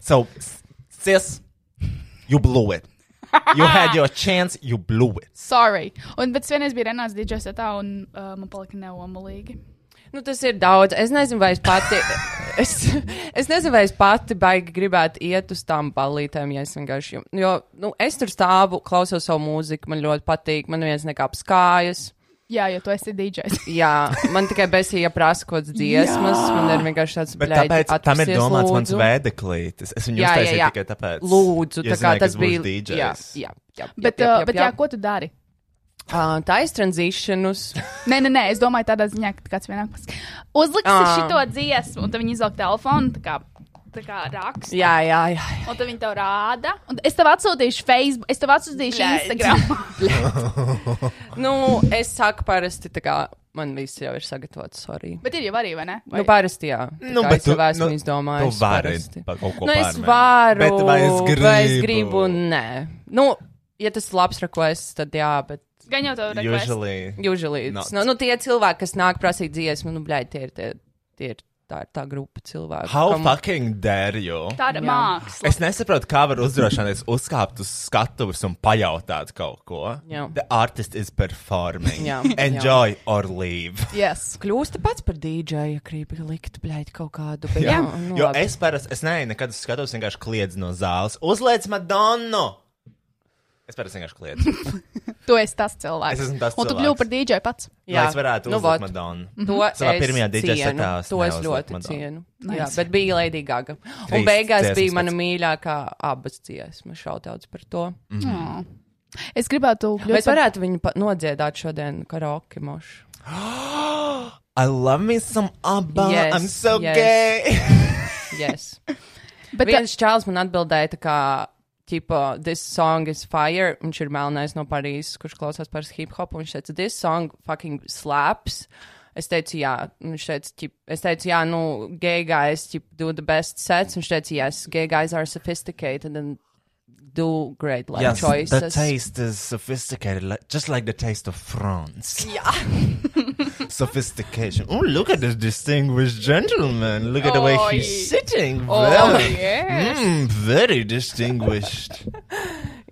B: so, s- sis, you blew it. You had your chance, you blew it.
C: Sorry. Un, bet es vienreiz biju Renāts dīdžeju setā un uh, man palika neomulīgi.
D: Nu, tas ir daudz. Es nezinu, vai es pati. <laughs> es, es nezinu, vai es pati baigi gribētu iet uz tām ballītēm, ja es vienkārši. jum- Jo nu, es tur stāvu, klausos savu mūziku, man ļoti patīk, man neviens nekāps kājas.
C: Jā, jo tu esi dīdžejs.
D: Jā, man tikai besīja prasa kaut kādas dziesmas,
C: Jā.
D: man ir vienkārši tāds
B: Bet
D: bļaigi,
B: tāpēc tam ir
D: atpūsties,
B: domāts mans
D: lūdzu.
B: vēdeklītis. Es viņu
D: Jā, jā,
B: uztaisīju
D: jā.
B: tikai tāpēc,
D: Lūdzu,
B: ja
D: tā
B: zināju,
D: kā
B: ka
D: tas
B: es
D: bija.
B: būšu DJs.
D: Jā, jā, jā,
C: Bet, jā, jā, bet jā, ko tu dari?
D: Uh, tā ir tranzīšanas.
C: Nē, nē, nē, es domāju, tādā ziņā, ka kāds vienā pusē uzliks
D: Ā.
C: šito dziesmu, un tad viņi izvelk telefonu, tā kā, tā kā raksta.
D: Jā, jā, jā.
C: Un tad viņi tev rāda. Un es tev atsūtīšu Facebook, es tev atsūtīšu
D: Bļaigi.
C: Instagram.
D: Nu, es saku, parasti tā kā man viss jau ir sagatavots, sorry.
C: <laughs> Bet ir jau arī, vai ne? Vai...
D: Nu, parasti jā. Tā
B: Nu,
D: kā
B: bet
D: es jau
B: tu-
D: esmu
B: nu,
D: izdomājis.
B: tu vari
D: parasti.
B: pa kaut ko
D: nu, es
B: pārmēģināt.
D: varu.
B: Bet vai es
D: Vai es
B: gribu?
D: gribu? Nē. Nu, ja tas ir labs requests, tad jā, bet.
C: Gan jau tev request.
B: Usually
D: Usually.
B: not.
D: it's not. Nu, tie cilvēki, kas nāk prasīt dziesmu, nu, bļaigi, tie ir tie. tie ir Tā ir tā grupa cilvēku.
B: How
D: kam-
B: fucking dare you?
C: Tā ir
B: <laughs>
C: Jā. māksla.
B: Es nesaprotu, kā var uzdrošināties uzkāpt uz skatuves un pajautāt kaut ko.
D: Jā.
B: The artist is performing.
D: Jā, jā.
B: <laughs> Enjoy or leave.
C: Yes.
D: Kļūsti pats par dīdžeju, ja gribi likt, bļaigi, kaut kādu. bet
B: Jā,
D: nu, nu,
B: jo
D: labi.
B: es parasti, es neeju nekad uz skatuves, vienkārši kliedzu no zāles. Uzliec Madonu! Es parasti vienkārši kliedzu.
C: Tu esi tas cilvēks.
B: Es esmu tas
C: un tu
B: cilvēks.
C: kļūsi par dīdžeju pats.
B: Jā, es varētu
D: nu,
B: uzlikt
D: vot.
B: Madonu.
D: To
B: Savā
D: es
B: pirmajā DJ
D: cienu,
B: setā es
D: To es
B: neuzliku
D: ļoti
B: Madonu.
D: cienu.
C: Nice.
D: Jā, bet bija Lady Gaga. Un
B: Trīs
D: beigās
B: dziesmas
D: bija
B: pēc.
D: mana mīļākā abas dziesmas. Šautauts par to.
B: Mhm.
C: Mm. Es gribētu kļūt
D: Mēs
C: par-
D: varētu viņu pa- nodziedāt šodien karaoke <laughs> mošu.
B: I love me some ABBA.
D: Yes,
B: I'm so
D: yes.
B: gay.
D: yes.
C: Bet uh,
D: Bet viens čāls man atbildēja, tā kā, tipo, this song is fire, viņš ir melnais no Parīzes, kurš klausās par hip hop, un viņš teica, this song fucking slaps. Es teicu, jā, Un viņš teica, tip, es teicu, jā, nu, gay guys, tip, do the best sets, un viņš teica, yes, gay guys are sophisticated and do great life
B: yes, the
D: choices.
B: taste is sophisticated, like, just like the taste of France. <laughs> Sophistication. Oh, look at this distinguished gentleman. Look at the way
D: Oh,
B: he's
D: ye-
B: sitting.
D: Oh,
B: Very-
C: eh,
D: yes.
B: Mm, very distinguished.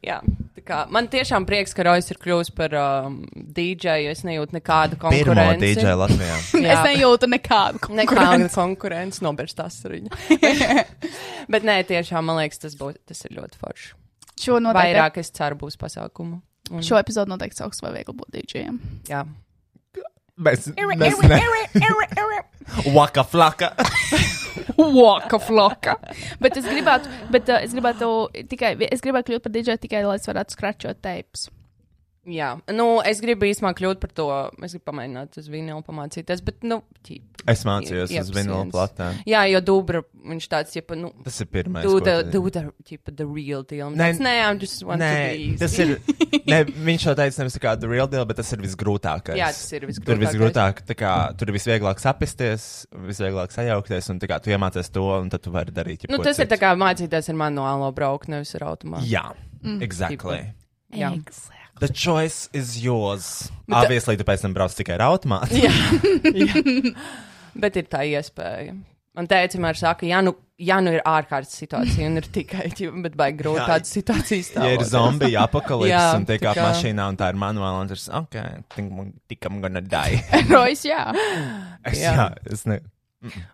D: Jā, tā kā man tiešām prieks, ka Rojas ir kļuvis par um, dīdžeju. Es nejūtu nekādu konkurenci.
B: Pirmo DJ Latvijā.
D: <laughs>
C: <laughs> Es nejūtu nekādu
D: Nekāda
C: konkurenci.
D: konkurence nobērstās ar viņu.
C: <laughs>
D: Bet nē, tiešām man liekas, tas, būs, tas ir ļoti forši.
C: Šo noteikti-
D: Vairāk es ceru būs pasākumu. Un-
C: Šo epizodu noteikti sauks vai viegli būt dīdžejiem.
D: Jā.
B: Mēs,
C: Ere,
B: mēs
C: ere,
B: ne-
C: ere,
D: <laughs>
C: ere,
B: Waka flaka.
C: Waka floka. <laughs> Bet es gribētu, bet uh, es gribētu tikai, es gribētu kļūt par dīdžeju tikai, lai es varētu skračot teipus.
D: Jā, nu es gribu īstenībā kļūt par to. Es gribu pamēģināt uz vinilu pamācīties, bet, nu, ķīpa.
B: Es mācījos uz vinila platēm.
D: Jā, jo dubra, viņš tāds, ja, nu,
B: Tas ir pirmais,
D: Do
B: ko
D: the,
B: tu-
D: do the, ķīpa, the real deal. Nē, nē, I'm just want
B: nē,
D: to be. easy.
B: tas
D: <laughs>
B: ir. Ne, viņš jau teica, nevis tā kā the real deal, bet tas ir visgrūtākais.
D: Jā, tas ir visgrūtākais.
B: Tur ir visgrūtāk, tā kā tur ir visvieglāk sapisties, visvieglāk sajaukties, un tā kā tu iemācies to, un tad tu vari darīt.
D: Nu,
B: jebko
D: tas ir
B: citu.
D: tā kā mācīties ar manuālo braukt, nevis ar automātu.
B: Jā, mm. exactly.
D: Jā.
B: The choice is yours.
D: Bet-
B: Obviously, tu pēc tam brauc tikai ar automātu. <laughs>
D: Jā. jā. Bet ir tā iespēja. Man teica, vienmēr saka, ja nu, ja nu ir ārkārtas situācija un ir tikai ģimene, bet baigi grūti
B: Jā.
D: tādas situācijas.
B: Ja ir
D: stāvoties.
B: zombija apakalipsis
D: Jā,
B: un tiek
D: tā
B: ap
D: kā-
B: mašīnā un tā ir manuāla, un tas ir, ok, I think I'm- think I'm gonna
D: <laughs>
B: die.
C: Rojas, jā.
B: Es, <laughs> jā. jā, es ne.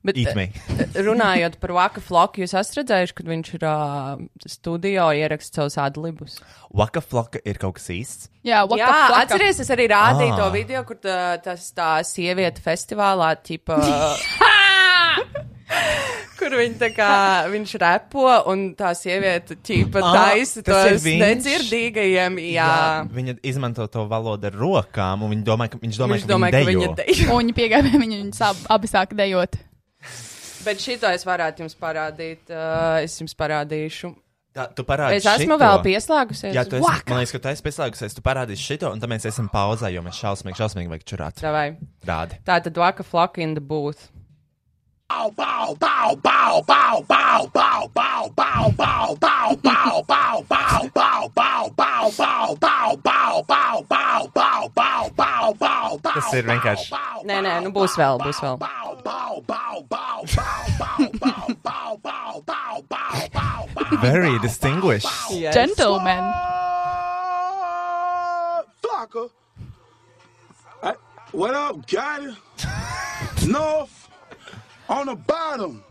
D: Bet,
B: Eat me.
D: eh, runājot par Vaka floku, jūs esat redzējuši, kad viņš ir uh, studijā ierakstījis savus adlibus.
B: Waka floka ir kaut kas īsts.
C: Jā, what
D: Jā,
C: the fuck?
D: atcerieties, es arī rādīju
B: Ah.
D: to video, kur tā, tas tā sieviete festivālā, tipa. Kur viņi tā kā viņš repo un tā sieviete ķīpa
B: Ah,
D: taisa
B: tas ir
D: tos
B: viņš?
D: nedzirdīgajiem. Jā.
B: Viņa izmanto to valodu ar rokām, un viņa domā, ka viņš domā,
D: Viņš
B: ka
D: domā,
B: viņa
D: ka
B: dejo.
D: viņa dejo.
C: Un viņi piegāja pie viņa, un viņi sāp, abi sāka dejot.
D: Bet šito es varētu jums parādīt. Uh, es jums parādīšu.
B: Tā, tu parādi
D: Es esmu
B: šito.
D: vēl pieslēgusies.
B: Jā, tu esi,
D: Vaka!
B: man liekas, ka tu esi pieslēgusies. Tu parādīsi šito, un tāpēc esam pauzē, jo mēs šausmīgi, šausmīgi vajag čurāt.
D: Davai.
B: Rādi.
D: Tā tad vaka flaka in the booth.
N: Bow, bow, bow, bow, bow, bow, bow, bow, bow, bow, bow, bow, bow, bow, bow, bow, bow, bow, bow, bow, bow, bow, bow, bow, bow, bow, bow.
B: Tas ir vienkārši.
D: Nē, nē, nu būs vēl, būs vēl.
B: Very distinguished.
N: Yes.
C: Gentlemen.
N: Flocka. I- What up, got it? North on the bottom.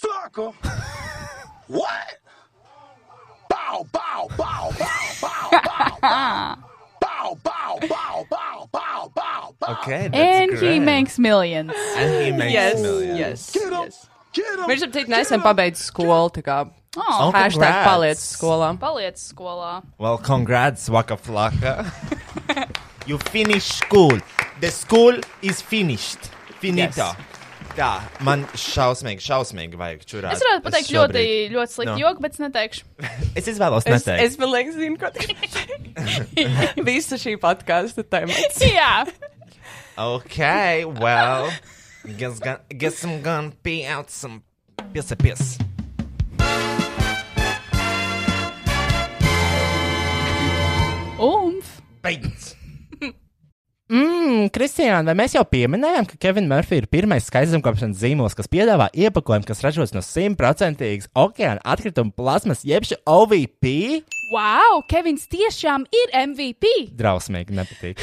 N: Flocka. What? Bow, bow, bow, bow, bow, bow, bow. Bow, bow, bow, bow, bow, bow, bow.
B: Okay,
C: And he makes millions.
B: And he makes
D: Yes,
B: millions.
D: yes.
N: Get him, get him.
D: Viņš ir tik nesen pabeidzis skolu. Tā kā
C: Oh.
D: hashtag
B: congrats.
D: paliec skolā.
C: Paliec skolā.
B: Well, congrats, Waka
D: <laughs>
B: Flocka. you finished school. The school is finished. Finita. Yes. Tā, man šausmīgi, šausmīgi vajag čurāt.
C: Es varētu pateikt ļoti, ļoti sliktu no. joku, bet es neteikšu. <laughs>
B: Es izvēlos
D: Es,
B: neteikt.
D: es vēl liekas, zinu, ko tā Visa šī podkāstu tēma.
C: Jā,
B: Okay, well, <laughs> guess, gon- guess I'm gonna pee out some piss a piss.
C: umf.
B: Beidz!
F: Mmm, Kristiāna, vai mēs jau pieminējām, ka Kevins Murphy ir pirmais skaistumkopšanas zīmols, kas piedāvā iepakojumu, kas ražots no simtprocentīgas okeāna atkrituma plasmas, jeb šī OVP?
C: Wow, Kevins tiešām ir <laughs> MVP.
F: Drausmīgi, nepatīk.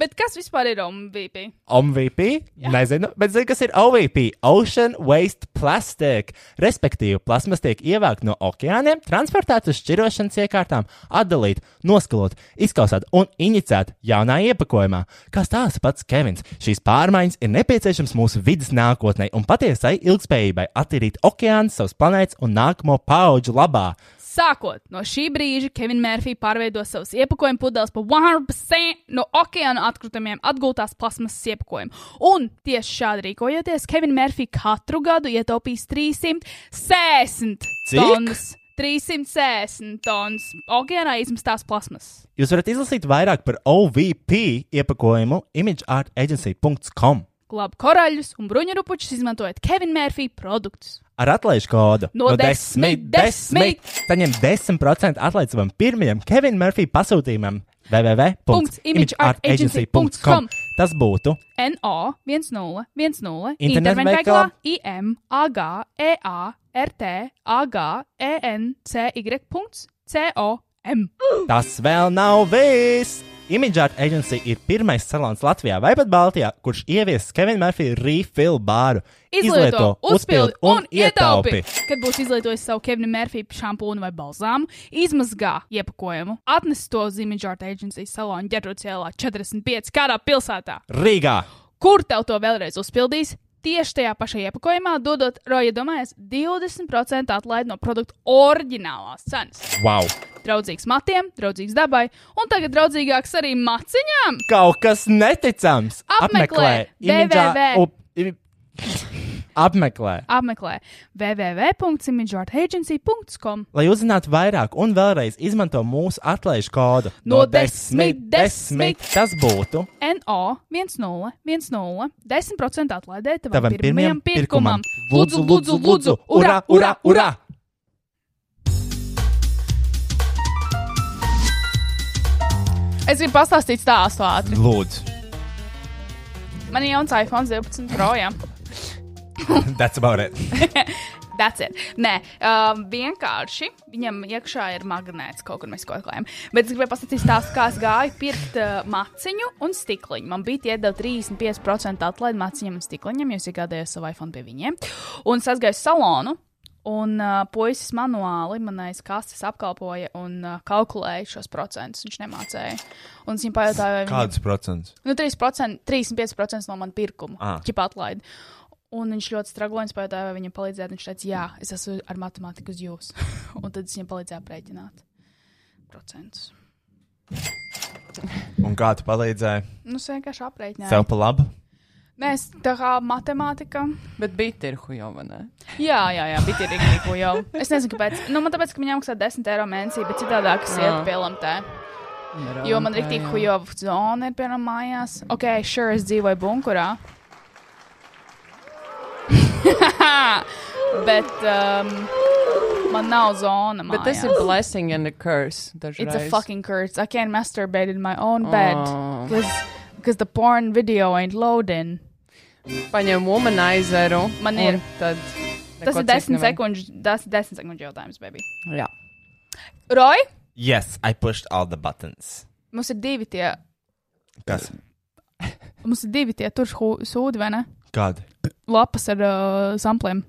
C: Bet kas vispār ir MVP?
F: OVP? Nezinu, bet zinu, kas ir OVP - Ocean Waste Plastic. Respektīvi, plasmas tiek ievākta no okeāniem, transportēta uz šķirošanas iekārtām, atdalīta, noskalot, izkausēta un inicēta jaunā iepakojumā. Kā stāsta pats Kevins, šīs pārmaiņas ir nepieciešamas mūsu vidas nākotnē un patiesai ilgspējībai attīrīt okeānu savas planētas un nākamo pauģu labā.
C: Sākot no šī brīža, Kevins Mārfī pārveido savus iepakojumu pudeles par 100% no okeāna atkritumiem atgūtās plasmasas iepakojumu. Un tieši šādi rīkojoties, Kevins Mārfī katru gadu ietaupīs 360
F: Cik?
C: tonnas. 360 tonnas okeānā izmestās plasmasas.
F: Jūs varat izlasīt vairāk par OVP iepakojumu imageartagency.com
C: Glāb koraļus un bruņurupučus izmantojot Kevina Mārfī produktus.
F: ar atlaižu kodu
C: No desmit, desmit.
F: Saņem 10% atlaižu savam pirmajam Kevina Murphy pasūtījumam www.imageartagency.com. Tas būtu
C: NO 1010
F: Internetveikalā.
C: internetveikalā IM AG EA RT AG E ENCY.com.
F: tas vēl nav viss! Imageart Agency ir pirmais salons Latvijā vai pat Baltijā, kurš ievies Kevina Murphy refill bāru. uzpildi
C: Kad būs izlietojis savu Kevina Mārfija šampūnu vai balzāmu, izmazgā iepakojumu, atnes to uz Image Art Agency salonu ģerbcēlā 45. kādā pilsētā.
F: Rīgā!
C: Kur tev to vēlreiz uzpildīs? Tieši tajā pašā iepakojumā, dodot, roja domājas, 20% atlaidi no produkta oriģinālās cenas.
F: Wow!
C: Draudzīgs matiem, draudzīgs dabai, un tagad draudzīgāks arī maciņām.
F: Kaut kas neticams!
C: Apmeklē
F: Imageart-
C: www.
F: up- im- Apmeklē!
C: Apmeklē www.imageartagency.com.
F: Lai uzzinātu vairāk, un vēlreiz izmanto mūsu atlaižu kodu
C: No desmit, desmit.
F: Tas būtu
C: NO 1010 10% atlaidē tavam
F: tavam
C: pirmajam
F: pirmajam
C: pirkumam.
F: pirkumam. Lūdzu, lūdzu, lūdzu, urā, urā, urā!
C: Es gribu pastāstīt stāstu ātri.
B: Lūdzu,
C: Man ir jauns iPhone 12 Pro. jā.
B: that's about it.
C: That's it. Nē, um, vienkārši viņam iekšā ir magnēts, kaut kur mēs to atklājām. Bet es gribēju pastāstīt, stāstu, kā es gāju pirkt uh, maciņu un stikliņu. Man bija iedeva 35% atlaidi maciņam un stikliņam, jo es iegādājos savu iPhone pie viņiem. Un es aizgāju uz salonu. Un uh, puisis manuāli manais kastes apkalpoja un uh, kalkulēja šos procentus. Viņš nemācēja. Un es viņam pajautāju, vai viņam-
F: Kādus procentus?
C: Nu, 3%, 35% no manas pirkuma
F: Ah.
C: ķipa atlaidi. Un viņš ļoti strauji pajautāja, vai viņam palīdzētu. Viņš teica, jā, es esmu ar matemātiku uz jums. <laughs> un tad es viņam palīdzēju aprēķināt procentus.
F: Un kā tu palīdzēji?
C: Nu, es vienkārši aprēķināju.
F: Sev pa labu?
C: Nē, es- tā kā matemātika.
D: Bet bija ir huijovana.
C: Jā, jā, jā bija arī rīko jau. Es nezinu, kāpēc. Nu, man tāpēc, ka viņam maksā 10 eiro mēnesī, bet citādāk es
D: Jā.
C: ietu PLMT. Jo man rīktīgi huijova zona ir, piemēram, mājās. Ok, sure, es dzīvoju bunkurā. <laughs> bet um, man nav zona.
D: Bet tas ir
C: mājās.
D: blessing and a curse. Dažreiz.
C: Ah, It's a fucking curse. I can't masturbate in my own bed
D: Oh.
C: because the porn video ain't loading.
D: Paņem womanizeru.
C: Man ir.
D: un Tad
C: Tas
D: neko
C: ir
D: citu
C: 10
D: nevajag.
C: sekundžu, tas ir 10 sekundžu jautājums, baby.
D: Jā.
C: Roy,
F: Yes, I pushed all the buttons.
C: mums ir divi tie,
F: Kas?
C: mums ir divi tie tur hu- sūdi, vai ne?
F: Kādi?
C: Lapas ar uh, sampliem.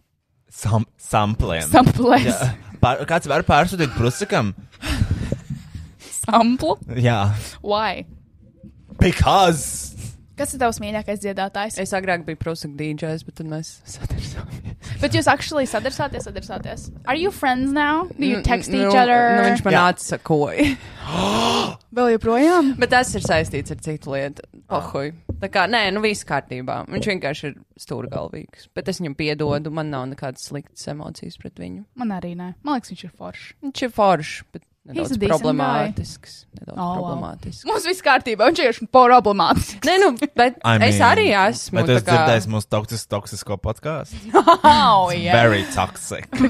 F: Sam sampliem.
C: Samplēs.
F: Jā. Pār, kāds var pārsūtīt prusakam?
C: <laughs> Samplu?
F: Jā.
C: Why?
F: Because.
C: Kas ir tavs mīļākais dziedātājs?
D: Es agrāk biju prusaka DJs, bet tad mēs satirsāmies.
C: Bet jūs actually sadarsāties, sadarsāties. Are you friends now? Do you
D: N-
C: text
D: nu,
C: each other?
D: Nu, viņš man yeah. atsakoja.
C: <gasps> Vēl joprojām?
D: Bet tas ir saistīts ar citu lietu.
F: Ah.
D: Pohuj. Tā kā, nē, nu viss kārtībā. Viņš vienkārši ir stūrgalvīgs. Bet es viņam piedodu, man nav nekādas sliktas emocijas pret viņu.
C: Man arī nē. Man liekas, viņš ir
D: <laughs>
C: foršs.
D: Viņš ir foršs, bet
C: He's a
D: nedaudz
C: decent guy.
D: problemātisks. Nedaudz
C: Oh, wow.
D: oh, problemātisks.
C: Mums viss kārtībā, viņš ir problemātisks.
D: Nē, nu, bet
F: I mean,
D: es arī esmu.
F: Bet tu
D: tā
F: esi
D: kā-
F: dzirdējis mūsu toksis, toksisko podkāstu?
C: <laughs> Oh,
F: It's
C: yeah.
F: Very toxic.
C: <laughs>
D: Very,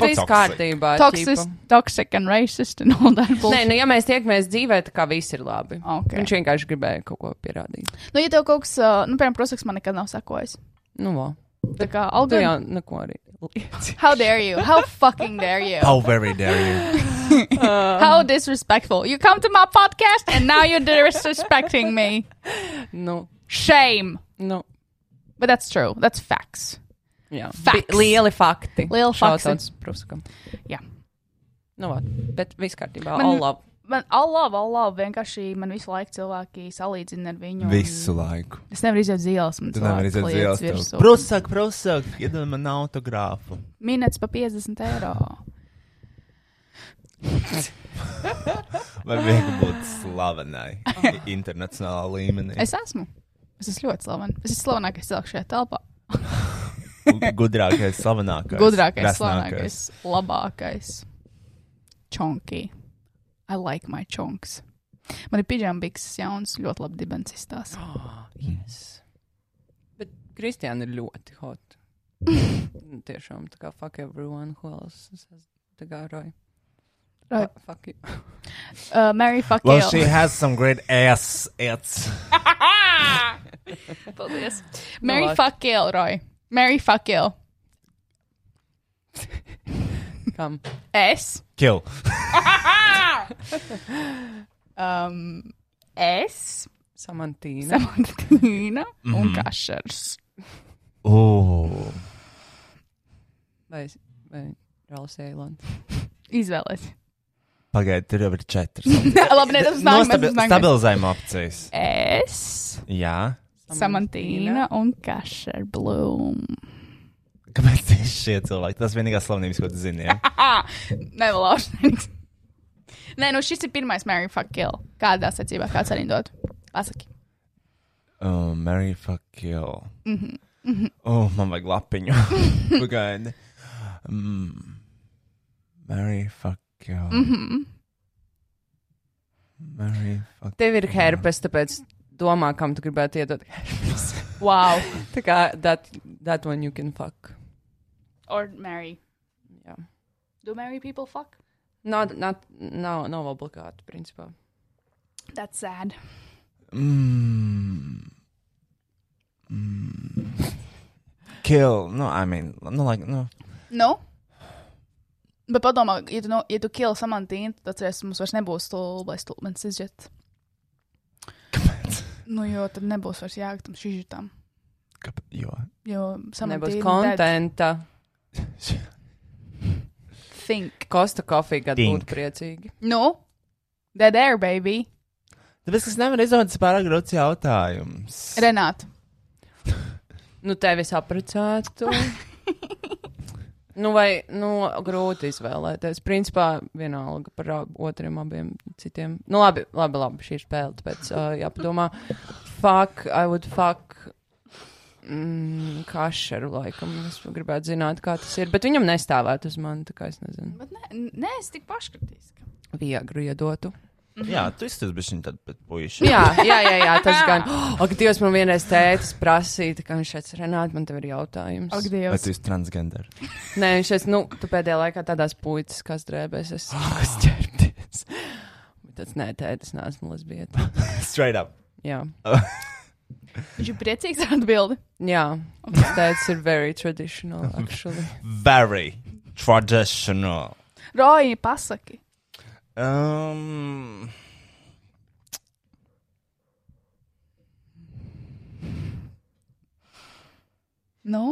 F: toxic.
D: viss kārtībā.
C: Toxic,
D: ķipa.
C: toxic and racist and all that bullshit.
D: Nē, nu, ja mēs tiekamies dzīvē, tad kā viss ir labi.
C: Okay.
D: Viņš vienkārši gribēja kaut ko pierādīt.
C: Nu, ja tev kaut kas, uh, nu, piemēram, prosaks man nekad nav sakojis.
D: Nu, vā.
C: Tā kā
D: Tu
C: alga.
D: jau neko arī.
C: How dare you? How fucking dare
D: <laughs>
C: you?
F: How very dare you?
C: How disrespectful. You come to my podcast and now you're disrespecting me.
D: No.
C: Shame.
D: No.
C: But that's true. That's facts.
D: nu, Jā.
C: Facts.
D: Bi- Lieli fakti.
C: Lieli fakti.
D: Šautauts Prusakam.
C: Jā.
D: Nu, vā. Bet viss kārtībā. All labi.
C: Man, all love, all love. Vienkārši man visu laiku cilvēki salīdzina ar viņu. un-
F: Visu laiku.
C: Es nevaru iziet zilās.
F: Tu nevari iziet dzīvās. tev.
C: Protams.
F: Prusak, prusak, iedod man autogrāfu.
C: Minēts pa 50
F: <laughs>
C: eiro.
F: Vai vajag būt
C: <laughs>
F: slavenai i- internacionālā līmenī?
C: Es esmu. Es esmu ļoti slavens. Es esmu slavenākais cilvēks šajā telpā.
F: Gu- Gudrākais, slavenākais.
C: Gudrākais, slavenākais,
F: resnākais.
C: labākais. Chunky. I like my chunks. Man ir pigiambikses jauns, ļoti labi dibens izstāsta.
D: Ah, Yes. Bet Kristiāna ir ļoti <laughs> hot. Nu, Tiešām tā kā fuck everyone who else. says- Tā kā roj.
C: Right.
D: Fu- Fuck you.
C: Uh, Mary fuck
F: Well,
C: you.
F: she has some great ass. It's.
C: Paldies. <laughs> Mary
D: Nu, lāk.
C: fuck you, Roy. Mary fuck you.
D: Kam?
C: Es.
F: Kill.
C: um, <laughs> es.
D: Samantīna.
C: Samantīna. Un
F: Mhm.
C: kašers.
F: Ooh.
D: Vai, vai Rāls Eilons.
C: <laughs> Izvēlēties.
F: Pagaid, tur jau ir
C: <laughs>
F: četras.
C: Labi, ne, tas nāk,
F: Nostabi-
C: tas nāk.
F: Stabilizējuma opcijas.
C: Es.
F: Jā.
C: Samantīna un kašer Oh, bloom.
F: Kāpēc tieši šie cilvēki? Tas vienīgās slavenības, ko tu zini. Ja?
C: <laughs> Nevalaušanas. Nē, nu šis ir pirmais Mary Fuck Kill. Kādā secībā kāds arī dod? Pasaki.
F: Oh, Mary fuck kill.
C: Mhm,
B: Mm-hmm.
C: mhm.
F: Oh, man vajag
B: <laughs>
F: lapiņu. Pagaidi. Mm. Mary fuck kill.
B: Mm-hmm.
D: Mhm.
F: Mary fuck
D: Tev ir herpes, tāpēc domā, kam tu gribētu iedot herpes.
C: Wow.
D: tā kā that, that one you can fuck.
C: Or Mary.
D: Jā.
C: Do Mary people fuck?
D: Nav, nav, nav, nav obligāti, principā.
C: That's sad.
F: Mm. Mm. Kill. No, I mean, no, like, no.
C: Nu? Bet padomā, ja tu, no, ja tu kill samantīnu, tad atceries, mums vairs nebūs stulbais stulbens izžet. Kāpēc? Nu, jo tad nebūs vairs jāgat tam šižitam.
F: Kāp, jo.
C: Jo
D: Nebūs
C: samantīna.
D: kontenta.
C: think.
D: Kosta kofija gada
B: Dink.
D: būtu priecīgi.
C: Nu, dead air, baby.
B: Tāpēc, ka es nevaru izdomāt tas pārāk grūts jautājums.
C: Renāta.
D: Nu, tevi es apprecētu. nu, vai nu, grūti izvēlēties. Principā vienalga par ab- otriem abiem citiem. Nu, labi, labi, labi šī ir spēle, tāpēc uh, jāpadomā. Fuck, I would fuck. Mm, kašeru laikam. Es gribētu zināt, kā tas ir. Bet viņam nestāvētu uz mani, tā kā es nezinu.
C: Bet nē, nē, es tik paškritīgs.
D: Viegru iedotu.
F: Jā, tu izturies bez viņa tad, bet puiši.
D: <laughs> Jā, jā, jā, jā tas gan. <gasps> Ak, Dievs, man vienreiz tētis prasīja, ka viņš šeit Renāts, man tev ir jautājums.
C: Ak,
F: Vai tu esi transgender?
D: Nē, viņš šeit, nu, tu pēdējā laikā tādās puikas, kas drēbēs, <gasps> es sāku ķerties. Tas nē, tētis, neesmu lesbieta.
B: <laughs> Straight up.
D: Jā.
C: Viņš ir priecīgs ar atbildi.
D: <laughs> jā, tas tētis ir very traditional, actually.
F: Very traditional.
C: Roji, pasaki.
F: Um,
C: Nu,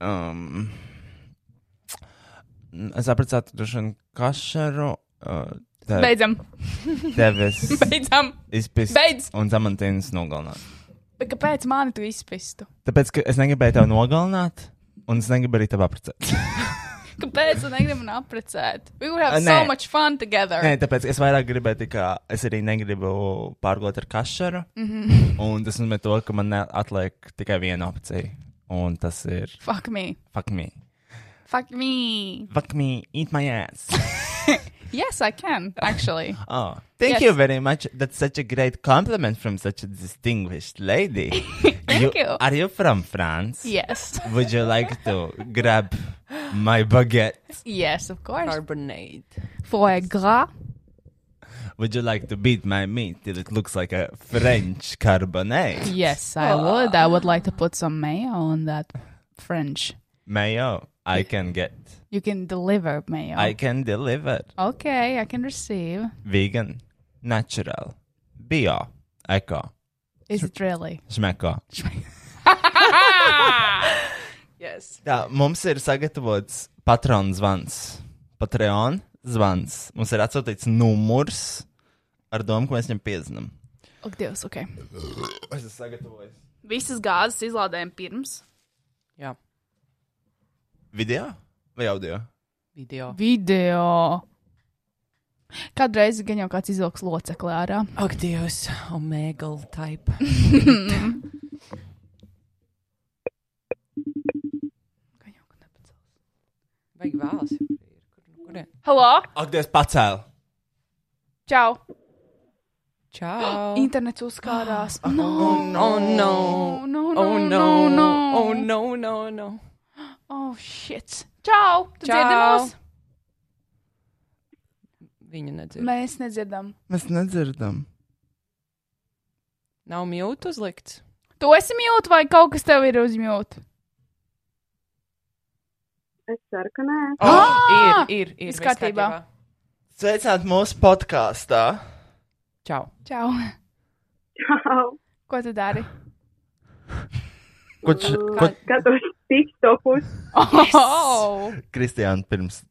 F: um, es apprecētu droši vien kašaru. Uh, tev-
C: beidzam.
F: Tevis.
C: Beidzam.
F: Izpist.
C: Beidz.
F: Un zamantīnas nogalināt.
C: Bet kāpēc mani tu izspistu?
F: Tāpēc, ka es negribēju tevi nogalināt, un es negribu arī tevi apprecēt.
C: Kāpēc tu negribi man apprecēt? We would have
F: Nē.
C: so much fun together.
F: Nē, tāpēc es vairāk gribēju, ka es arī negribu pārgūt ar kašaru.
C: Mhm.
F: Un tas nozīmē to, ka man ne- atliek tikai viena opcija. Un tas ir.
C: Fuck me.
F: Fuck me.
C: Fuck me.
F: Fuck me. Eat my ass.
C: Yes, I can, <laughs> actually.
F: Oh, thank
C: Yes.
F: you very much. That's such a great compliment from such a distinguished lady.
C: <laughs>
F: thank
C: you.
F: Are you from France?
C: Yes.
F: Would you like to grab my baguette?
C: Yes, of course.
D: Carbonate.
C: Foie gras.
F: Would you like to beat my meat till it looks like a French carbonate?
C: Yes, I would. I would like to put some mayo on that French.
F: Mayo, I can get.
C: You can deliver mayo.
F: I can deliver.
C: Okay, I can receive.
F: Vegan, natural, bio, eco,
C: Is it really?
F: smeko.
D: yes.
F: Jā, mums ir sagatavots patronu zvans. Patreon zvans. Mums ir atsūtīts numurs ar domu, ka mēs viņam piezinām.
C: Ak, Dievs, ok.
F: Es esmu sagatavojis.
C: Visas gāzes izlādējam pirms.
F: Video vai audio?
D: Video.
C: Video. Kādreiz gan jau kāds izvilks locekli ārā.
D: Ak, Dievs, omega
C: <laughs>
D: type. Vajag vēlas. Kurien?
C: Hello!
F: Ak, Dievs, pacēl!
C: Čau!
D: Čau!
C: Internets uzkārās. <gasps> No,
D: Oh, no!
C: no, no,
D: Oh,
C: no, no.
D: Oh, no, no, no!
C: Oh, shit! Čau! Tu dzirdi mūs?
D: Viņu nedzird.
C: Mēs nedzirdam.
F: Mēs nedzirdam.
D: Nav mute uzlikts.
C: Tu esi mute vai kaut kas tev ir uz mute?
M: Es ceru, ka nē.
D: Oh, ir, ir, ir.
C: Ah! Viss kārtībā.
F: Sveicināti mūsu podkāstā.
D: Čau!
C: Čau! <laughs>
M: Čau!
C: Ko tu dari?
F: Ko tu
M: Kā skatos tiktokus?
C: Oh!
F: Kristiāna pirms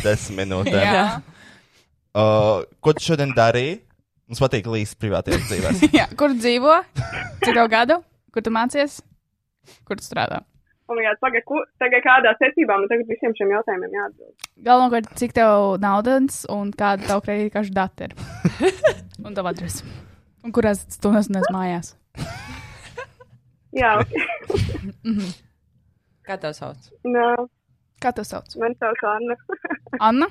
F: desmit minūtēm.
C: <laughs> Jā.
F: Uh, ko tu šodien darīji? Mums patīk līdzi privātajā dzīvē.
C: <laughs> Jā, kur dzīvo? Cik tev gadu? Kur tu mācies? Kur tu strādā?
M: Oh my God, tagad, ko- tagad kādā secībā man tagad visiem šiem jautājumiem jāatbild.
C: Galvenokārt, cik tev naudas un kāda tava kredītkaršu dati
F: <laughs>
C: ir? un tava adrese. Un kurās stundās nes mājās?
M: Jā, ok. <laughs>
D: Kā tev sauc?
M: Nā,
C: Kā tev sauc?
M: man nu, sauc Anna.
C: Anna?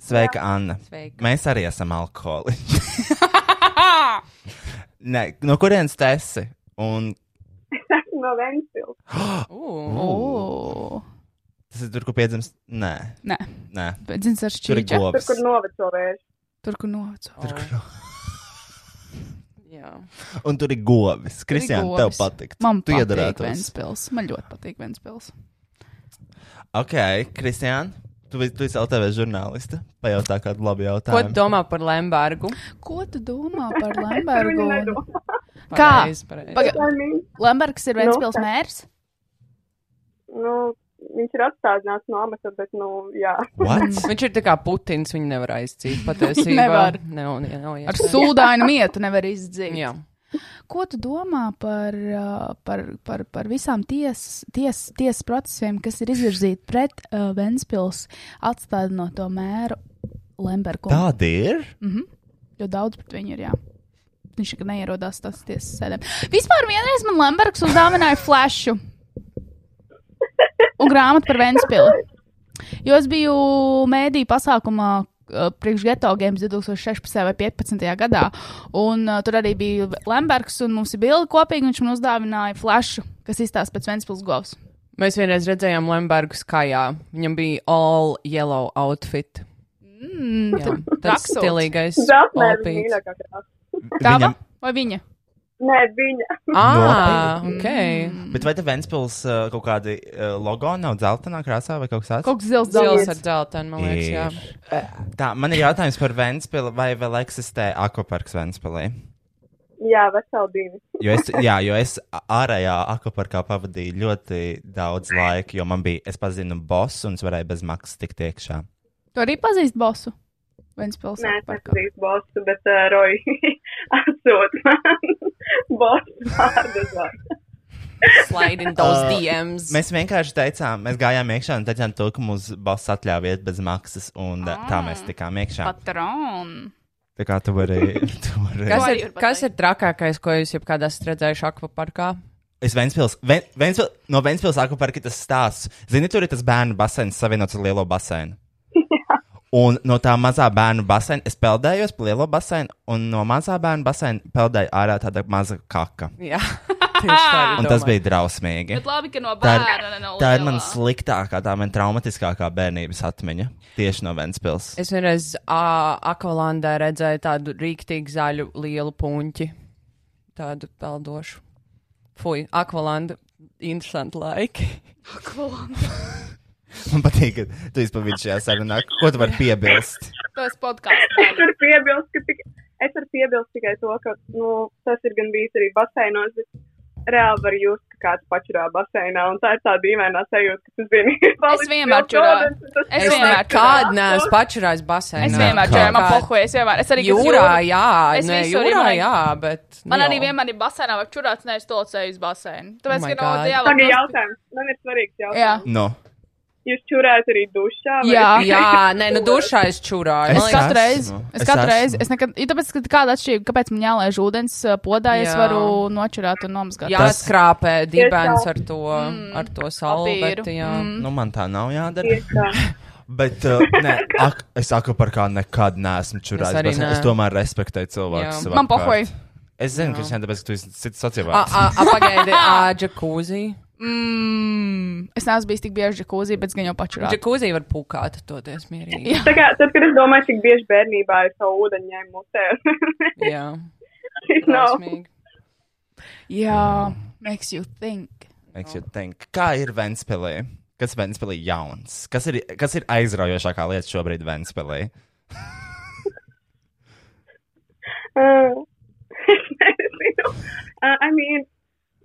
F: Sveika, Anna.
D: Sveika.
F: Mēs arī esam
C: <laughs>
F: alkoholiķi. Nē, no kurienes tu esi? Un
M: Es esmu no Ventspils.
C: Ooh.
F: tas ir tur, kur piedzimst? Nē.
C: Nē.
F: Nē.
C: Bet dzimts ar
F: Tur ir
C: šķīķa.
M: Tur,
F: govs.
M: kur noveco vērš.
C: Tur, kur novaco.
D: Jā.
F: Un tur ir govis. Kristiāna, tev
C: Govis.
F: patīk.
C: Man
F: tu
C: patīk
F: iedarētos.
C: Ventspils. Man ļoti patīk Ventspils.
F: Ok, Kristiāna, tu, vi- tu esi LTV žurnāliste. Pajautā kādu labu
D: Ko tu
F: jautājumu.
D: domā par Lembergu?
C: Ko tu domā par Lembergu?
M: Viņa
C: Kā?
D: Pareizi, pareizi.
C: Paga- Lembergs ir Ventspils mērs?
M: Nu,
I: viņš ir atstādināts no amata, bet, nu, jā.
D: Viņš ir tā kā Putins, viņu nevar aizcīt patiesībā. <laughs>
C: Nevar.
D: Ne, un, ja, nav
C: Ar
D: iespējams.
C: sūdainu mietu nevar izdzīt.
D: Jā.
C: Ko tu domā par, uh, par, par, par visām tiesas ties, ties procesiem, kas ir izvirzīti pret uh, Ventspils atstādinot to mēru Lembergu?
F: Tāda ir?
C: Mhm. Jo daudz pret viņu ir, jā. Viņš nekad neierodās tās tiesas sēdēm. Vispār vienreiz man Lembergs uzdāvināja flešu un grāmatu par Ventspili. Jo es biju mēdīju pasākumā uh, priekš geto games 2016. vai 2015. gadā, un uh, tur arī bija Lembergs, un mums ir bilde kopīgi, un viņš man uzdāvināja flešu, kas izstāsta pēc Ventspils govs.
D: Mēs vienreiz redzējām Lembergu skajā. Viņam bija all yellow outfit.
C: Mm,
D: Jā, tas
C: raksots.
D: stilīgais
I: Zeltnē ir
D: olpīts.
I: mīļākā krāsa.
C: Tava vai viņa?
I: Nē, viņa.
M: <laughs>
D: Ah, ok.
F: Bet vai te Ventspils uh, kaut kādi uh, logo nav dzeltenā krāsā vai kaut kas tāds?
C: Kaut kas zils,
D: Zils ar dzeltenu, man
F: Ir.
D: liekas, jā.
F: Tā, man ir jautājums par Ventspilu, vai vēl eksistē akvaparks Ventspilī?
I: Jā, veseli divi.
F: Jo es, jā, jo es ārējā akvaparkā pavadīju ļoti daudz laika, jo man bija, es pazinu bosu un es varēju bez maksas tikt iekšā.
C: Tu arī pazīsti bosu Ventspils.
I: Nē, es nepazīstu bosu, bet
M: eh,
I: uh,
M: <laughs>
I: Roji atsūt man bosu vārdu uz vārdu.
D: Slide in those
F: Uh,
D: DMs.
F: Mēs vienkārši teicām, mēs gājām iekšā un teicām, to, ka mums boss atļauj iet bez maksas, un ah, tā mēs tikām iekšā.
C: Patronu.
F: Tā kā tu vari. <laughs> Tu vari...
D: Kas ir, kas ir trakākais, ko jūs jebkad esat redzējuši akvaparkā?
F: Es Ventspils, Ven, Ventspil, no Ventspils akvaparka ir tas stāsts. Zini, tur ir tas bērnu baseins savienots ar lielo baseinu. Un no tā mazā bērnu baseina es peldējos pa lielo baseinu, un no mazā bērnu baseina peldēja ārā tāda maza kaka.
D: Jā, <laughs> tieši tā. <laughs> arī
F: Un tas
D: domāju.
F: bija drausmīgi.
C: Bet labi, ka no
F: Tā ir-
C: bērna, ne no
F: Tā ir
C: lielā.
F: mana sliktākā, tā man traumatiskākā bērnības atmiņa. Tieši no
D: <laughs>
F: Ventspils.
D: Es vienreiz ā, Akvalandā redzēju tādu rīktīgi zaļu lielu puņķi. Tādu peldošu. Fui, Akvalanda. Interesanti laiki.
F: Man patīk, ka tu izpavīdi šajā sarunā. Ko tu vari piebilst?
C: Tas podkāsts.
I: Es varu piebilst, ka tik, es varu piebilst tikai to, ka nu, tas ir gan bijis arī baseinos, bet reāli var jūs, ka kāds pačurā baseinā, un tā ir tā dīvainā sajūta, ka tu zini.
C: Es vienmēr čurāju. Es vienmēr
D: nekad neesmu pačurājis basēnā.
C: Es vienmēr čurāju, man pohuja, es vienmēr. Es arī gribu
D: jūrā,
C: jūru.
D: jā,
C: Es
D: nē,
C: visur
D: jūrā,
C: vienmēr-
D: jā, bet.
C: Man
D: nu
C: arī
D: jau.
C: vienmēr ir basēnā, vai čurāts nevis tolcēju uz basēnu.
D: Oh
C: Tāpēc, ka
D: my God.
C: nav dialogu.
I: Man ir jautājums, man ir svarīgs jautājums.
F: No.
I: Jūs čurājat arī dušā? vai
D: Jā,
I: tikai
D: jā,
I: tur?
D: nē, nu dušā es čurāju.
C: Es katru reizi,
D: esmu.
C: es
D: Es
C: katru
D: esmu.
C: reizi, es nekad, ir tāpēc, ka kāda atšķirība, kāpēc man jālaiž ūdens uh, podā, ja es
D: Jā.
C: varu nočurāt un nomazgāt.
D: Jāskrāpē dibens ar to,
C: Mm.
D: ar to salbeti, jā.
F: Nu, man tā nav jādara.
I: Tieši tā.
F: <laughs> Bet uh, nē, ak, es saku par kā nekad neesmu
D: Es arī
F: čurājis. Es,
D: nē.
F: es tomēr respektēju cilvēku.
D: Jā.
F: savā
D: Man
F: apkārt.
D: pohoj.
F: Es zinu, ka
D: Jā.
F: viņš ir tāpēc, ka tu esi cits
D: A,
F: sociālais.
D: a, a, pagaidi, ā, džakūzī.
C: Mm, es neesmu bijis tik bieži džekūzī, bet gan jau pačurāt.
D: Džakūzī var pukāt, toties mierīgi.
I: Tā kā, tad, kad es domāju, cik bieži bērnībā es to ūdeni ņēmu mutē, <laughs>
D: Jā.
I: tas nav.
C: Jā, makes you think.
F: Makes you think. Kā ir Ventspēlē? Kas Ventspēlē jauns? Kas ir, kas ir aizraujošākā lieta šobrīd Ventspēlē?
I: Uh, <laughs> es nezinu. Uh, I mean,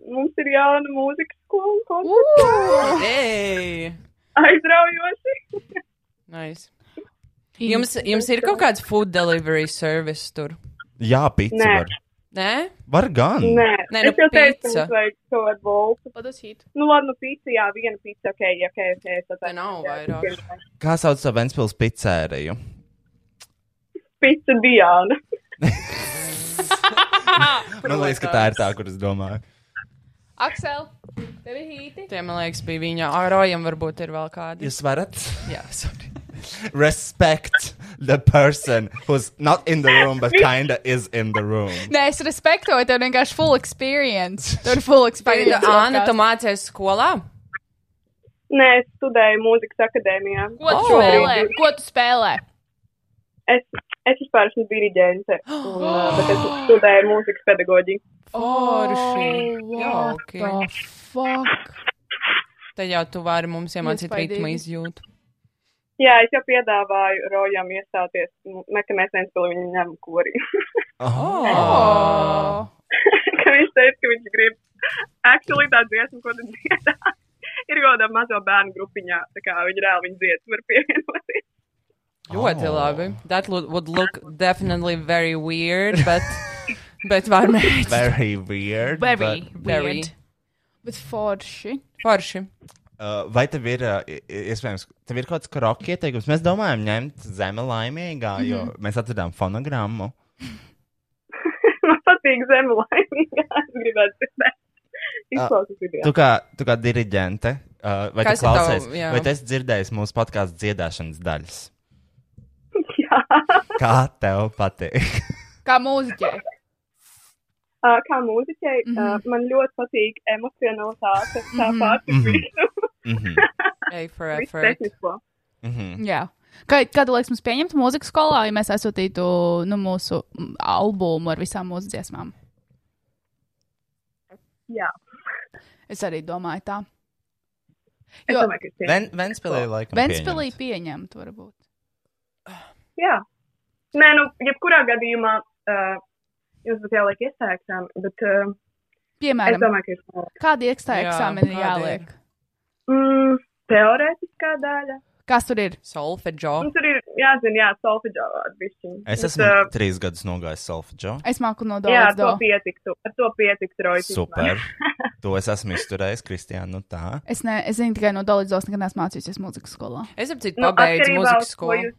I: mums ir jauna mūzikas skola. koncerts.
D: Ei!
I: Aizraujoši.
D: Nice. Jums, jums ir kaut kāds food delivery service tur?
F: Jā, pizza
D: Nē.
F: var.
D: Nē?
F: Var gan.
I: Nē,
D: Nē,
I: es
D: nu,
I: jau teicu, ka
D: pizza.
I: mums vajag kaut kādu voltu.
C: Padasīt.
I: Nu, labi, nu, pizza, jā, viena pizza, ok, ok, ok. Tad tā nav
D: vairāk.
F: Kā sauc to Ventspils pizzēriju?
I: Pizza Diana. <laughs>
F: Man liekas, ka tā ir tā, kur es domāju.
C: Aksel, tev ir hīti?
D: Tie, man liekas, bija viņa. Arojam varbūt ir vēl kādi.
F: Jūs varat?
D: Jā, sorry.
F: Respect the person who's not in the room, but kinda is in the room.
C: Nē, es respektoju, tev vienkārši full experience. Tev ir
I: <laughs>
C: full
D: Pagaidi,
C: experience.
D: Anna, tu mācies skolā?
I: Nē, es studēju mūzikas akadēmijā.
C: Ko tu spēlē? Ko tu spēlē?
I: Es, es vispār esmu
D: <gasps>
I: diriģente, un, uh, bet es studēju mūzikas pedagoģiju.
D: Forši.
C: Oh,
D: Jauki.
C: what the Fuck.
D: Tad jau tu vari mums iemācīt
I: Iespaidīgi.
D: ritmu izjūtu.
I: Jā, es jau piedāvāju Rojam iestāties Nu, mekanēsēns, lai viņu ņem kori.
F: <laughs>
D: Oh.
I: <laughs> ka viņš teica, ka viņš grib. Actually, tā dziesma, ko tad dziedā, <laughs> ir kaut kāda maza bērnu grupiņā. Tā kā viņi reāli viņa dziedas, var pievienoties.
C: Oh.
D: Ļoti labi. That lo- would look definitely very weird, but, <laughs> bet var mēģināt.
F: Very weird.
C: Very
F: but-
C: weird. Bet forši.
D: Forši.
F: Uh, vai tev ir, uh, i- i- iespējams, tev ir kaut kāds kroki ieteikums? Mēs domājam, ņemt zeme laimīgā, jo
I: Mhm.
F: mēs atradām fonogrammu.
I: Man patīk zemu laimīgā. Es gribētu dzirdēt. Izklausās
F: Tu
I: video.
F: kā, tu kā diriģente, uh, vai
I: Kas
F: tu
I: ir tavu-
F: klausies,
I: jā.
F: vai tu esi dzirdējis mūsu podkāstu dziedāšanas
I: <laughs>
F: daļas? Jā. Kā tev patīk?
C: Kā mūziķē.
I: Uh, kā mūziķei, mm -hmm. uh, man ļoti patīk emocionalitāte. Tā
C: Mhm.
I: pati
F: Mhm.
I: visu.
D: Ej for
I: Visu
D: effort.
I: tehnisko.
C: Jā. Kā, kādu laiku mums pieņemtu mūzikas skolā, ja mēs aizsūtītu nu, mūsu mm, albumu ar visām mūsu dziesmām?
I: Jā.
C: Es arī domāju tā.
I: Es domāju, ka tie-
F: Ven- Ventspilī laikam
C: Ventspilī pieņemt, varbūt.
I: Jā. Nē, nu, jebkurā gadījumā uh, jums būtu jāliek iestājas, bet. Uh,
C: Piemēram,
I: es domāju, ka ir tā.
C: Kādi ekstra
I: Jā,
C: eksāmeni
I: kādi
C: ir jāliek?
I: Mm, teorētiskā daļa.
C: Kas tur ir?
D: Solfeģo.
I: Mums tur ir jāzina, jā, solfeģo atbišķiņa.
F: Es esmu trīs gadus nogājis solfeģo.
C: Es māku no
I: Jā,
C: Dolas
I: ar to
C: Do.
I: pietiktu. Ar to pietiktu, Rojas.
F: Super. To es esmu izturējis, Kristija. Nu tā.
C: Es, ne, es zinu tikai no Dolas Dolas, nekad neesmu mācījusies mūzikas skolā.
D: Es apcītu
I: Nu,
D: pabeidzu
I: atkarībā
D: mūzikas
I: uz ko
D: skolu.
I: jūs-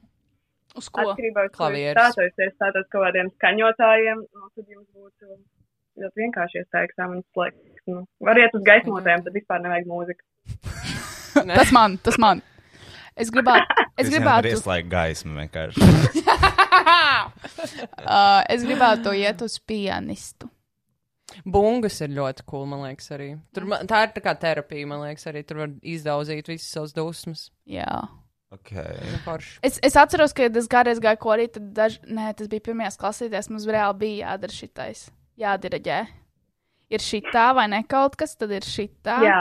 C: Uz
I: ko? Atkarībā uz ko jūs
D: Klavieres.
I: stātos, ja stātos kaut kādiem skaņotājiem, nu, tad jums būtu ļoti vienkārši iestājas eksāmenes laiks. Nu, variet uz gaismotēm, tad vispār nevajag mūziku.
C: tas man, tas man. Es gribētu. Es
F: Tur
C: gribētu,
F: ieslēgt gaismu vienkārši.
C: <laughs> uh, es gribētu iet uz pianistu.
D: Bungas ir ļoti cool, man liekas, arī. Tur, ma- tā ir tā kā terapija, man liekas, arī tur var izdauzīt visas savas dusmas. Nu,
C: Jā.
F: Okay.
D: Forši.
C: Es, es atceros, ka tas garais gāja korī, tad daž... Nē, tas bija pirmajās klasītēs. Mums reāli bija jādara šitais. Jādireģē. Ir šī tā vai ne kaut kas, tad ir šī tā.
I: Jā.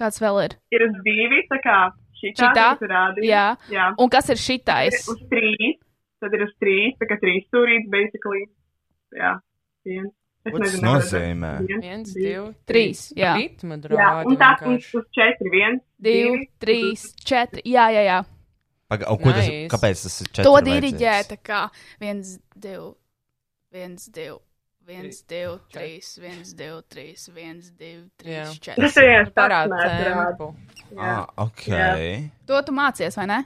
C: Kāds vēl ir?
I: Ir uz divi, tā kā šī
C: Šitā? Jā.
I: jā.
C: Un kas ir šitais?
I: Uz trīs, tad ir uz trīs, tā kā trīs stūrītes, basically. Jā, viens. Es
F: Ko tas
I: nezinu, nevaru-
F: nozīmē?
D: Viens, divi,
C: Trīs. Jā.
D: Ritma
I: Jā,
D: drādi
I: un tā
D: vienkārši.
I: mums uz četri, viens,
C: Divi, trīs, četri. Jā, jā, jā.
F: Paga, o, ko tas,
D: Nice.
F: kāpēc tas ir četri?
C: To
F: vajadzīgs?
C: diriģē tā kā viens, divi, viens, divi. viens, divi, trīs, viens, divi, trīs, viens, divi, trīs,
D: Jā.
C: četri.
D: Tas ir viens Nu, Parāda pats mēs tempu.
F: Ah, ok.
C: Jā. To tu mācies, vai ne?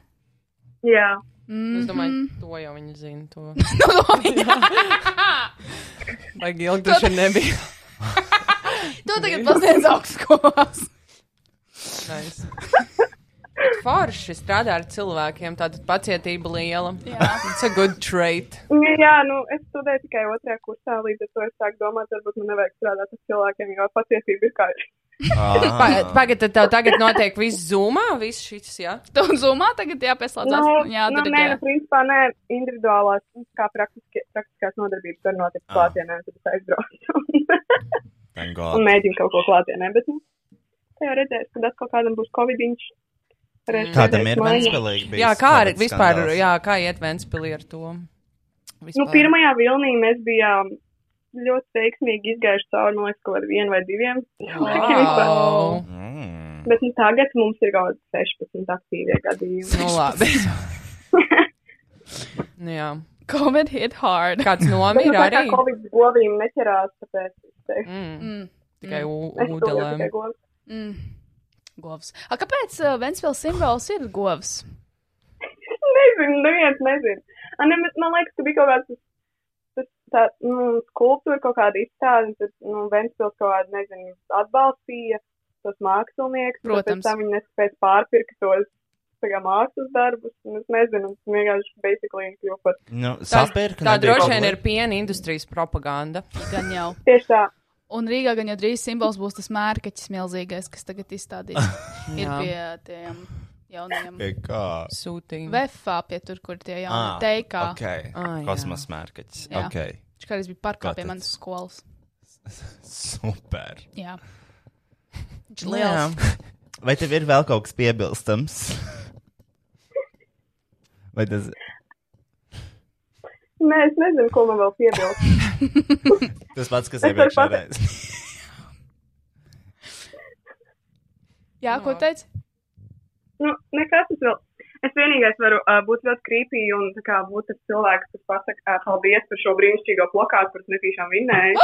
C: <laughs>
I: Jā.
C: Mm.
D: Es domāju, to jau viņi zina.
C: <laughs>
D: To.
C: no, to viņa.
D: Vai ilgi tas šeit nebija?
C: <laughs> To tagad pasniedz augstskolās.
D: Nice. Forši strādā ar cilvēkiem, tāda pacietība liela.
C: Jā.
D: It's a good trait.
I: Jā, nu es studēju tikai otrajā kursā, līdz ar to es sāku domāt, varbūt man nevajag strādāt ar cilvēkiem, jo patiesība ir kā ir.
F: Ah,
D: <laughs> Pa- Pagad, tad tev tagad notiek viss zumā, viss šis, jā?
C: Tu zumā tagad jāpieslēdzās.
I: Nu,
C: jā,
I: nu, nē, nu, principā, nē, individuālās, nu, kā praktiski, praktiskās nodarbības var notikt klātienē, un tad es aizbraucu
F: Thank
I: un
F: God.
I: <laughs> mēģinu kaut ko klātienē, bet, nu, tā jau redzēs, kad atkal kādam būs covidiņš. varēs
F: Kādam
I: sēdēt
F: ir
I: mājās.
F: Ventspilī bijis
D: Jā, kā ir
F: kāds
D: vispār,
F: skandāls?
D: jā, kā iet Ventspilī ar to?
I: Nu,
D: Vispār.
I: pirmajā vilnī mēs bijām ļoti veiksmīgi izgājuši cauri, man liekas, kaut ar vienu vai diviem. cilvēkiem vispār.
D: Wow.
I: Bet nu, tagad mums ir kaut kāds 16 aktīvie gadījumi.
F: Mm.
D: Nu,
F: <laughs>
D: labi. Nu, jā.
C: Covid hit hard.
D: Kāds
I: Bet, nu,
D: nomira
I: tā kā
D: arī?
I: Covid govīm neķerās, tāpēc es teiktu.
C: Mm.
D: Tikai ū-
I: Es to jau tikai
D: ūdelēm.
I: govu.
C: Mm. Govs. A, kāpēc uh, Ventspils simbols ir govs?
I: Nezinu, neviens nezinu. A, ne, bet man liekas, ka bija kaut kāds tas- tas tā, nu, skulptūra kaut kāda izstāde, un tad, nu, Ventspils kaut kāda, nezinu, atbalstīja tos mākslinieks.
C: Protams.
I: Pēc tam viņi nespēja pārpirkt tos, tā kā mākslas darbus, un es nezinu, tas vienkārši basically kļūst par.
F: Nu,
D: Tas-
F: sapirka,
D: Tā
F: nebija
D: droši
F: problēma.
D: vien ir piena industrijas propaganda.
C: Gan jau.
I: Tieši tā.
C: Un Rīgā gan jau drīz simbols būs tas mērķis milzīgais, kas tagad izstādīts.
D: <laughs>
C: ir
D: Jā.
C: pie tiem jauniem.
F: Pie kā?
D: Sūtījumi.
C: Vefā pie tur, kur tie
F: Ah,
C: jaunie teikā.
F: ok. Ah, jā. Kosmosa mērķis.
C: Jā.
F: Ok.
C: Viņš kādreiz bija parkā
F: Tātad.
C: pie manas skolas.
F: Super.
C: Jā. Viņš
F: Nu,
C: liels.
F: jā. Vai tev ir vēl kaut kas piebilstams? Vai tas
I: Nē, es nezinu, ko man vēl piebilst.
F: tas pats, kas
I: Es varu
F: iepriekšējā reizē?
C: Jā, ko teici?
I: Nu, nekas tas vēl. Es vienīgais varu uh, būt ļoti krīpīgi un tā kā būt tas cilvēks, kas pasaka, uh, paldies par šo brīnišķīgo plakātu, kurš netīšām vinnēja.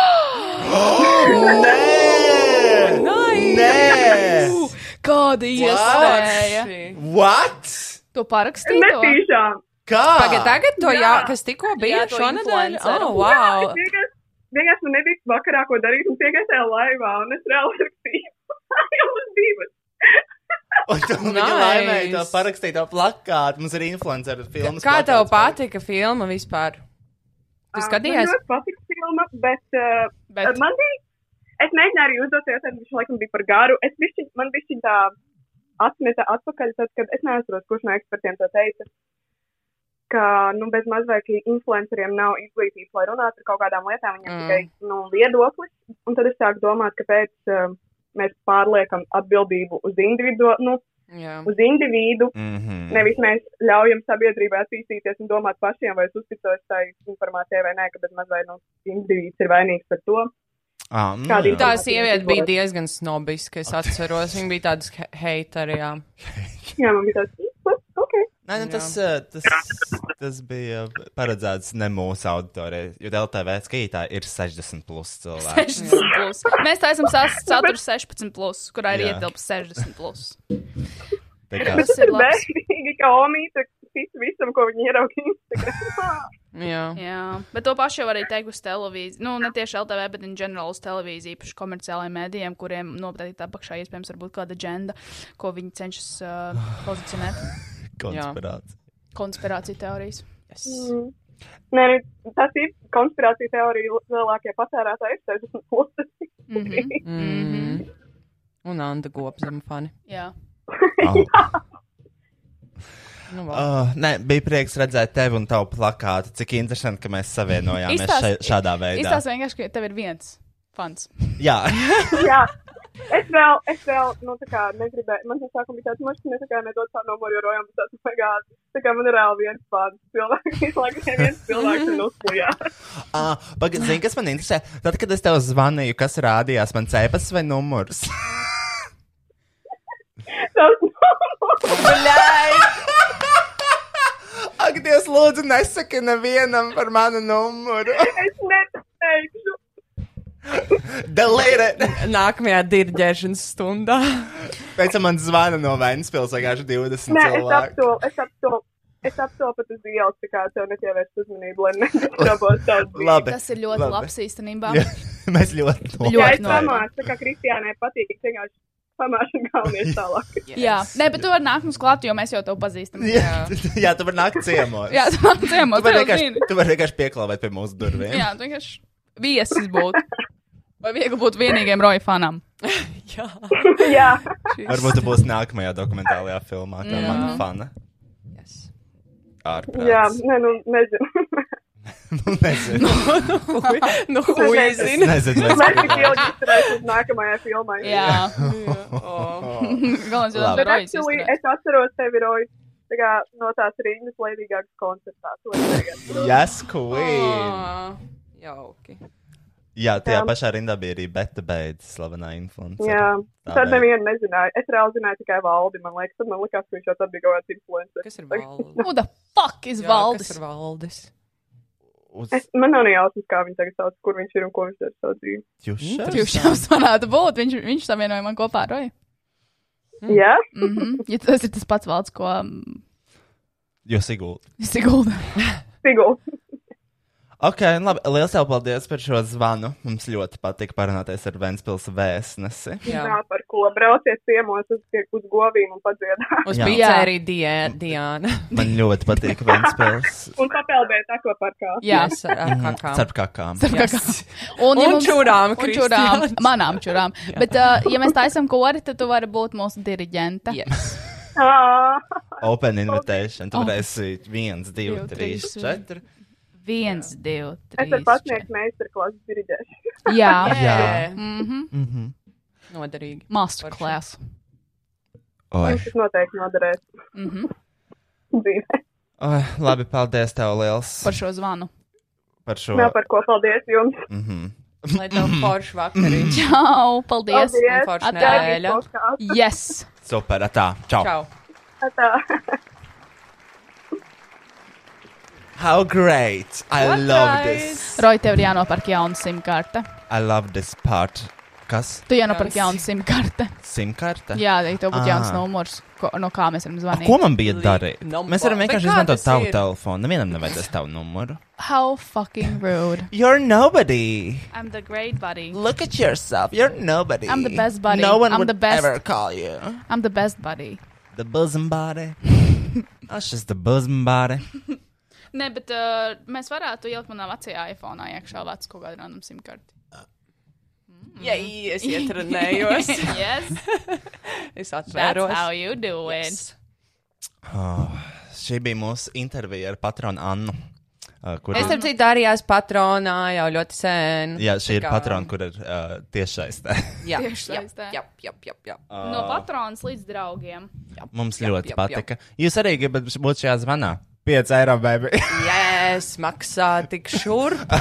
C: Nē! Kāda iespēja?
F: What?
C: To parakstīju?
I: Netīšām.
F: Kā?
D: Pagad, tagad to jā, kas tikko bija
C: Jā, to
D: šonadēļ?
C: influenceru.
D: Oh, wow!
I: Jā, es vienkārši- vienkārši man nebija vakarā, ko darīt, un piegājušajā laivā, un es reāli <laughs> rakstīju. Jau uz divas.
F: Viņa laimēja to parakstīto plakātu. Mums ir influenceru filmas.
D: Kā tev patika filma vispār? Tu
I: Ā,
D: skatījies?
I: Ah, Man ļoti patīk filma, bet, uh, bet. man bija. Es mēģināju arī uzdot jautājumu, viņš laikam bija par garu. Es bišķiņ, man bija tā atmeta atpakaļ, tad, kad es neatceros, kurš no ekspertiem to teica. Ka, nu, bez mazliet influenceriem nav izglītības, lai runātu par kaut kādām lietām. Viņam
D: Mm.
I: mm. tikai nu, viedoklis. Un tad es sāku domāt, kāpēc uh, mēs pārliekam atbildību uz individu. Nu,
D: Jā.
I: Uz individu, mm -hmm.
F: Mhm.
I: nevis mēs ļaujam sabiedrībai attīstīties un domāt pašiem, vai es uzticos tai informācijai vai nē, ka bez mazliet nu, individs ir vainīgs par to.
F: Ah, nu,
I: Kāda
F: jā.
D: Tā sieviete bija diezgan snobiska, es atceros. Viņa bija tāda sk- heitere, jā.
I: Jā, man bija tāds, ok.
F: Nē, nu, tas, eh, tas, tas bija paredzēts ne mūsu auditorijai, jo DLTV skatītāji ir 60 plus cilvēki.
C: 60 plus. Mēs taisām sas- saturu 16, plus, kurā ir
F: Jā.
C: ietilpts 60.
F: <laughs>
C: Plus.
F: Tā kā-
D: <laughs>
C: Tas ir labi.
I: bērnīgi, ka omīte tic visam, ko viņi ieraudzīja Instagram.
D: Jā.
C: Jā, bet to pašu jau arī teikt uz televīziju. Nu, ne tieši LTV, bet in general uz televīziju, īpaši komerciālajiem mēdījiem, kuriem noteikti apakšā iespējams varbūt kāda agenda, ko viņi cenšas
F: <sighs>
C: uh, pozicionēt.
F: Konspirācija.
C: Konspirācija teorijas. Yes.
I: Mm. Nē, nu, tas ir konspirācija teorija. Lielākie patērētāji ir 60 plus. Mm -hmm.
D: Mhm. Un Anna Gopzema fani.
C: Jā.
D: Nu, vēl.
F: Oh, nē, bija prieks redzēt tevi un tavu plakātu. Cik interesanti, ka mēs savienojāmies
C: Izstāst-
F: šai, šādā veidā.
C: Izstāsti vienkārši, ka tev ir viens fans.
F: Jā,
I: <laughs> Jā. Es vēl, es vēl, nu, tā kā negribēju, man tas sākumā bija tāds, "Nu, mašķi, ne tā kā nedod tā nomorojam, bet tāds, vai gāzi. Tā kā man ir reāli viens pāris cilvēks, <laughs> visu laiku neviens cilvēks ir uzbojā.
F: ah, pagaidi, zini, kas man interesē. Tad, kad es tev zvanīju, kas rādījās, man cēpas vai
I: <laughs>
F: numurs? Ak, Dievs, lūdzu, nesaki nevienam par manu numuru.
I: es neteikšu.
F: Delīri!
D: Nākamajā dirģēšanas stundā.
F: Pēc tam man zvana no Vēnspils, vienkārši 20
I: Nē, es
F: cilvēki.
I: apsolu, es apsolu. Es apsolu pat uz ielas, tā kā tev netievērst uzmanību, lai
F: <laughs>
I: nedabos tādu.
F: Labi.
C: Tas ir ļoti
F: labi.
C: labs īstenībā.
F: Jā, Mēs ļoti
I: Jā, es
F: nopietni.
I: pamācu, tā kā Kristiānai patīk, es vienkārši pamāšu un
F: <laughs>
I: galvenies tālāk.
C: Yes. Jā, nē, bet tu vari nākt mums klāt, jo mēs jau tevi pazīstam.
F: Jā, <laughs> jā, tu vari nākt ciemos.
C: Jā, tu vari nākt ciemos,
F: Tu
C: tu
F: vari
C: jau
F: vienkārši,
C: zini.
F: tu vari vienkārši pieklāvēt pie mūsu durvīm.
C: Jā, tu vienkārši viesis būtu. Vai viegli būt vienīgajam roja fanam?
I: Jā.
F: Varbūt tu būsi nākamajā dokumentālajā filmā, tā
C: Jā.
F: mana fana. Ārprāts.
I: Jā, nē, nu, nezinu. <laughs>
F: Nezinu.
D: Nu,
I: Es
D: hui,
I: nezinu.
D: zini.
F: Es nezinu, vai
I: Mēs tik
F: skatīties.
I: ilgi strādājam nākamajā filmā.
C: <laughs> Jā.
F: jau Labi.
I: Bet
F: Rojas
I: actually es atceros tevi, Rojas, tā kā no tās rindas laidīgākas koncertā. to es tagad.
F: Yes, queen!
D: Ā, Jauki.
F: Jā, tajā
I: Jā.
F: pašā rindā bija arī Beta Beidzs, slavenā influencer.
I: Jā,
F: Tā
I: tad
F: veidā.
I: nevienu nezināju. Es reāli zināju tikai valdi, man liekas, tad man likās, ka viņš jau tad bija kaut kāds influencer.
D: Kas ir
C: Who the fuck is
D: Jā,
C: Valdis?
D: kas ir Valdis?
I: Es, man nav ne jausmas, kā viņi tagad sauc, kur viņš ir un ko viņš ir savu dzīvi.
F: Tjuševs?
C: Tjuševs varētu būt. Viņš, viņš savienoja man kopā ar Roju.
D: Mm.
I: Jā?
C: Mhm. Ja tas ir tas pats valds, ko mm,
F: Jo Sigūda.
C: Sigulda.
D: <laughs>
I: Sigulda.
F: Ok, nu labi. Lielas tev paldies par šo zvanu. Mums ļoti patika parunāties ar Ventspils vēstnesi.
I: Jā, par ko brauciet ciemos uz, uz govīm un padziedāt.
D: Uz
F: Jā.
D: bija arī Die- Diana.
F: Man ļoti patīk
B: <laughs>
F: Ventspils.
I: Un papildēt akva parkā.
D: Jā, es ar ar
F: Mhm,
D: kakām.
F: Starp kakām.
C: Starp
D: Yes.
C: kakām.
D: Un čurām,
C: <laughs> un
D: Kristiāns.
C: čurām, <laughs> manām čurām. Bet, uh, ja mēs taisām kori, tad tu vari būt mūsu diriģente.
D: Yes.
F: Open invitation. Tu
C: Open.
F: varēsi viens, <laughs> divi, trīs, četri.
C: Viens, divi,
I: Es varu
C: trīs.
I: pasniegt meistarklases dzirdēšanu.
C: Jā.
D: <laughs>
F: Jā.
C: Mhm.
F: Mhm.
D: Noderīgi.
C: Masterclass.
F: Oi.
I: Tas noteikti noderēs.
C: Mm -hmm.
F: Oi, labi, paldies tev liels
C: Par šo zvanu.
F: par šo.
I: Nav par ko paldies jums.
F: Mhm.
D: Lai tev forši vakariņš.
C: Čau, paldies!
D: Un Forši nedēļa.
C: Yes!
F: Super, tā. Čau.
D: Čau.
F: How great. I love this.
C: Roj, tev ir jānopērk jauna simkarte.
F: I love this part. Kas?
C: Tu jānopērk jauna simkarte.
F: Simkarte?
C: <laughs> Jā, ja tev būtu jauns
F: Ā.
C: numurs, ko, no kā mēs varam zvanīt.
F: Ah. Ko man bija darīt?
C: number.
F: Mēs varam
C: Bet
F: vienkārši
C: kā
F: izmantot
C: tas
F: tavu
C: ir?
F: telefonu. Nevienam nevajadzēs tavu numuru.
C: How fucking rude.
F: You're nobody.
C: I'm the great buddy.
F: Look at yourself. You're nobody.
C: I'm the best buddy.
F: No one
C: I'm
F: would
C: the best.
F: ever call you.
C: I'm the best buddy.
F: The bosom
C: <laughs>
F: body. That's just the bosom body.
C: Nē, bet uh, mēs varētu ielikt manā vecajā iPhone iekšā vecu kaut kādu random simkarti.
D: Jā, es
F: <laughs>
D: ietrunējos.
C: <laughs> <laughs> yes.
D: Es
C: That's
D: atvēros.
C: how you do it. Yes.
F: Oh, šī bija mūsu intervija ar patronu Annu. Uh, kur
D: Es tam citu arī esmu patronā jau ļoti sen.
F: Jā, šī ir
D: Tā kā-
F: patrona, kur ir uh, tiešais.
C: <laughs>
D: Jā,
C: Tieši
D: jā,
C: saistē.
D: jā, jā, jā, jā.
C: No patronas līdz draugiem.
F: Mums
D: Jop,
F: ļoti
D: jop,
F: patika. Jūs arī gribat būt šajā zvanā? 5 eiro, baby.
D: Jā, es maksāju tik šurp.
F: <laughs>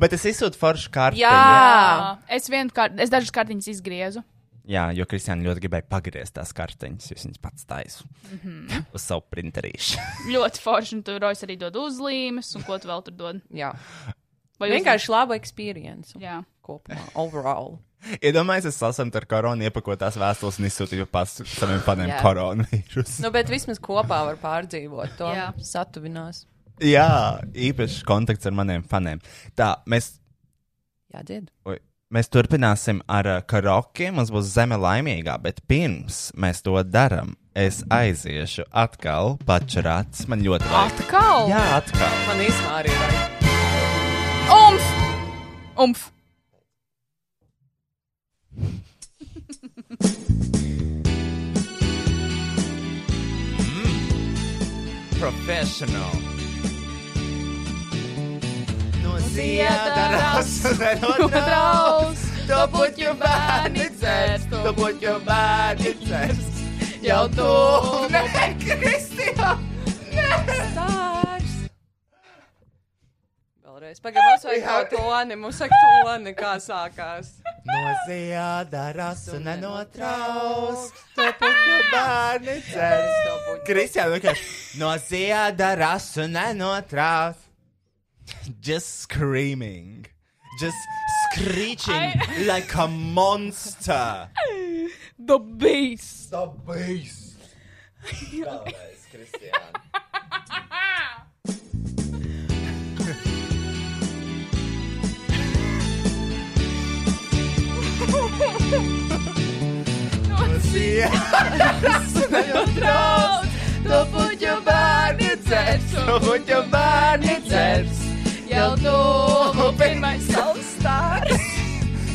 F: Bet es izsūtu foršu kārtu.
C: Jā, Eh, es vienu kārtu, es dažas kartiņas izgriezu.
F: Jā, jo Kristiāna ļoti gribēja pagriezt tās kartiņas, jūs viņas pats taisu
C: Mhm.
F: <laughs> uz savu printerīšu.
C: Ļoti forši, un tur rojas arī dod uzlīmes, un ko tu vēl tur dod.
D: Jā.
C: Vai
D: Vienkārši laba experience.
C: Jā.
D: Kopumā, overall.
F: Iedomājieties, es lasām ar koronu iepakotās vēstules un izsūtīju pa saviem faniem
D: Jā.
F: koronavīrusu.
D: Nu, bet vismaz kopā var pārdzīvot to.
C: Jā.
D: Satuvinās.
F: <laughs> Jā, īpašs kontakts ar maniem faniem. Tā, mēs,
D: Jā, dzied.
F: oj, mēs turpināsim ar uh, karaoke. Mums būs zeme laimīgā, bet pirms mēs to darām, es aiziešu atkal pačrāts. Man ļoti vajag.
C: Atkal?
F: Jā, atkal.
D: Man īstenībā arī ir.
C: Umf! Umf!
F: Professional. No
B: Ziedaras, no draus, to put your body first, to put your body first. Jau tu, ne, <laughs> Kristija, ne.
D: Stārs. Vēlreiz pagaidām, vai kaut ko lēni, mums saka, tu lēni, kā sākās.
F: No ziedaras un no traus,
D: to put your
F: body
D: first.
F: Kristija, vienkārši no ziedaras un no traus. Just screaming. Just screeching
B: I-
F: like a monster.
C: The beast.
F: The beast. Vēlreiz, Kristija.
B: é Tu puķu bērni dzers, tu puķu bērni dzers. Jau tu pirmais saules stārs.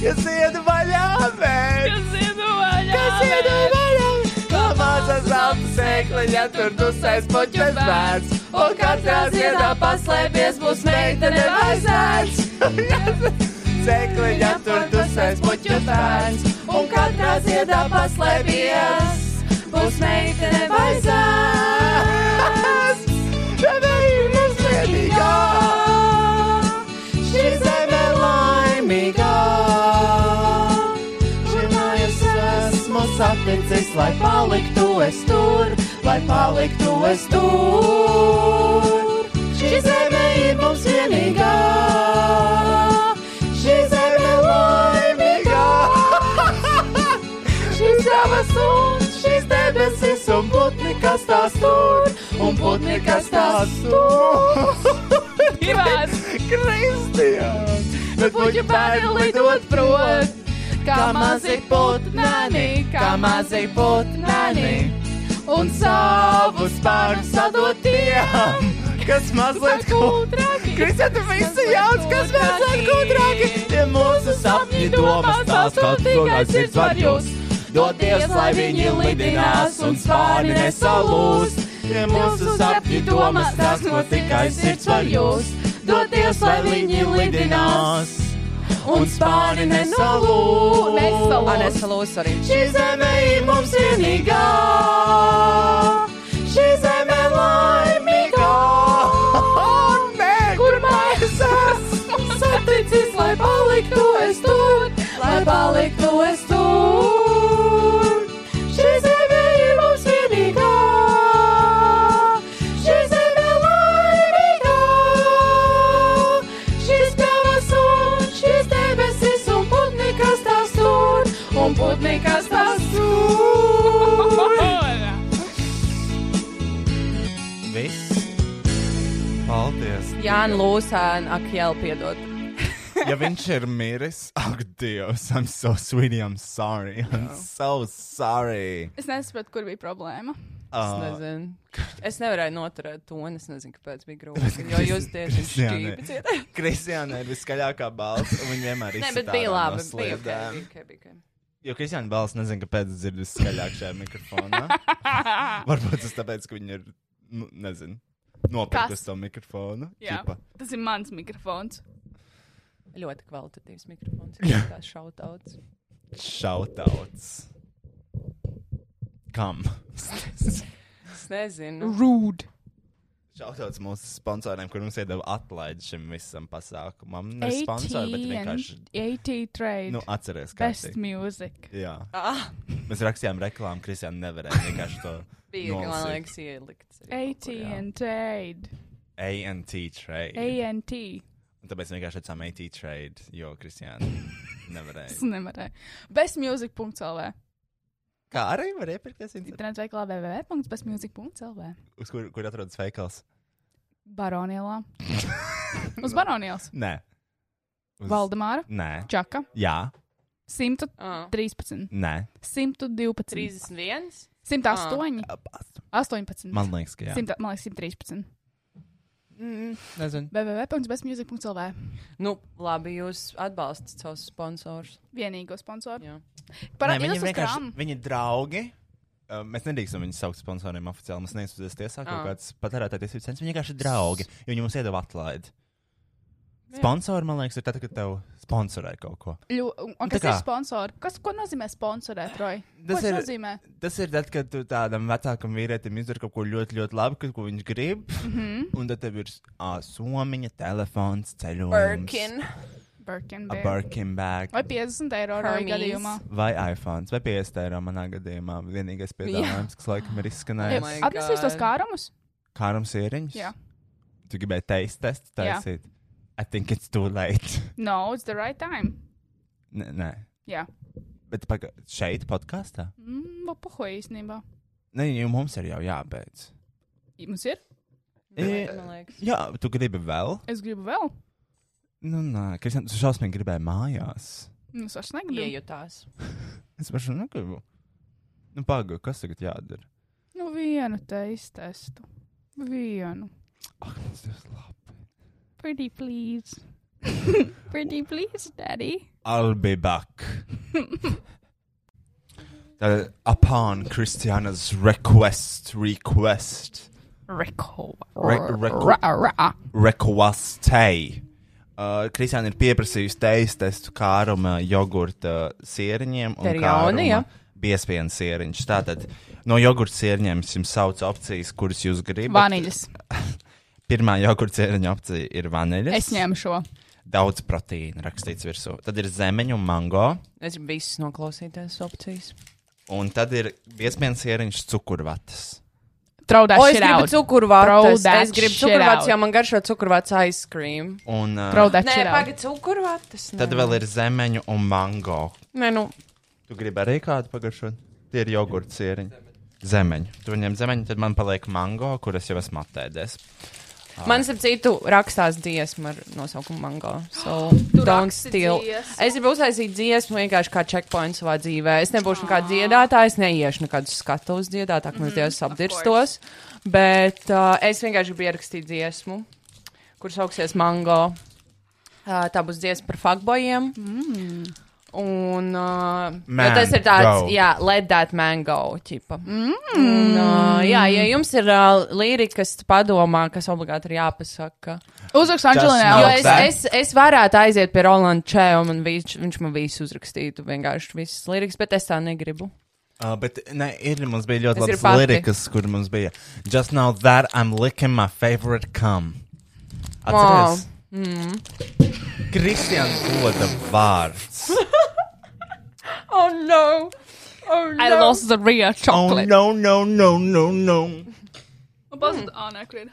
B: Ja ziedu vaļā vēl. Ja ziedu vaļā Ja ziedu vaļā Kā maza zelta sēkla, ja tur dusēs puķu bērns. Un katrā ziedā paslēpies būs meitene vai zērts. Sēkla, ja tur dusēs puķu bērns. Un katrā ziedā paslēpies būs meitene baisās. Tev ir mazliedīgā, šī zeme laimīgā. Žinājos esmu saticis, lai paliktu es tur, lai paliktu es tur. Šī zeme ir mums vienīgā, šī zeme laimīgā. Šis savas un šis debesis un putni, kas tās tur, un putni, kas tās <laughs> tur. Ivans! Kristians! Bet puķu bērni lidot prot, kā mazi putnani, kā mazi putnani, un savu spārnu sadot tiem, <laughs> kas mazliet kūtrāki. Kristian, tu visi jauc, kas mazliet kūtrāki. Tie mūsu sapņi domās tās, kad runās ir svarjūs. Doties, lai viņi lidinās un spārni nesalūs. Ja mūsu sapņi domas tās no tikai sirds var jūs. Doties, lai viņi lidinās un spārni nesalūs.
D: Ā, nesalūs arī.
B: Šī zeme ir mums vienīgā. Šī zeme laimīgā.
D: Oh,
B: Nē, kur mēs esam saticis, lai paliktu
D: <laughs> Man lūsēna, ak, jau piedod.
B: ja viņš ir miris, ak, Dievs, I'm so sweetie, I'm sorry. I'm so sorry.
C: Es nesaprotu, kur bija problēma.
B: Ah.
D: Es nezinu. Es nevarēju noturēt to, un es nezinu, kāpēc bija
B: <laughs>
D: grūti. Jo jūs tieši šķīpiciet.
B: Kristiāna ir viskaļākā balss, un viņa vienmēr ir.
D: Nē, bet bija labi. Bija ok, bija ok, bija ok.
B: Jo Kristiāna balss nezinu, kāpēc dzird viskaļāk šajā
C: <laughs>
B: mikrofonā. Varbūt tas tāpēc, ka viņa ir, nu, nezinu,
C: Kas?
B: nopirkusi to mikrofonu.
C: Jā,
B: Ķipa.
C: tas ir mans mikrofons.
D: Ļoti kvalitatīvs mikrofons.
B: <laughs>
D: ir Tā šautauts.
B: Shoutouts. Kam?
D: Es
B: Mm.
D: nezinu.
C: Rude.
B: Shoutouts mūsu sponsoriem, kur mums iedeva atlaidi šim visam pasākumam. Ne sponsori, bet vienkārši.
C: AT trade.
B: Nu, atceries, kā
C: Best music.
B: Jā.
C: Ah.
B: Mēs rakstījām reklāmu, Kristiāna nevarēja vienkārši to.
D: Bija, man
B: nolasīt.
D: liekas, ielikts.
C: AT and trade.
B: ANT trade.
C: ANT.
B: Un tāpēc vienkārši atsām AT trade, jo Kristiāna nevarēja.
C: Es nevarēju. Best music. CELV.
B: Kā arī var iepirkties internetā?
C: Internet veiklā www.bestmusic.lv.
B: Uz kur, kur atrodas <laughs> veikals?
C: Baronielā. Uz Baronielas.
B: Nē. Uz-
C: Valdemāra.
B: Nē.
C: Čaka.
B: Jā.
C: 113.
B: Nē.
C: 112.
D: 31?
C: 108. 18.
B: Ah. Man liekas, ka jā.
C: 100, man liekas, 113.
D: Mm.
B: Nezinu.
C: www.bestmusic.lv.
D: Nu, labi, jūs atbalstat savus sponsorus.
C: Vienīgo sponsoru.
D: Jā.
C: Parā,
B: Nē,
C: Nē,
B: viņi
C: uz
B: vienkārši-
C: krāmu.
B: Viņi draugi. Uh, Mēs nedrīkstam viņus saukt par sponsoriem oficiāli. Mēs neizsūdzēsim tiesā kaut
C: Ā.
B: kādas patērētāju tiesību centus. Viņi vienkārši ir draugi. jo Viņi mums iedeva atlaidi.
C: Jā.
B: Sponsori, man liekas, ir tad, kad tev sponsorē kaut ko.
C: Ļu, un, un
B: Tā
C: kas ir
B: kā-
C: sponsori? Kas, ko nozīmē sponsorēt, Roy? Ko tas
B: ir-
C: nozīmē?
B: Tas ir tad, kad tu tādam vecākam vīrietim izdari kaut ko ļoti, ļoti labu, kad- ko viņš grib.
C: Mhm.
B: Un tad tev ir uh, somiņa, telefons, ceļojums.
C: Birkin. Birkin.
B: A
C: beer.
B: Birkin bag.
C: Vai 50 eiro Roy
D: Hermes.
C: gadījumā?
B: Vai iPhone, vai 50 eiro manā gadījumā. Vienīgais piedāvājums, kas laikam ir
C: Jā,
B: izskanējis.
C: Atnesīs tos kārumus?
B: Kārums ieriņš.
C: Jā.
B: Tu gribēji taisa testu
C: Jā.
B: taisīt. I think it's too late. <laughs>
C: No, it's the right time.
B: Nē, nē.
C: Jā.
B: Bet paga, šeit podkāstā?
C: Mm, Puho īstenībā.
B: Nē, jau mums ir jau jābeidz.
C: Mums ir?
B: E.
C: Man liekas.
B: jā, tu gribi vēl?
C: Es gribu vēl.
B: Nu, nē, Kristian, tu šausmīgi gribēji mājās.
C: Nu, Es vairs negribu.
D: Iejutās.
B: Es pašu negribu. Nu, paga, kas tagad jādara?
C: Nu, vienu te iztestu. Vienu.
B: Ak, tas ir labi.
C: Pretty please. Pretty please, daddy.
B: I'll be <laughs> back. Tad, upon Kristiana's request, request.
C: Reko.
B: Re
C: Ra- ra.
B: reku- Requestei. Uh, Kristiāna ir pieprasījusi teijas testu kāruma jogurta sieriņiem un
D: Te ir jauni, ja?
B: Biespienas sieriņš. Tātad no jogurta sieriņiem es jums saucu opcijas, kuras jūs gribat.
C: Vaniļas.
B: Pirmā jogurta sieriņa opcija ir vaniļas.
C: Es ņēmu šo.
B: Daudz proteīna rakstīts virsū. Tad ir zemeņu un mango.
D: Es gribu visus noklausīties opcijas.
B: Un tad ir biespienas sieriņš cukurvatas.
C: Traudās.
D: O, es gribu cukurvātus.
C: Throw that
D: Es gribu
C: shit out.
D: cukurvātus, jo man garšo cukurvāts ice cream.
B: Un, ā, Throw that
D: Nē,
B: shit out.
D: pagaidi, cukurvātus.
B: Tad vēl ir zemeņu un mango.
D: Nē, nu.
B: Tu gribi arī kādu pagaršot? Tie ir jogurts sieriņi. Zemeņu. Tu ņem zemeņu, tad man paliek mango, kuras jau esmu attēdies.
D: Man, starp citu, rakstās dziesma ar nosaukumu Mango.
C: <gasps>
D: So,
C: Tu
D: don't
C: raksti
D: steal.
C: dziesmu?
D: Es gribu uztaisīt dziesmu vienkārši kā checkpoint savā dzīvē. Es nebūšu nekāds dziedātājs, neiešu nekādus skatus dziedātājus, mm
C: Ah.
D: -hmm,
C: Mhm,
D: Dievs
C: of
D: apdirstos. Bet uh, es vienkārši gribu ierakstīt dziesmu, kur sauksies Mango. Uh, tā būs dziesma par fakbojiem. Mm. Un uh, jo tas ir tāds,
C: Mango.
D: jā, let that mango, tipa. Un, uh, jā, ja jums ir uh, līrikas padomā, kas obligāti ir jāpasaka.
C: Uzrakst Anģelinai
D: Jo
C: Aleksai.
D: es, es, es varētu aiziet pie Rolanda Čēva un viņš, viņš man visu uzrakstītu, vienkārši visas līrikas, bet es tā negribu.
B: Uh, bet ne, ir, mums bija ļoti
D: Es gribu
B: labas
D: pati.
B: lirikas, kur mums bija Just now that I'm licking my favorite cum. Atceries?
D: Wow. Mm.
B: Kristians Goda vārds.
D: Oh, no! Oh, no!
C: I lost the real chocolate.
B: Oh, no, no, no, no, no.
C: Un pazud ānā, kur ir.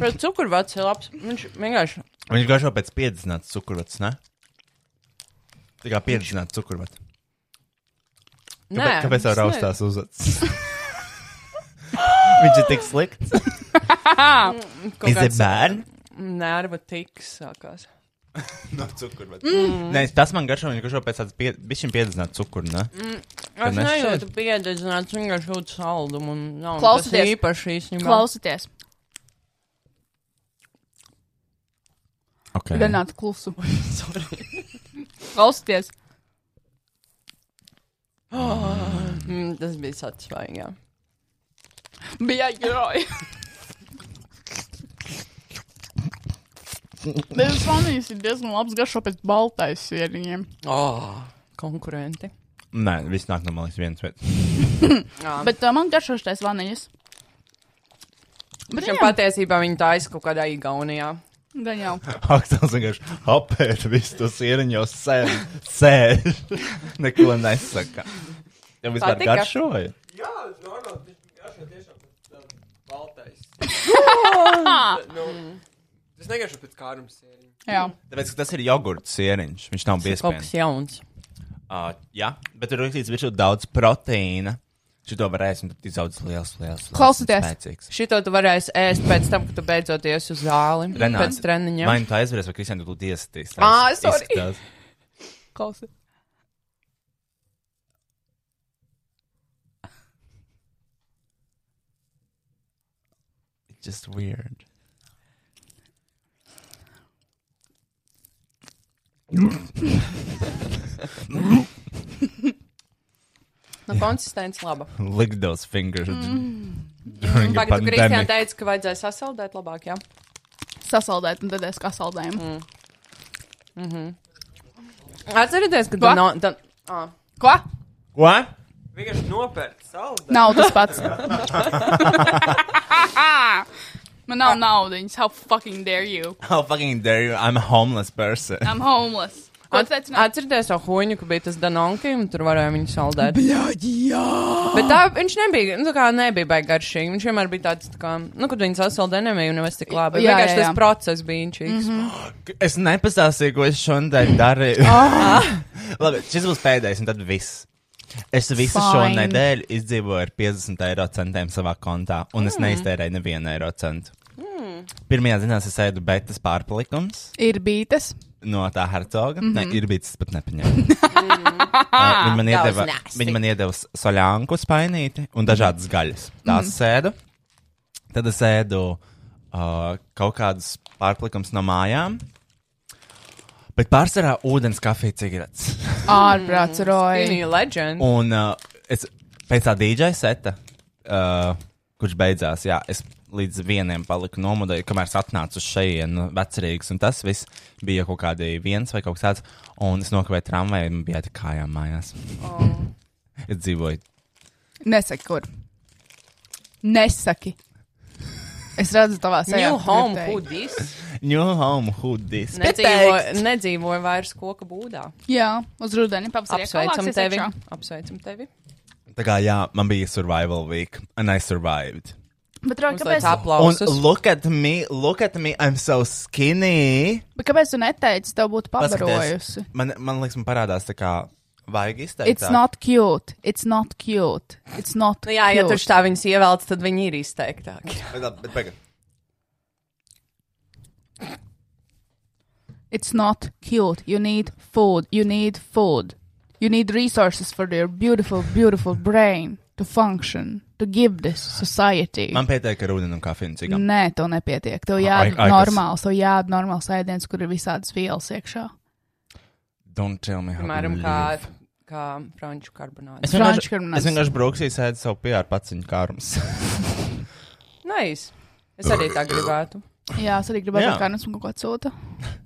D: Bet cukurvats ir labs. Viņš vienkārši.
B: Viņš garšo pēc piedzināts cukurvats, ne? Tā kā piedzināts cukurvats.
D: Nē,
B: Kāpēc, kāpēc tev
D: es
B: raustās uz acis? <laughs> Viņš ir tik slikts.
D: Kaut
B: Is it
D: kāds-
B: bad?
D: Nerva tiks sākās.
B: no cukuru. Bet...
D: Mm.
B: Mm. Nē, tas man garšo, viņš garšo pēc tādas pie- bišķiņ piedzināt cukuru, ne?
D: Mm,
B: Kad
D: Es
B: mēs-
D: nejūtu pieredzināts, vienkārši jūtu saldumu. un Nav nekas
C: Klausieties,
D: īpaši īstenībā.
C: Klausieties,
B: Okay.
C: Renāta klusu.
B: <laughs>
C: Klausieties,
D: Mm, tas bija satisfying, jā.
C: bija <laughs> jāgrauj. Dezvanīs ir diezgan labs garšo pēc baltais sieriņiem.
D: Oh, konkurenti.
B: Nē, viss nāk no malas viens. Bet... <laughs>
C: Bet uh, man garšo šis vaniļas.
D: Bet viņam patiesībā viņi taisa kaut kādā Igaunijā.
C: Gan <laughs> jau.
B: Aksels vienkārši apēd visu to sieriņu jau sēž. Sēž. <laughs> Neko nesaka. Tev vispār
K: Patika?
B: garšoja.
K: Jā, tas normāli. tas Garšo tiešām pēc tā
C: <laughs>
K: baltais. <laughs> nu, tas negaršo pēc kārums sēriņa.
C: Jā.
B: Tāpēc, ka tas ir jogurts sieriņš. Viņš nav bijis
D: kaut kas jauns.
B: Uh, jā, bet tur ir rakstīts, ka ir daudz proteīna. Šito varēsim tad izaugt liels, liels. liels un spēcīgs.
D: Šito tu varēsi ēst pēc tam, kad tu beidzot ies uz zāli.
B: Renāts,
D: Pēc treniņiem.
B: Vai nu tā aizveries, vai Kristiāna tu tiesatīs? tā
D: Ā,
B: es-
D: Ah, sorry.
B: izskatās.
D: Klausies.
B: It's just weird.
D: Nu, konsistence laba.
B: Lick those fingers.
D: Mm.
B: During a
D: Pagaidu, Kristija
B: pandemic.
D: teica, ka vajadzēja sasaldēt labāk, jā.
C: Sasaldēt, un tad es kā saldējumu.
D: Mm. Mm -hmm. Atcerieties, ka
C: Ko?
D: tā nav. Dan... Ah.
C: Ko?
B: Ko?
K: Vienkārši nopērt saldu.
C: Nav tas
D: <laughs>
C: pats. Man nav naudas. How fucking dare you?
B: How fucking dare you? I'm a homeless person.
C: I'm homeless. Ko tu teici?
D: Atcerieties to huņu, ka bija tas Danonki, un tur varēja viņu saldēt.
C: jā!
D: Bet tā viņš nebija, nu, tā kā nebija baigi garšīgi. Viņš vienmēr bija tāds, tā kā, nu, kad viņi sasaldē, nebija nevis tik labi.
C: Jā,
D: Jā, Vienkārši
C: jā,
D: jā, jā.
C: jā.
D: tas process bija inčīgs. Mm -hmm.
B: Es nepastāstīju, ko es šodien darīju.
D: Ah.
B: <laughs> Labi, šis būs pēdējais, un tad viss. Es visu Fine. šo
D: Fine.
B: nedēļu izdzīvoju ar 50 eiro centiem savā kontā, un es
C: Mm.
B: mm. neiztērēju nevienu eiro centu.
C: Mm.
B: Pirmajā ziņā es ēdu betas pārpalikums
C: Ir bītas.
B: no tā hercoga. Mm
C: Mhm.
B: -hmm. Nē, ir bijis tas pat nepaņēma.
C: <laughs>
B: Uh, viņa, man
C: That was
B: iedeva,
C: nasty. Mhm.
B: viņa man iedeva s- soļānku spainīti un dažādas gaļas. Tās mm. sēdu. Tad es ēdu uh, kaut kādus pārplikumus no mājām. Bet pārsvarā ūdens, kafija, cigaretes.
C: Ārprāts, Roja.
D: Skinny legend.
B: Un uh, es pēc tā dīdžai seta, uh, kurš beidzās, jā, es līdz vienam paliku nomodēju, kamēr es atnācu uz šejienu vecerīgs, un tas viss bija kaut kādi viens vai kaut kas tāds, un es nokavēju tramvaju, un man bija jāiet kājām mājās.
C: Oh.
B: <laughs> es dzīvoju.
C: Nesaki, kur. Nesaki. Es redzu tavā sejā.
D: New
C: tu
D: home,
C: gribi
D: who
C: teikt.
D: this?
B: New home, who this?
D: Nedzīvoja nedzīvo vairs koka būdā.
C: Jā, uz rudeni pavasarī.
D: Apsveicam
C: kolāksies
D: tevi.
C: iekšā.
D: Apsveicam tevi.
B: Tā kā, jā, man bija survival week, and I survived.
C: Bet, Roja,
D: Mums lai
C: kāpēc,
D: tā aplausus.
B: Un look at me, look at me, I'm so skinny.
C: bet kāpēc tu neteici, tev būtu
B: Paskaties,
C: pabarojusi?
B: Man, man liekas, man parādās tā kā vajag izteikt.
C: It's not cute. It's not cute. It's not.
D: Nu, jā, ja
C: cute.
D: tur tā viņas ievelc, tad viņi ir izteiktāki.
B: Bet, bet,
C: It's not cute. You need food. You need food. You need resources for your beautiful, beautiful brain to function, to give this society.
B: Man pieteikti ar ūdeni un kafiju. Cik
C: Nē, to nepietiek. Tev
B: Ai-
C: jādara
B: ai, kas?
C: normāls, tev jādara normāls ēdiens, kur ir visādas vielas iekšā.
B: Don't tell me. how to
D: Piemēram,
B: live.
D: kā, kā franču karbonāde.
B: Es vienkārši, es vienkārši brauksīju, sēdu savu PR paciņu kārums.
D: Nē, es arī tā gribētu.
C: Jā, es arī gribētu,
B: Jā.
C: lai Kārnis man kaut ko atsūta.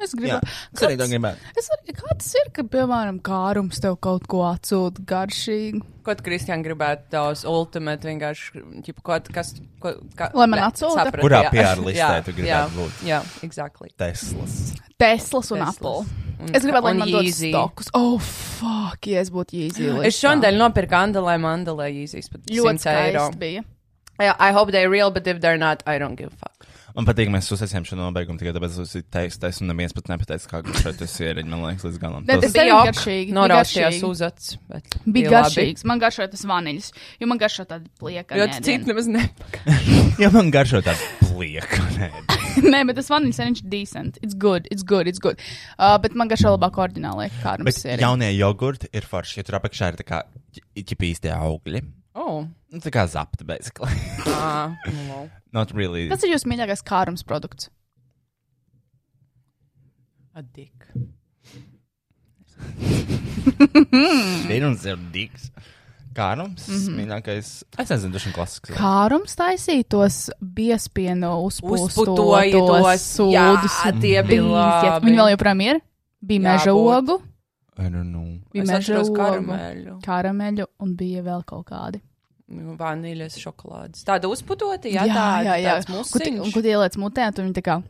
C: Es gribu.
B: Jā, es arī tā gribētu.
C: Es arī, kāds ir, ka, piemēram, Kārums tev kaut ko atsūta garšīgu?
D: Ko tu, Kristian, gribētu tavs ultimate vienkārši, ķip, ko, tu- kas, ko, kā,
C: Lai man atsūta?
D: sapratu,
B: Kurā
D: jā. <laughs>
B: PR listē
D: Jā,
B: tu gribētu
D: jā,
B: būt?
D: Jā, exactly.
B: Teslas.
C: Teslas un
D: Teslas.
C: Apple.
D: Un-
C: Es gribētu, lai
D: un
C: man dotu
D: Yeezy.
C: stokus. Oh, fuck, ja es būtu Jīzī.
D: Es šodien nopirku Andalai Mandalai īsīs pat
C: Ļoti
D: 100 eiro.
C: skaisti bija.
D: Jā, I hope they're real, but if they're not, I don't give a fuck.
B: Man patīk, mēs uzsācām šo nobeigumu tikai tāpēc, ka tas ir teikstais, un neviens pat nepateica, kā gluži šeit tas ir. Man liekas, līdz galam.
C: Ne, tas
B: Tas-
C: bija
D: ok,
C: garšīgi.
D: noraustījās uzacis, bet
C: Bija
D: bija labi.
C: garšīgs. Man garšo tas vaniļas, jo man garšo tāda plieka.
D: Jo tu citu nemaz ne.
B: Jā, man garšo tāds lieka. <laughs> Nē,
C: <laughs> Nē, bet tas vaniļas viņš ir decent. It's good, it's good, it's good. Uh, bet man garšo labāk ordinālai kārums
B: Bet jaunie jogurti ir forši, jo tur apakšā ir tā kā ķipīstie augļi.
C: Oh.
B: Nu, tā kā zapta, basically.
D: Ah, nu.
B: Not really.
C: Tas ir jūsu mīļākais kārums produkts.
D: A dick.
B: Vienums ir diks. Kārums, mm -hmm.
C: Mhm.
B: mīļākais. Es nezinu, tas ir klasisks.
C: Kārums taizsītos biespienu uzpūstotos
D: Uzputojotos, jā,
C: sūdus.
D: tie bija labi.
C: Viņi vēl joprojām ir. Bija meža
D: Jābūt.
C: ogu, bija
D: Es
C: meža
D: atceros
C: ogu,
D: karameļu.
C: karameļu un bija vēl kaut kādi.
D: Nu, Vanīļas šokolādes. Tāda uzputota, jā,
C: jā,
D: tāda,
C: jā, jā.
D: tāds
C: Kur ti-
D: musiņš.
C: un, Kur tie ieliec mutē, tad viņi tā kā.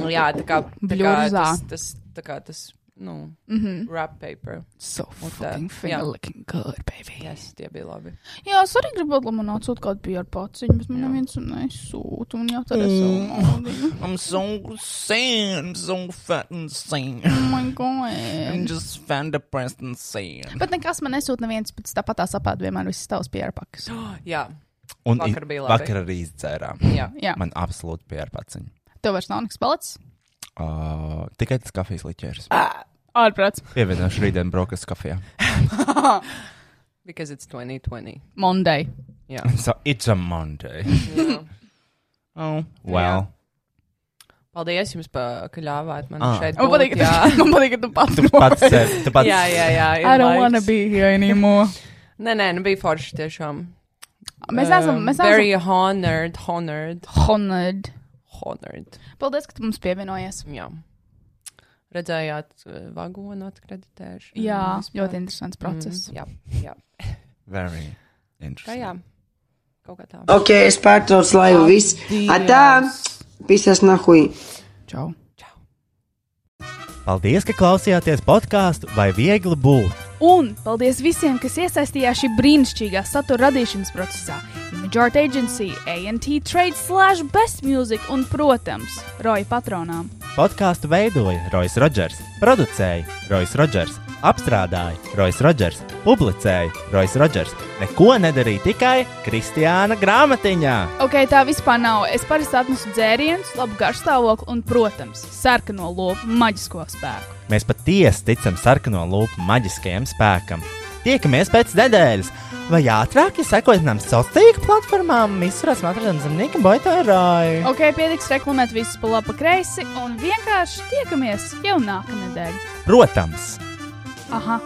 D: Nu Jā, tā kā tā kā
C: Bļurzā.
D: Tas, tas, tā kā tas, nu,
C: Mhm.
D: wrap paper.
C: So
D: Un tā,
C: fucking finger
D: jā.
C: looking good, baby.
D: Yes, tie bija labi.
C: Jā, es arī gribētu, lai man atsūta kaut kāda pīrāciņa, bet man neviens nesūta. Un jau tādā
B: Mm. I'm so sad, I'm so fat and sad. Oh
C: my god.
B: I'm just fan depressed and sad.
C: Bet nekas man nesūta, neviens pēc tāpat tā sapāta vienmēr visas tavas
D: <gasps>
C: pīrāpakas.
D: Jā.
B: Un
D: Vakar
B: i-
D: bija labi.
B: vakar arī izdzērām.
D: Jā.
C: Jā.
B: Man absolūti pierpaciņa.
C: Tev vairs nav nekas palicis?
B: Uh, tikai tas kafijas liķers.
C: Ārprāts.
B: Pievienošu rītdien brokastu kafijā.
D: Because it's 2020.
C: Monday.
D: Jā. <laughs>
B: So it's a Monday.
D: Jā.
B: oh. Well.
D: Paldies jums, pa, ka ļāvāt man
B: Ah.
D: šeit
C: Man
D: būt.
C: patīk, ka- <laughs>
D: jā.
C: man patīk, ka tu pats
B: Tu pats noesi. sev- tu pats-
D: <laughs> Jā, jā, jā. ir
C: I don't
D: laiks.
C: wanna be here anymore.
D: Nē, nē, nu bija forši tiešām.
C: <laughs>
D: Um,
C: Mēs esam- mēs esam-
D: Very honored, honored.
C: Honored.
D: Honored.
C: Paldies, ka tu mums pievienojies.
D: Jā. Redzējāt eh, vagonu atkreditēšanu.
C: Jā,
D: vispār.
C: Mm, ļoti interesants process.
D: Mm, jā, jā.
B: Very
D: Kā
B: interesting.
D: jā. Kaut kā tā.
K: Ok, es pārtraucu laivu. Viss. Atā! Pisas nahui.
C: Čau.
F: Paldies, ka klausījāties podkāstu vai viegli būt.
C: Un paldies visiem, kas iesaistījās šī brīnišķīgā satura radīšanas procesā. Majority Agency, ANT Trade, Slash, Best Music un, protams, Roja patronām.
F: Podkāstu veidoja Rois Rodžers, producēja Rois Rodžers, apstrādāja Rois Rodžers, publicēja Rois Rodžers. Neko nedarīja tikai Kristiāna grāmatiņā.
C: Ok, tā vispār nav. Es parasti atnesu dzērienus, labu garšstāvokli un, protams, sarkano lopu maģisko spēku.
F: Mēs patiesi ticam sarkano lupu maģiskajam spēkam. Tiekamies pēc nedēļas, vai ātrāk, ja sekojat mums sociālajām tīkla platformām, visur esmu atrodams Zemnieka Boitārāja.
C: Ok, pietiks reklamēt visus pa labi, pa kreisi un vienkārši tiekamies jau nākamnedēļ.
F: Protams!
C: Aha!